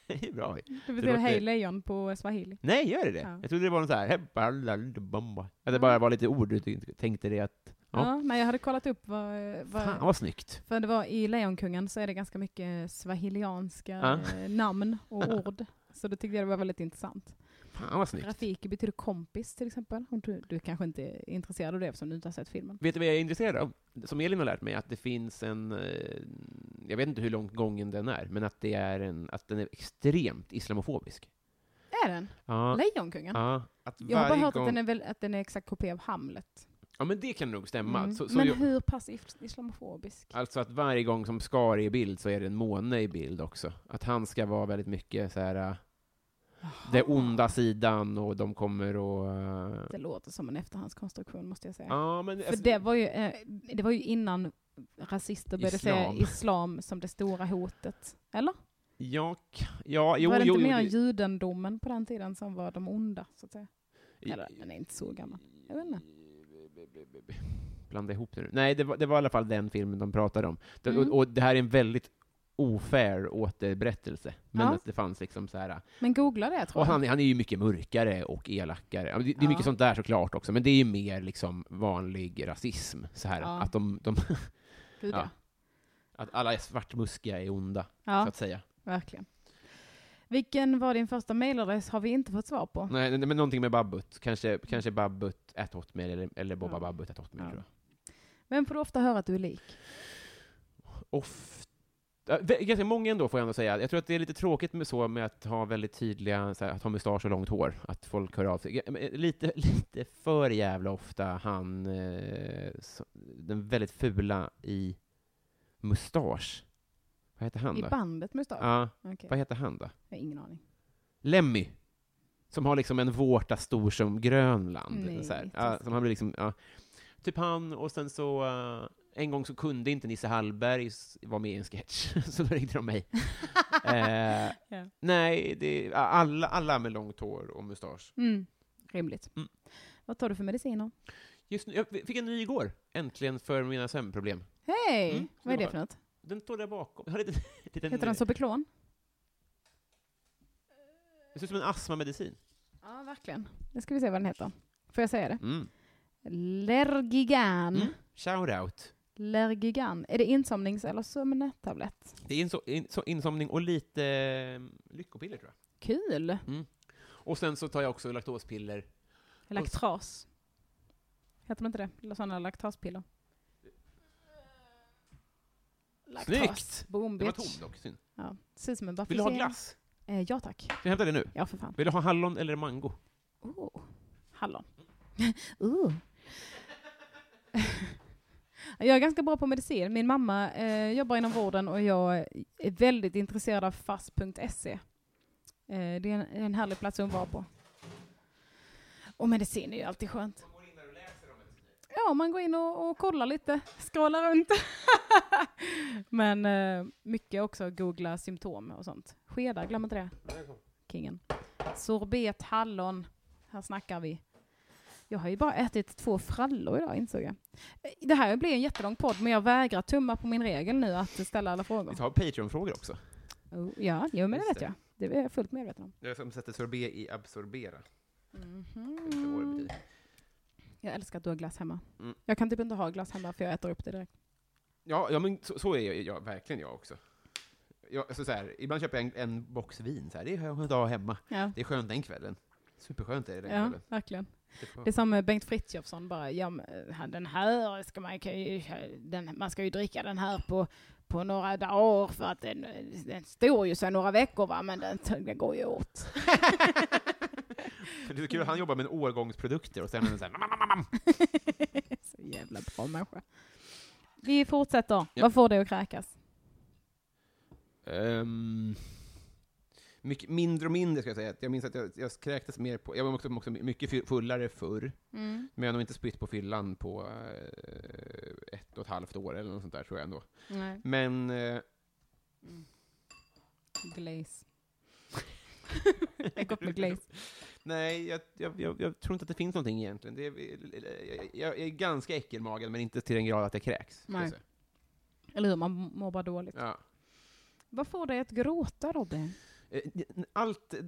Det är Bra.
Det betyder
låter-
hej lejon på swahili.
Nej, gör det det?
Ja.
Jag trodde det var någon så här... "Hebbalaludubamba." Att det bara var lite ord du tyckte- tänkte det att...
Ja.
Ja.
nej, jag hade kollat upp vad...
Fan,
vad
vad snyggt.
för det var i Lejonkungen så är det ganska mycket swahilianska
Ja.
eh, namn och ord. Så det tyckte jag det var väldigt intressant.
Fan, vad snyggt.
Rafiki betyder kompis till exempel. Och Du, du kanske inte är intresserad av det eftersom du inte har sett filmen.
Vet du vad jag är intresserad av? Som Elin har lärt mig, att det finns en... eh, Jag vet inte hur långt gången den är, men att, det är en, att den är extremt islamofobisk.
Är den?
Ja.
Lejonkungen?
ja. Att
Jag har bara
varje
hört
gång-
att, den är väl, att den är exakt kopia av Hamlet.
Ja, men det kan nog stämma.
Mm.
Så, så
Men
jag,
hur pass is- islamofobisk?
alltså att varje gång som Skar är i bild så är det en måne i bild också. Att han ska vara väldigt mycket så här, äh, det
Ah.
onda sidan och de kommer och... äh,
Det låter som en efterhandskonstruktion måste jag säga.
Ja, men...
För
alltså-
det var ju, eh, det var ju innan rasister började säga
Islam.
islam som det stora hotet. Eller?
Ja, k- ja, jo,
var det
jo,
inte
jo,
mer
det-
judendomen på den tiden som var de onda? Så att säga?
i-
Eller, den är inte så gammal. Jag vet inte.
Blanda ihop det nu. Nej, det var, det var i alla fall den filmen de pratade om. Det,
Mm.
och, och det här är en väldigt ofair återberättelse. Men
Ja.
att det fanns liksom så här...
Men googla det tror
Och
jag.
han, han är ju mycket mörkare och elakare. Ja, men Det, det är mycket
Ja.
sånt där såklart också, men det är ju mer liksom vanlig rasism. Så här,
Ja.
att, de, de,
Gud, ja.
ja. att alla svartmuskiga är onda, så
ja,
att säga.
verkligen. Vilken var din första mailadress har vi inte fått svar på.
Nej, nej, men någonting med Babbut. Kanske, kanske Babbut at Hotmail, eller, eller Bobba
Ja.
Babbut at Hotmail,
Ja.
tror
Vem får du ofta höra att du är lik?
jag. Ofta, ja, vä- ganska många ändå, får jag ändå säga. Jag tror att det är lite tråkigt med, så, med att ha väldigt tydliga, så här, att ha mustasch och långt hår, att folk hör av sig. Ja, men, eh, Lite, lite för jävla ofta han, eh, så- den väldigt fula i mustasch. Vad heter han
I
då?
bandet Mustasch?
Ja,
Okej,
vad heter han då?
jag har ingen aning.
Lemmy. Som har liksom en vårta stor som Grönland.
Nej,
så här. Ja,
taskigt.
som han blir liksom, ja. Typ han, och sen så... eh, en gång så kunde inte Nisse Hallberg s- vara med i en sketch, så då ringde de mig. eh,
Ja.
Nej, det, alla, alla med långt hår och mustasch.
Mm. Rimligt.
Mm.
Vad tar du för mediciner?
Just nu, jag fick en ny igår, äntligen, för mina sömnproblem.
Hej!
Mm,
Vad är det
snabbt.
för något?
Den står där bakom. Jag har en liten, liten,
Heter den Sobeklon?
Det ser ut som en astmamedicin.
Ja, verkligen. Nu ska vi se vad den heter. Får jag säga det?
Mm.
Lergigan.
Mm. Shout out.
Lergigan. Är det insomnings eller sömntablett?
Det är inso- inso- insomning och lite eh, lyckopiller, tror jag.
Kul!
Och sen så tar jag också laktospiller.
Laktras. Heter de inte det? Eller sådana laktaspiller. Laktras.
Snyggt!
Boom,
Det var
bitch.
tom dock, synd.
Ja, ser ut som en
Vill du ha
vaffelserie.
glass?
Eh, ja tack.
Ska jag hämta det nu?
Ja, för fan.
Vill du ha hallon eller mango?
Oh. Hallon. uh. Jag är ganska bra på medicin. Min mamma eh, jobbar inom vården och jag är väldigt intresserad av fast.se. Eh, det är en, en härlig plats att vara på. Och medicin är ju alltid skönt. Ja, man går in och, och kollar lite, scrollar runt. Men eh, mycket också googla symptom och sånt. Skedar, glöm inte det. Kingen. Sorbet, hallon. Här snackar vi. Jag har ju bara ätit två frallor idag insåg jag. Eh, Det här blir en jättelång podd men jag vägrar tumma på min regel nu att ställa alla frågor.
Vi tar Patreon-frågor också.
Oh, ja, jo, men det
Just
vet jag. Det är jag fullt medveten om.
Jag som sätter sorbet i absorbera.
Mhm. Jag älskar att du har glass hemma.
Mm.
Jag kan typ inte ha glass hemma för jag äter upp det direkt.
Ja, ja men så, så är jag, jag, verkligen jag också. Jag, alltså så här, ibland köper jag en, en box vin, så här, det är skönt att ha hemma.
Ja,
Det är skönt den kvällen. Superskönt är det den
ja
kvällen.
verkligen.
Det får-
Det är som med Bengt Frithiofsson bara, ja, men, eh, den här ska man, kan ju, den, man ska ju dricka den här på, på några dagar för att den, eh, den står ju sig några veckor va, men den, den går ju åt.
Det är kul att han jobbar med en årgångsprodukter och sen är det så här, "Mamma, mamma, mamma."
Så jävla bra människa. Vi fortsätter.
Ja.
Vad får dig att kräkas?
Ehm, mycket mindre och mindre ska jag säga. Jag minns att jag, jag kräktes mer på, jag var också, också mycket fy- fullare förr, men jag har nog inte spytt på fyllan på eh, ett och ett halvt år eller något sånt där tror jag ändå.
Nej.
Men eh,
Glaze. Lägg upp med glaze.
Nej, jag, jag, jag, jag tror inte att det finns någonting egentligen. Det är, jag, jag är ganska äckelmagad, men inte till den grad att jag kräks. ska jag
Nej.
säga.
Eller hur, man mår bara dåligt.
Ja.
Vad får dig att gråta Robin?
Eh, Allt... eh,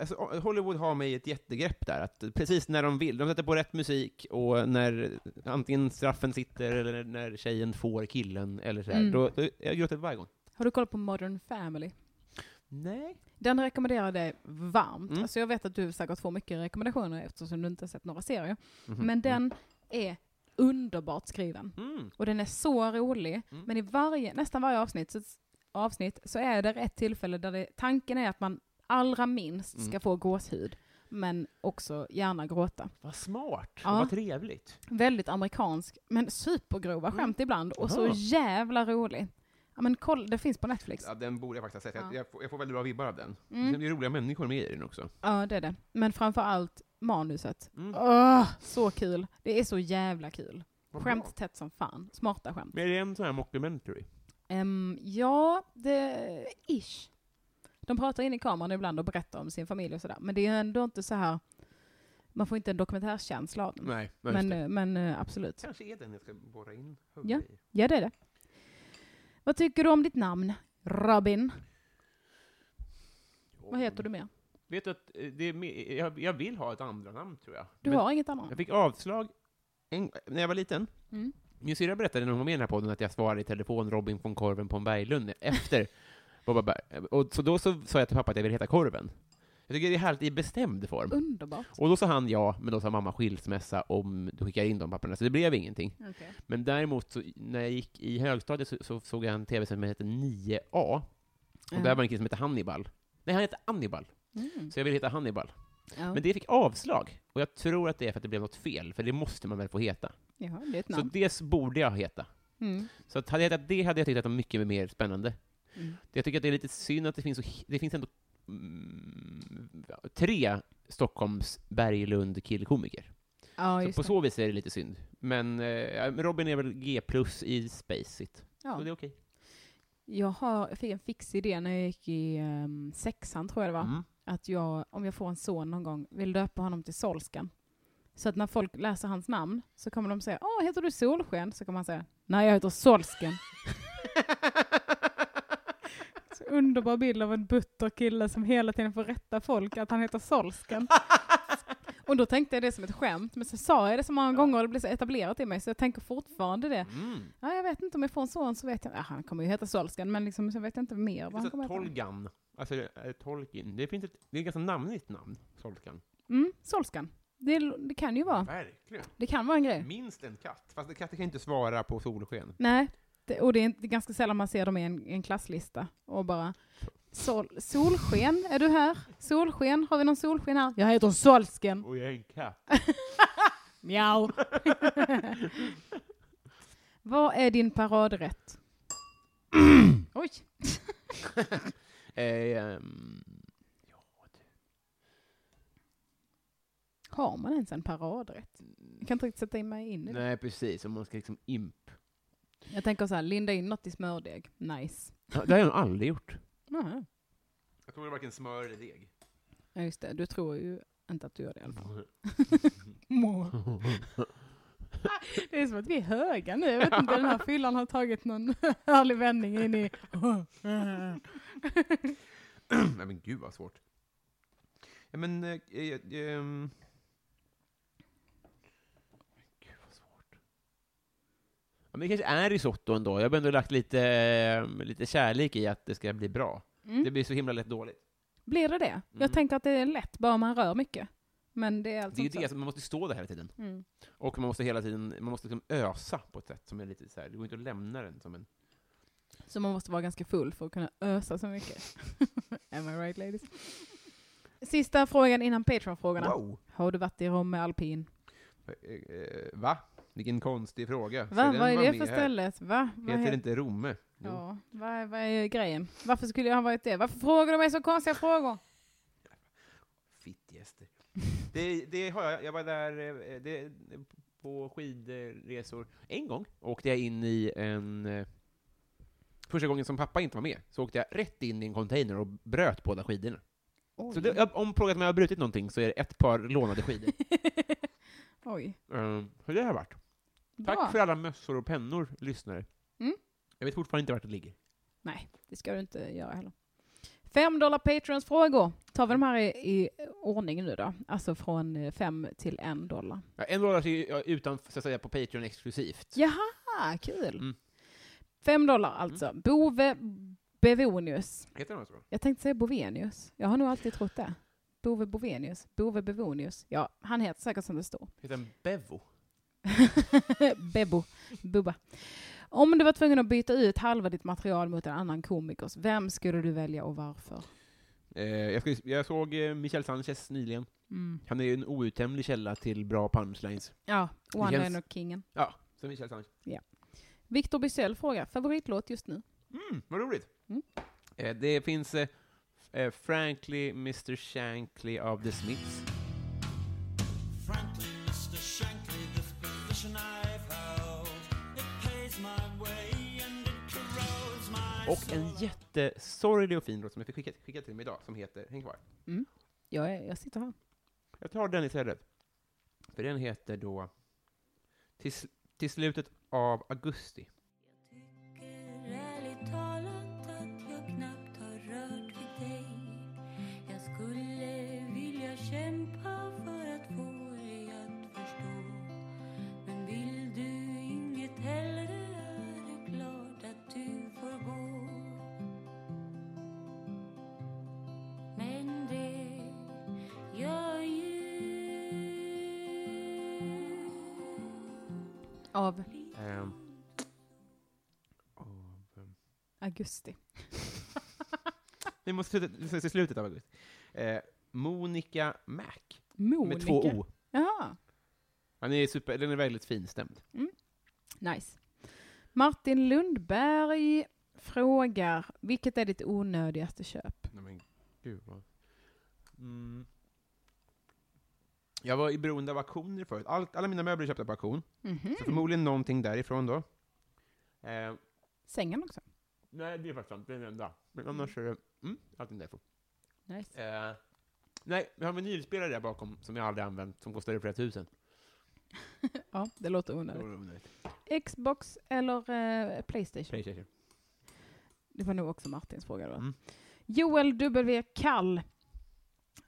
Alltså, Hollywood har mig i ett jättegrepp där, att precis när de vill. De sätter på rätt musik, och när antingen straffen sitter, eller när tjejen får killen, eller sådär.
Mm.
Då, då, jag gråter varje gång.
Har du kollat på Modern Family?
Nej.
Den rekommenderar jag dig varmt.
Mm.
Alltså jag vet att du säkert får mycket rekommendationer eftersom du inte har sett några serier.
Mhm.
Mm-hmm. Men den är underbart skriven.
Mm.
Och den är så rolig.
Mm.
Men i varje, nästan varje avsnitt så, avsnitt så är det ett tillfälle där det, tanken är att man allra minst ska
Mm.
få gåshud. Men också gärna gråta.
Vad smart,
Ja.
vad trevligt.
Väldigt amerikansk, men supergrova skämt ibland. Och så
Aha.
jävla rolig. Ja men koll, det finns på Netflix.
Ja, den borde jag faktiskt ha sett. Jag,
Ja.
jag, får, jag får väldigt bra vibbar av den.
Mm.
Det är roliga människor med i den också.
Ja det är det. Men framför allt manuset.
Mm.
Åh, så kul. Det är så jävla kul.
Vad bra.
Skämt tätt som fan. Smarta skämt.
Men är det en sån här mockumentary?
Ehm, ja, det... Ish. De pratar in i kameran ibland och berättar om sin familj och sådär. Men det är ändå inte så här... Man får inte en dokumentärkänsla av den.
Nej, nej, just
men,
det.
eh, men eh, absolut.
Kanske är den jag ska borra in
Ja. Ja, det är det. Vad tycker du om ditt namn? Robin. Vad heter du mer?
Vet du att eh, det är, me- jag, jag vill ha ett andra namn tror jag.
Du
Men
har inget annat?
Jag fick avslag en, när jag var liten.
Mm.
Min syrra berättade när hon var med i den här podden att jag svarade i telefon Robin von Korven på en Berglund efter Bobba Berg. Och så då så sa jag till pappa att jag vill heta Korven. Jag tycker det är härligt i bestämd form.
Mm. Underbart.
Och då sa han ja, men då sa mamma skilsmässa om du skickar in de papperna, så det blev ingenting. Men däremot, så, när jag gick i högstadiet så, så såg jag en tv som hette 9A. Och där var en kille som hette Hannibal. Nej, han hette Hannibal.
Mm.
Så jag ville heta Hannibal.
Ja.
Men det fick avslag. Och jag tror att det är för att det blev något fel, för det måste man väl få heta.
Jaha, det är ett
Så
namn.
det borde jag heta.
Mm.
Så att hade jag hetat det hade jag tyckt att det var mycket mer spännande.
Mm.
Jag tycker att det är lite synd att det finns, så, hi- det finns ändå mm, tre Stockholms Berglund killkomiker.
Ja,
så
just
på
det.
så vis är det lite synd. Men eh, ja, men Robin är väl G plus i spacet.
Ja.
Så det är okej.
Jag, har, jag fick en fix idé när jag gick i ehm, sexan, tror jag det var.
Mm.
att jag, om jag får en son någon gång, vill döpa honom till Solsken. Så att när folk läser hans namn så kommer de säga Åh, heter du Solsken? Så kommer han säga Nej, jag heter Solsken. Så underbar bild av en butter kille som hela tiden får rätta folk att han heter Solsken. Och då tänkte jag det som ett skämt, men så sa jag det så många gånger och det blev så etablerat i mig så jag tänker fortfarande det.
Mm.
Ja, jag vet inte om jag får en son så vet jag, ja, han kommer ju heta Solsken, men liksom, så vet jag inte mer vad han
Alltså,
kommer heta.
Tolgan. Alltså, det är Tolkien. Det, finns ett, det är ett ganska namnigt namn, Tolkan.
Mm, Solsken. Det, det kan ju vara.
Verkligen.
Det kan vara en grej.
Minst en katt. Fast en katt kan ju inte svara på solsken.
Nej, det, och det är, inte, det är ganska sällan man ser dem i en, en klasslista och bara sol, Solsken, är du här? Solsken, har vi någon solsken här? Jag heter Solsken.
Och jag är en katt.
Mjau. Vad är din paradrätt? Oj.
Ehm,
Har man ens en paradrätt? Jag kan inte riktigt sätta in mig in i det.
nej, precis. Om man ska liksom imp.
Jag tänker så här, linda in något i smördeg. Nice.
Ja, Det har jag nog aldrig gjort.
Jaha.
Jag kommer varken smör eller deg.
Ja, just det. Du tror ju inte att du gör det i alla fall. Må. Det är som att vi är höga nu. Jag vet inte, den här fyllan har tagit någon härlig vändning in i... Mm.
nej men gud vad svårt. Ja, men... Eh, eh, ehm. Gud vad svårt. Ja, men det kanske är risotto ändå. Jag har ändå lagt lite, eh, lite kärlek i att det ska bli bra. Det
Mm.
blir så himla lätt dåligt.
Blir det det?
Mm.
Jag tänker att det är lätt, bara man rör mycket. Men det är alltså
Det är ju
inte
det,
så.
att man måste stå där hela tiden.
Mm.
Och man måste hela tiden, man måste liksom ösa på ett sätt som är lite så här, det går inte att lämna den som en...
Så man måste vara ganska full för att kunna ösa så mycket. Am I right ladies? Sista frågan innan Patreon-frågorna.
Wow!
Har du varit i Rom med alpin?
Eh, eh, Va? Vilken konstig fråga. Ska
Va?
den
Vad är
vara
det
med
för
här?
stället? Va? Vad
Heter det
heter-
inte Romme? Jo.
Ja, vad är, vad är grejen? Varför skulle jag ha varit det? Varför frågar du mig så konstiga frågor?
Fittgäster. det, det har jag, jag var där eh, det, på skidresor en gång. åkte jag in i en... eh, Första gången som pappa inte var med så åkte jag rätt in i en container och bröt båda skidorna. Så det, jag- om frågat om jag har brutit någonting så är det ett par lånade skidor.
Oj.
um, hur det har varit. Tack
Bra.
för alla mössor och pennor, lyssnare.
Mm.
Jag vet fortfarande inte vart det ligger.
Nej, det ska du inte göra heller. Fem dollar patrons frågor. Tar vi de här i, i ordning nu då? Alltså från eh, fem till en dollar.
Ja, en dollar till, ja, utan, så att säga, på Patreon exklusivt.
Jaha, kul.
Mm.
Fem dollar alltså. Bove Bevonius.
Heter den så?
Jag tänkte säga Bovenius. Jag har nog alltid trott det. Bove Bovenius. Bove Bevonius. Ja, han heter säkert som det står.
Heter den Bevo?
Bebo. Bubba. Om du var tvungen att byta ut halva ditt material mot en annan komikers, vem skulle du välja och varför?
Eh, jag, skulle, jag såg eh, Michel Sanchez nyligen.
Mm.
Han är ju en outtömlig källa till bra punchlines.
Ja,
känns-
one-liner-kingen.
Ja, så Michel Sanchez.
Victor Bysell frågar, favoritlåt just nu?
Mm, vad roligt!
Mm.
Eh, det finns eh, f- eh, Frankly Mr Shankly av The Smiths.
Frankly, Mr. Shankly, this position I've held, it pays my way and it corrodes my
Och en jättesorglig och fin låt som jag fick skicka, skicka till mig idag, som heter, häng kvar.
Jag, är, jag sitter här.
Jag tar den istället. För den heter då Till, sl- till slutet av augusti.
Ärligt talat att jag knappt har rört vid dig Jag skulle vilja kämpa för att få dig att förstå Men vill du inget hellre är det klart att du får gå Men det gör ju
Av
Ehm,
augusti.
vi måste sluta, vi ska till slutet av augusti. Eh, Monica Mac,
Monica.
med två O.
Jaha,
Han är super, den är väldigt finstämd.
nice. Martin Lundberg frågar, vilket är ditt onödigaste köp?
Nej, men gud vad... Mm. Jag var i beroende av auktioner förut. Allt, alla mina möbler är köpta på auktion.
Mhm.
Så förmodligen någonting därifrån då. Eh,
Sängen också.
nej, det är faktiskt sant. Det är den enda. Men annars är det mm, allting därifrån.
Nice.
Eh, nej, vi har en vinylspelare där bakom som jag aldrig använt, som kostar flera tusen.
Ja, det låter onödigt. Xbox eller eh, Playstation?
Playstation.
Det var nog också Martins fråga då.
Mm.
Joel W. Kall.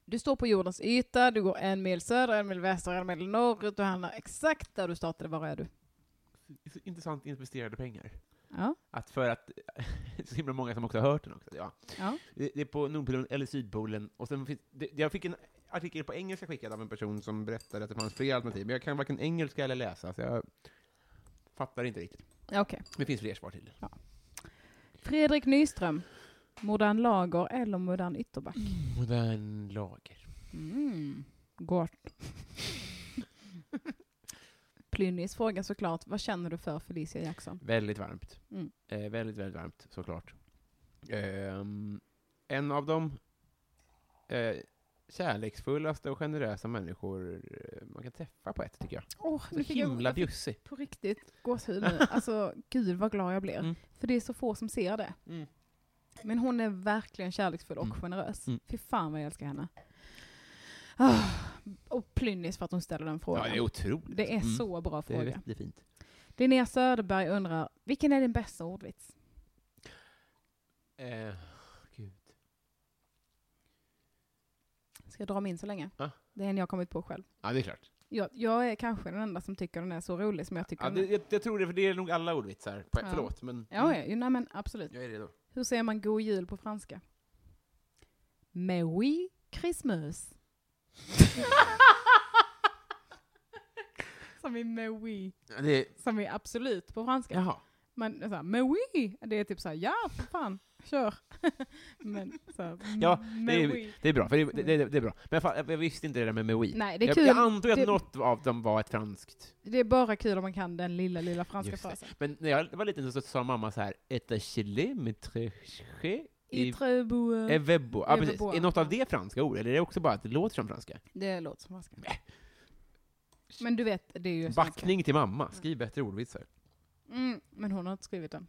Du står på jordens yta, du går en mil söder, en mil väster, en mil norrut, du hamnar exakt där du startade. Var är du?
Det är så Intressant investerade pengar.
Ja.
Att för att det är så himla många som också har hört den också. Ja.
Ja.
Det, det är på Nordpolen eller Sydpolen. Och sen finns, det, jag fick en artikel på engelska skickad av en person som berättade att det fanns fler alternativ, men jag kan varken engelska eller läsa, så jag fattar inte riktigt.
Okej.
Men det finns fler svar till.
Fredrik Nyström. Modern lager eller modern ytterback?
Modern lager.
Mm. Gott. Plynnis frågar såklart, vad känner du för Felicia Jackson?
Väldigt varmt.
Mm.
Eh, väldigt, väldigt varmt, såklart. Ehm, en av de eh, kärleksfullaste och generösa människor eh, man kan träffa på ett, tycker jag.
Åh, nu
Så
fick jag-
himla
jag fick
bjussig.
På riktigt gåshud nu. Alltså, gud vad glad jag blir.
Mm.
För det är så få som ser det.
Mm.
Men hon är verkligen kärleksfull och
Mm.
generös.
Mm.
Fy fan vad jag älskar henne. Ah, och Plynnis för att hon ställer den
Ja,
frågan.
det är otroligt.
det är
Mm.
så bra
Det är
fråga.
jättefint.
Linnea Söderberg undrar, vilken är din bästa ordvits?
Eh, gud.
Ska jag dra min så länge?
Ja.
Det är en jag kommit på själv.
Ja, det är klart.
Jag, jag är kanske den enda som tycker den är så rolig som jag tycker
Ja,
den
det,
är.
jag, jag tror det, för det är nog alla ordvitsar. På,
Ja.
Förlåt, men...
Ja, ja, ju, nej men absolut.
Jag är redo.
Hur säger man god jul på franska? Merry Christmas. som i Merry,
Ja, Det är,
som i absolut på franska.
jaha.
Men så här, Merry, det är typ så här, ja för fan, kör. men så här, "Mm,
Ja, det är-
Merry.
Det är bra, för det, det, det, det är bra. Men fan, jag visste inte det där med Mewi.
Nej, det är
jag,
kul.
jag antog att
Det-
något av dem var ett franskt.
Det är bara kul om man kan den lilla, lilla franska
Just det.
frasen.
Men när jag var liten så sa mamma så här, ett kilometre
I
i
Trebo.
Evebo. Ja, precis.
Evebo,
Är något av
ja.
det franska ord, eller är det också bara att det låter som franska?
Det låter som franska.
Nej.
Men du vet, det är ju svenska.
Backning till mamma. Skriv bättre ordvitsar.
Mm, men hon har inte skrivit den.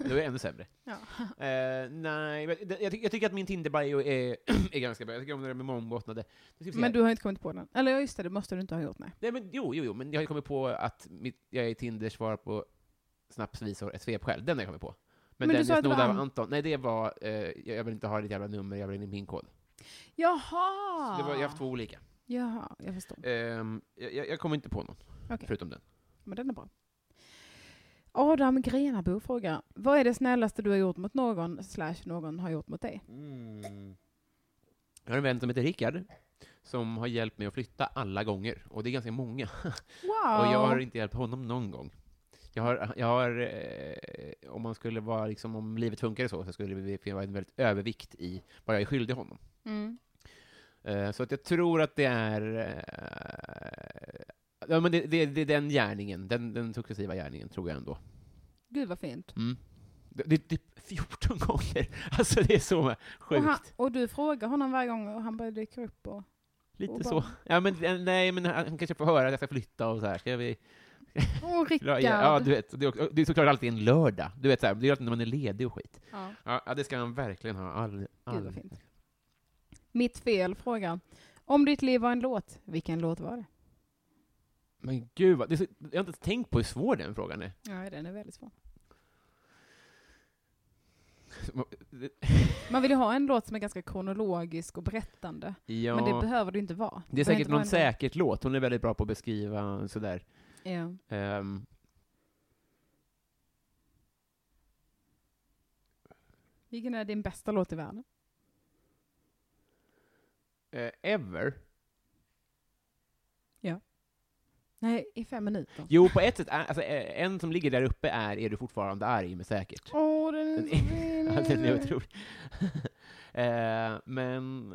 Då är jag ännu sämre.
Ja.
Eh, nej, men det- jag, ty- jag tycker att min Tinder-bio är, är ganska bra. Jag tycker om det där med mångbottnade. Nu ska vi se
Men
här.
du har inte kommit på den. Eller ja, just det, det måste du inte ha gjort, nej.
Nej, men jo, jo, jo, men jag har ju kommit på att mitt, jag i Tinder svarar på snapsvisor ett svepskäl. Den har jag kommit på.
Men
Men,
du
den
sa
jag
att det var
snodde av
Ant-
Anton, nej det var, eh, jag- jag vill inte ha ditt jävla nummer, jag vill ha din pinkod.
Jaha!
Så det var, jag har haft två olika.
Jaha, jag förstår.
Ehm, jag, jag- jag kommer inte på någon,
Okej.
förutom den.
Men den är bra. Adam Grenabo frågar, vad är det snällaste du har gjort mot någon, slash någon har gjort mot dig?
Jag har en vän som heter Rickard, som har hjälpt mig att flytta alla gånger, och det är ganska många.
Wow!
Och jag har inte hjälpt honom någon gång. Jag har, jag har eh, om man skulle vara, liksom, om livet funkade så, så skulle det finnas en väldigt övervikt i vad jag är skyldig honom.
Mm.
Eh, Så att jag tror att det är... eh, Ja, men det, det, det är den gärningen, den, den successiva gärningen, tror jag ändå.
Gud vad fint.
Mm. Det, det, det är 14 gånger! Alltså det är så
Och,
sjukt.
han, och du frågar honom varje gång och han bara dyker upp och...
Lite
och bara-
så. Ja, men, eh, nej, men han han kanske får höra att jag ska flytta och så här. Ska vi...
Åh,
Ja,
Rickard!
ja, du vet. Det är, också- det är såklart alltid en lördag. Du vet, så här, det är alltid när man är ledig och skit.
Ja,
Ja, ja, det ska han verkligen ha. All,
Gud vad
all...
fint. Mitt fel frågar, om ditt liv var en låt, vilken låt var det?
Men gud, vad, det är så, jag har inte ens tänkt på hur svår den frågan är.
Ja, den är väldigt svår.
Ja,
Man vill ju ha en låt som är ganska kronologisk och berättande. Men det behöver du inte vara.
Det
Du kan
är säkert
inte vara
någon
en-
säkert låt, hon är väldigt bra på att beskriva sådär.
Ja.
Um,
Vilken är din bästa låt i världen?
eh, ever?
Nej, i fem minuter.
Jo, på ett sätt, är, alltså, eh, en som ligger där uppe är Är du fortfarande arg med säkert.
Åh, den är
Den
så fin.
Ja, den är otrolig. Eh, men,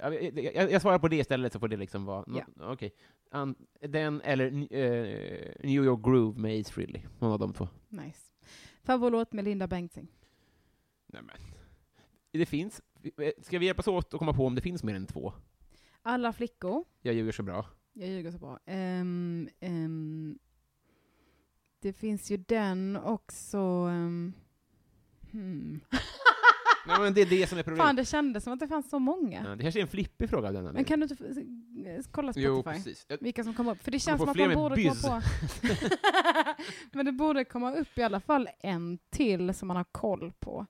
eh, jag, jag, jag svarar på det istället så får det liksom vara, nå- okej. An- Den eller eh, New York Groove med Ace Frehley, någon av de två.
Nice. Favoritlåt med Linda Bengtzing?
Nej, men. Det finns, eh, ska vi hjälpas åt att komma på om det finns mer än två?
Alla flickor.
Jag ljuger så bra.
Jag ljuger så bra. Ehm, ehm, det finns ju den också... ehm, hmm.
Nej, men det är det som är problemet.
Fan, det kändes som att det fanns så många.
Ja, det kanske är en flippig fråga av den
Men
anledningen.
kan du inte f- kolla Spotify?
Jo, precis. Jag-
vilka som kommer upp. För det känns
få
som att
fler
man
med
borde
bys.
komma på... Men det borde komma upp i alla fall en till som man har koll på.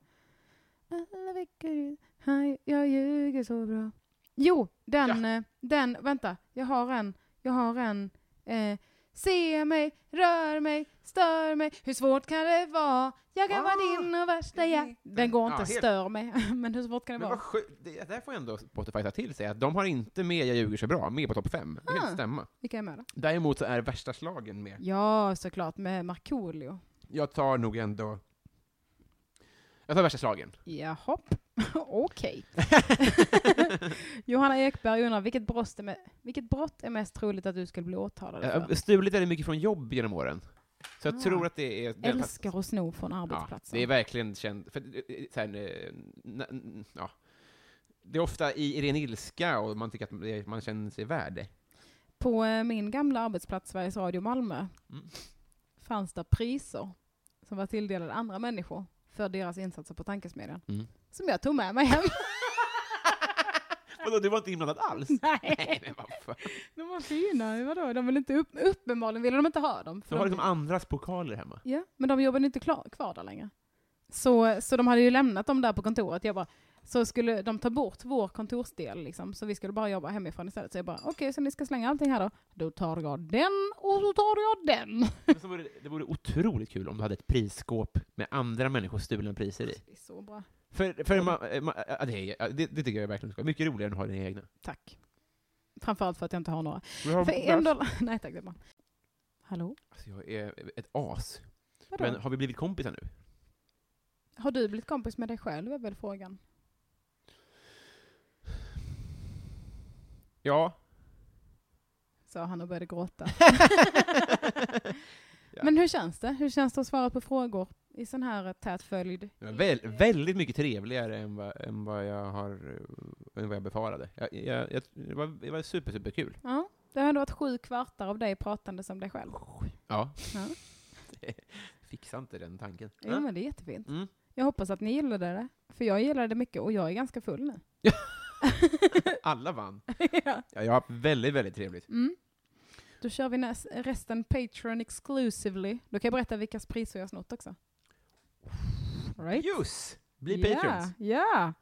Alla veckor, hej, jag ljuger så bra. Jo, den, eh, den, vänta, jag har en, jag har en. Eh, se mig, rör mig, stör mig, hur svårt kan det vara? Jag kan vara din och värsta jag. Den går
Ah, Ja,
inte,
helt-
stör mig, men hur svårt kan det
Men
vara?
vad sjukt, det där får ändå Spotify ta till sig, att de har inte med Jag ljuger så bra, med på topp fem. Det kan
Ah.
inte stämma.
Vilka är med då?
Däremot så är värsta slagen med.
Ja, såklart, med Markoolio.
Jag tar nog ändå... Jag tar värsta slagen.
Jaha, okej. Johanna Ekberg undrar, vilket brott, är med, vilket brott är mest troligt att du skulle bli åtalad
Jag
för?
har stulit väldigt mycket från jobb genom åren. Så jag
Ah.
tror att det är... den-
Älskar att sno från arbetsplatsen.
Ja, det är verkligen känt. För, eh, eh, så här, eh, na- n- ja. Det är ofta i i ren ilska och man tycker att man- eh, man känner sig värd.
På eh, min gamla arbetsplats, Sveriges Radio Malmö,
Mm.
fanns det priser som var tilldelade andra människor för deras insatser på tankesmedjan.
Mm.
Som jag tog med mig hem.
Vadå, du var inte inblandad alls?
Nej,
Nej, men vad fan.
de var fina. Vadå? De vill inte upp, uppenbarligen ville de inte ha dem.
Du
För
har
de,
liksom andras pokaler hemma.
ja, men de jobbade inte klar, kvar där längre. Så, så de hade ju lämnat dem där på kontoret. Jag bara, så skulle de ta bort vår kontorsdel, liksom, så vi skulle bara jobba hemifrån istället. Så jag bara, okej, så ni ska slänga allting här då? Då tar jag den och så tar jag den.
Men så vore, det- det vore otroligt kul om du hade ett prisskåp med andra människors stulna priser i.
Det är så bra.
För,
Mm.
för ma, eh, ma, ja, det, är- ja, det, det tycker jag är verkligen ska. Mycket roligare än att ha dina egna.
Tack. Framförallt för att jag inte har några.
Men har-
För en dollar... Nej tack, det är bra. Hallå?
Alltså, jag är ett as.
Vadå?
Men har vi blivit kompisar nu?
Har du blivit kompis med dig själv är väl frågan?
Ja.
Sa han och började gråta. Men hur känns det? Hur känns det att svara på frågor i sån här tät följd?
Det var Väl, väldigt mycket trevligare än vad, än vad jag har eh, än vad jag befarade. Jag, jag, jag, det var, det var super, super kul.
Ja, det har ändå varit sju kvartar av dig pratande som dig själv.
Ja.
Ja.
Fixa inte den tanken.
Jo men det är jättefint.
Mm.
Jag hoppas att ni gillade det, för jag gillade det mycket och jag är ganska full nu.
Alla vann.
ja.
Ja, jag har haft väldigt, väldigt trevligt.
mm. Då kör vi näs- resten Patreon exclusively. Då kan jag berätta vilka priser jag har snott också. Right?
Just! Bli
Ja,
patrons.
Ja!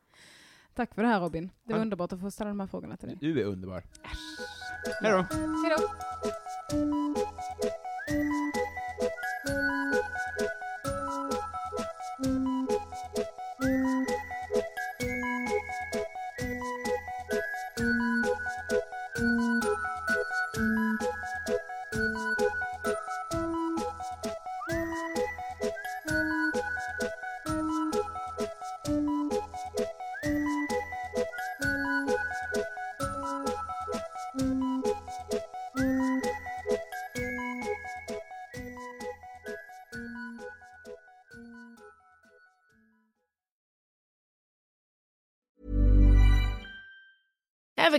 Tack för det här Robin. Det var
Ja.
underbart att få ställa de här frågorna till dig.
Du är underbar. Hej då!
Hej då!
Ever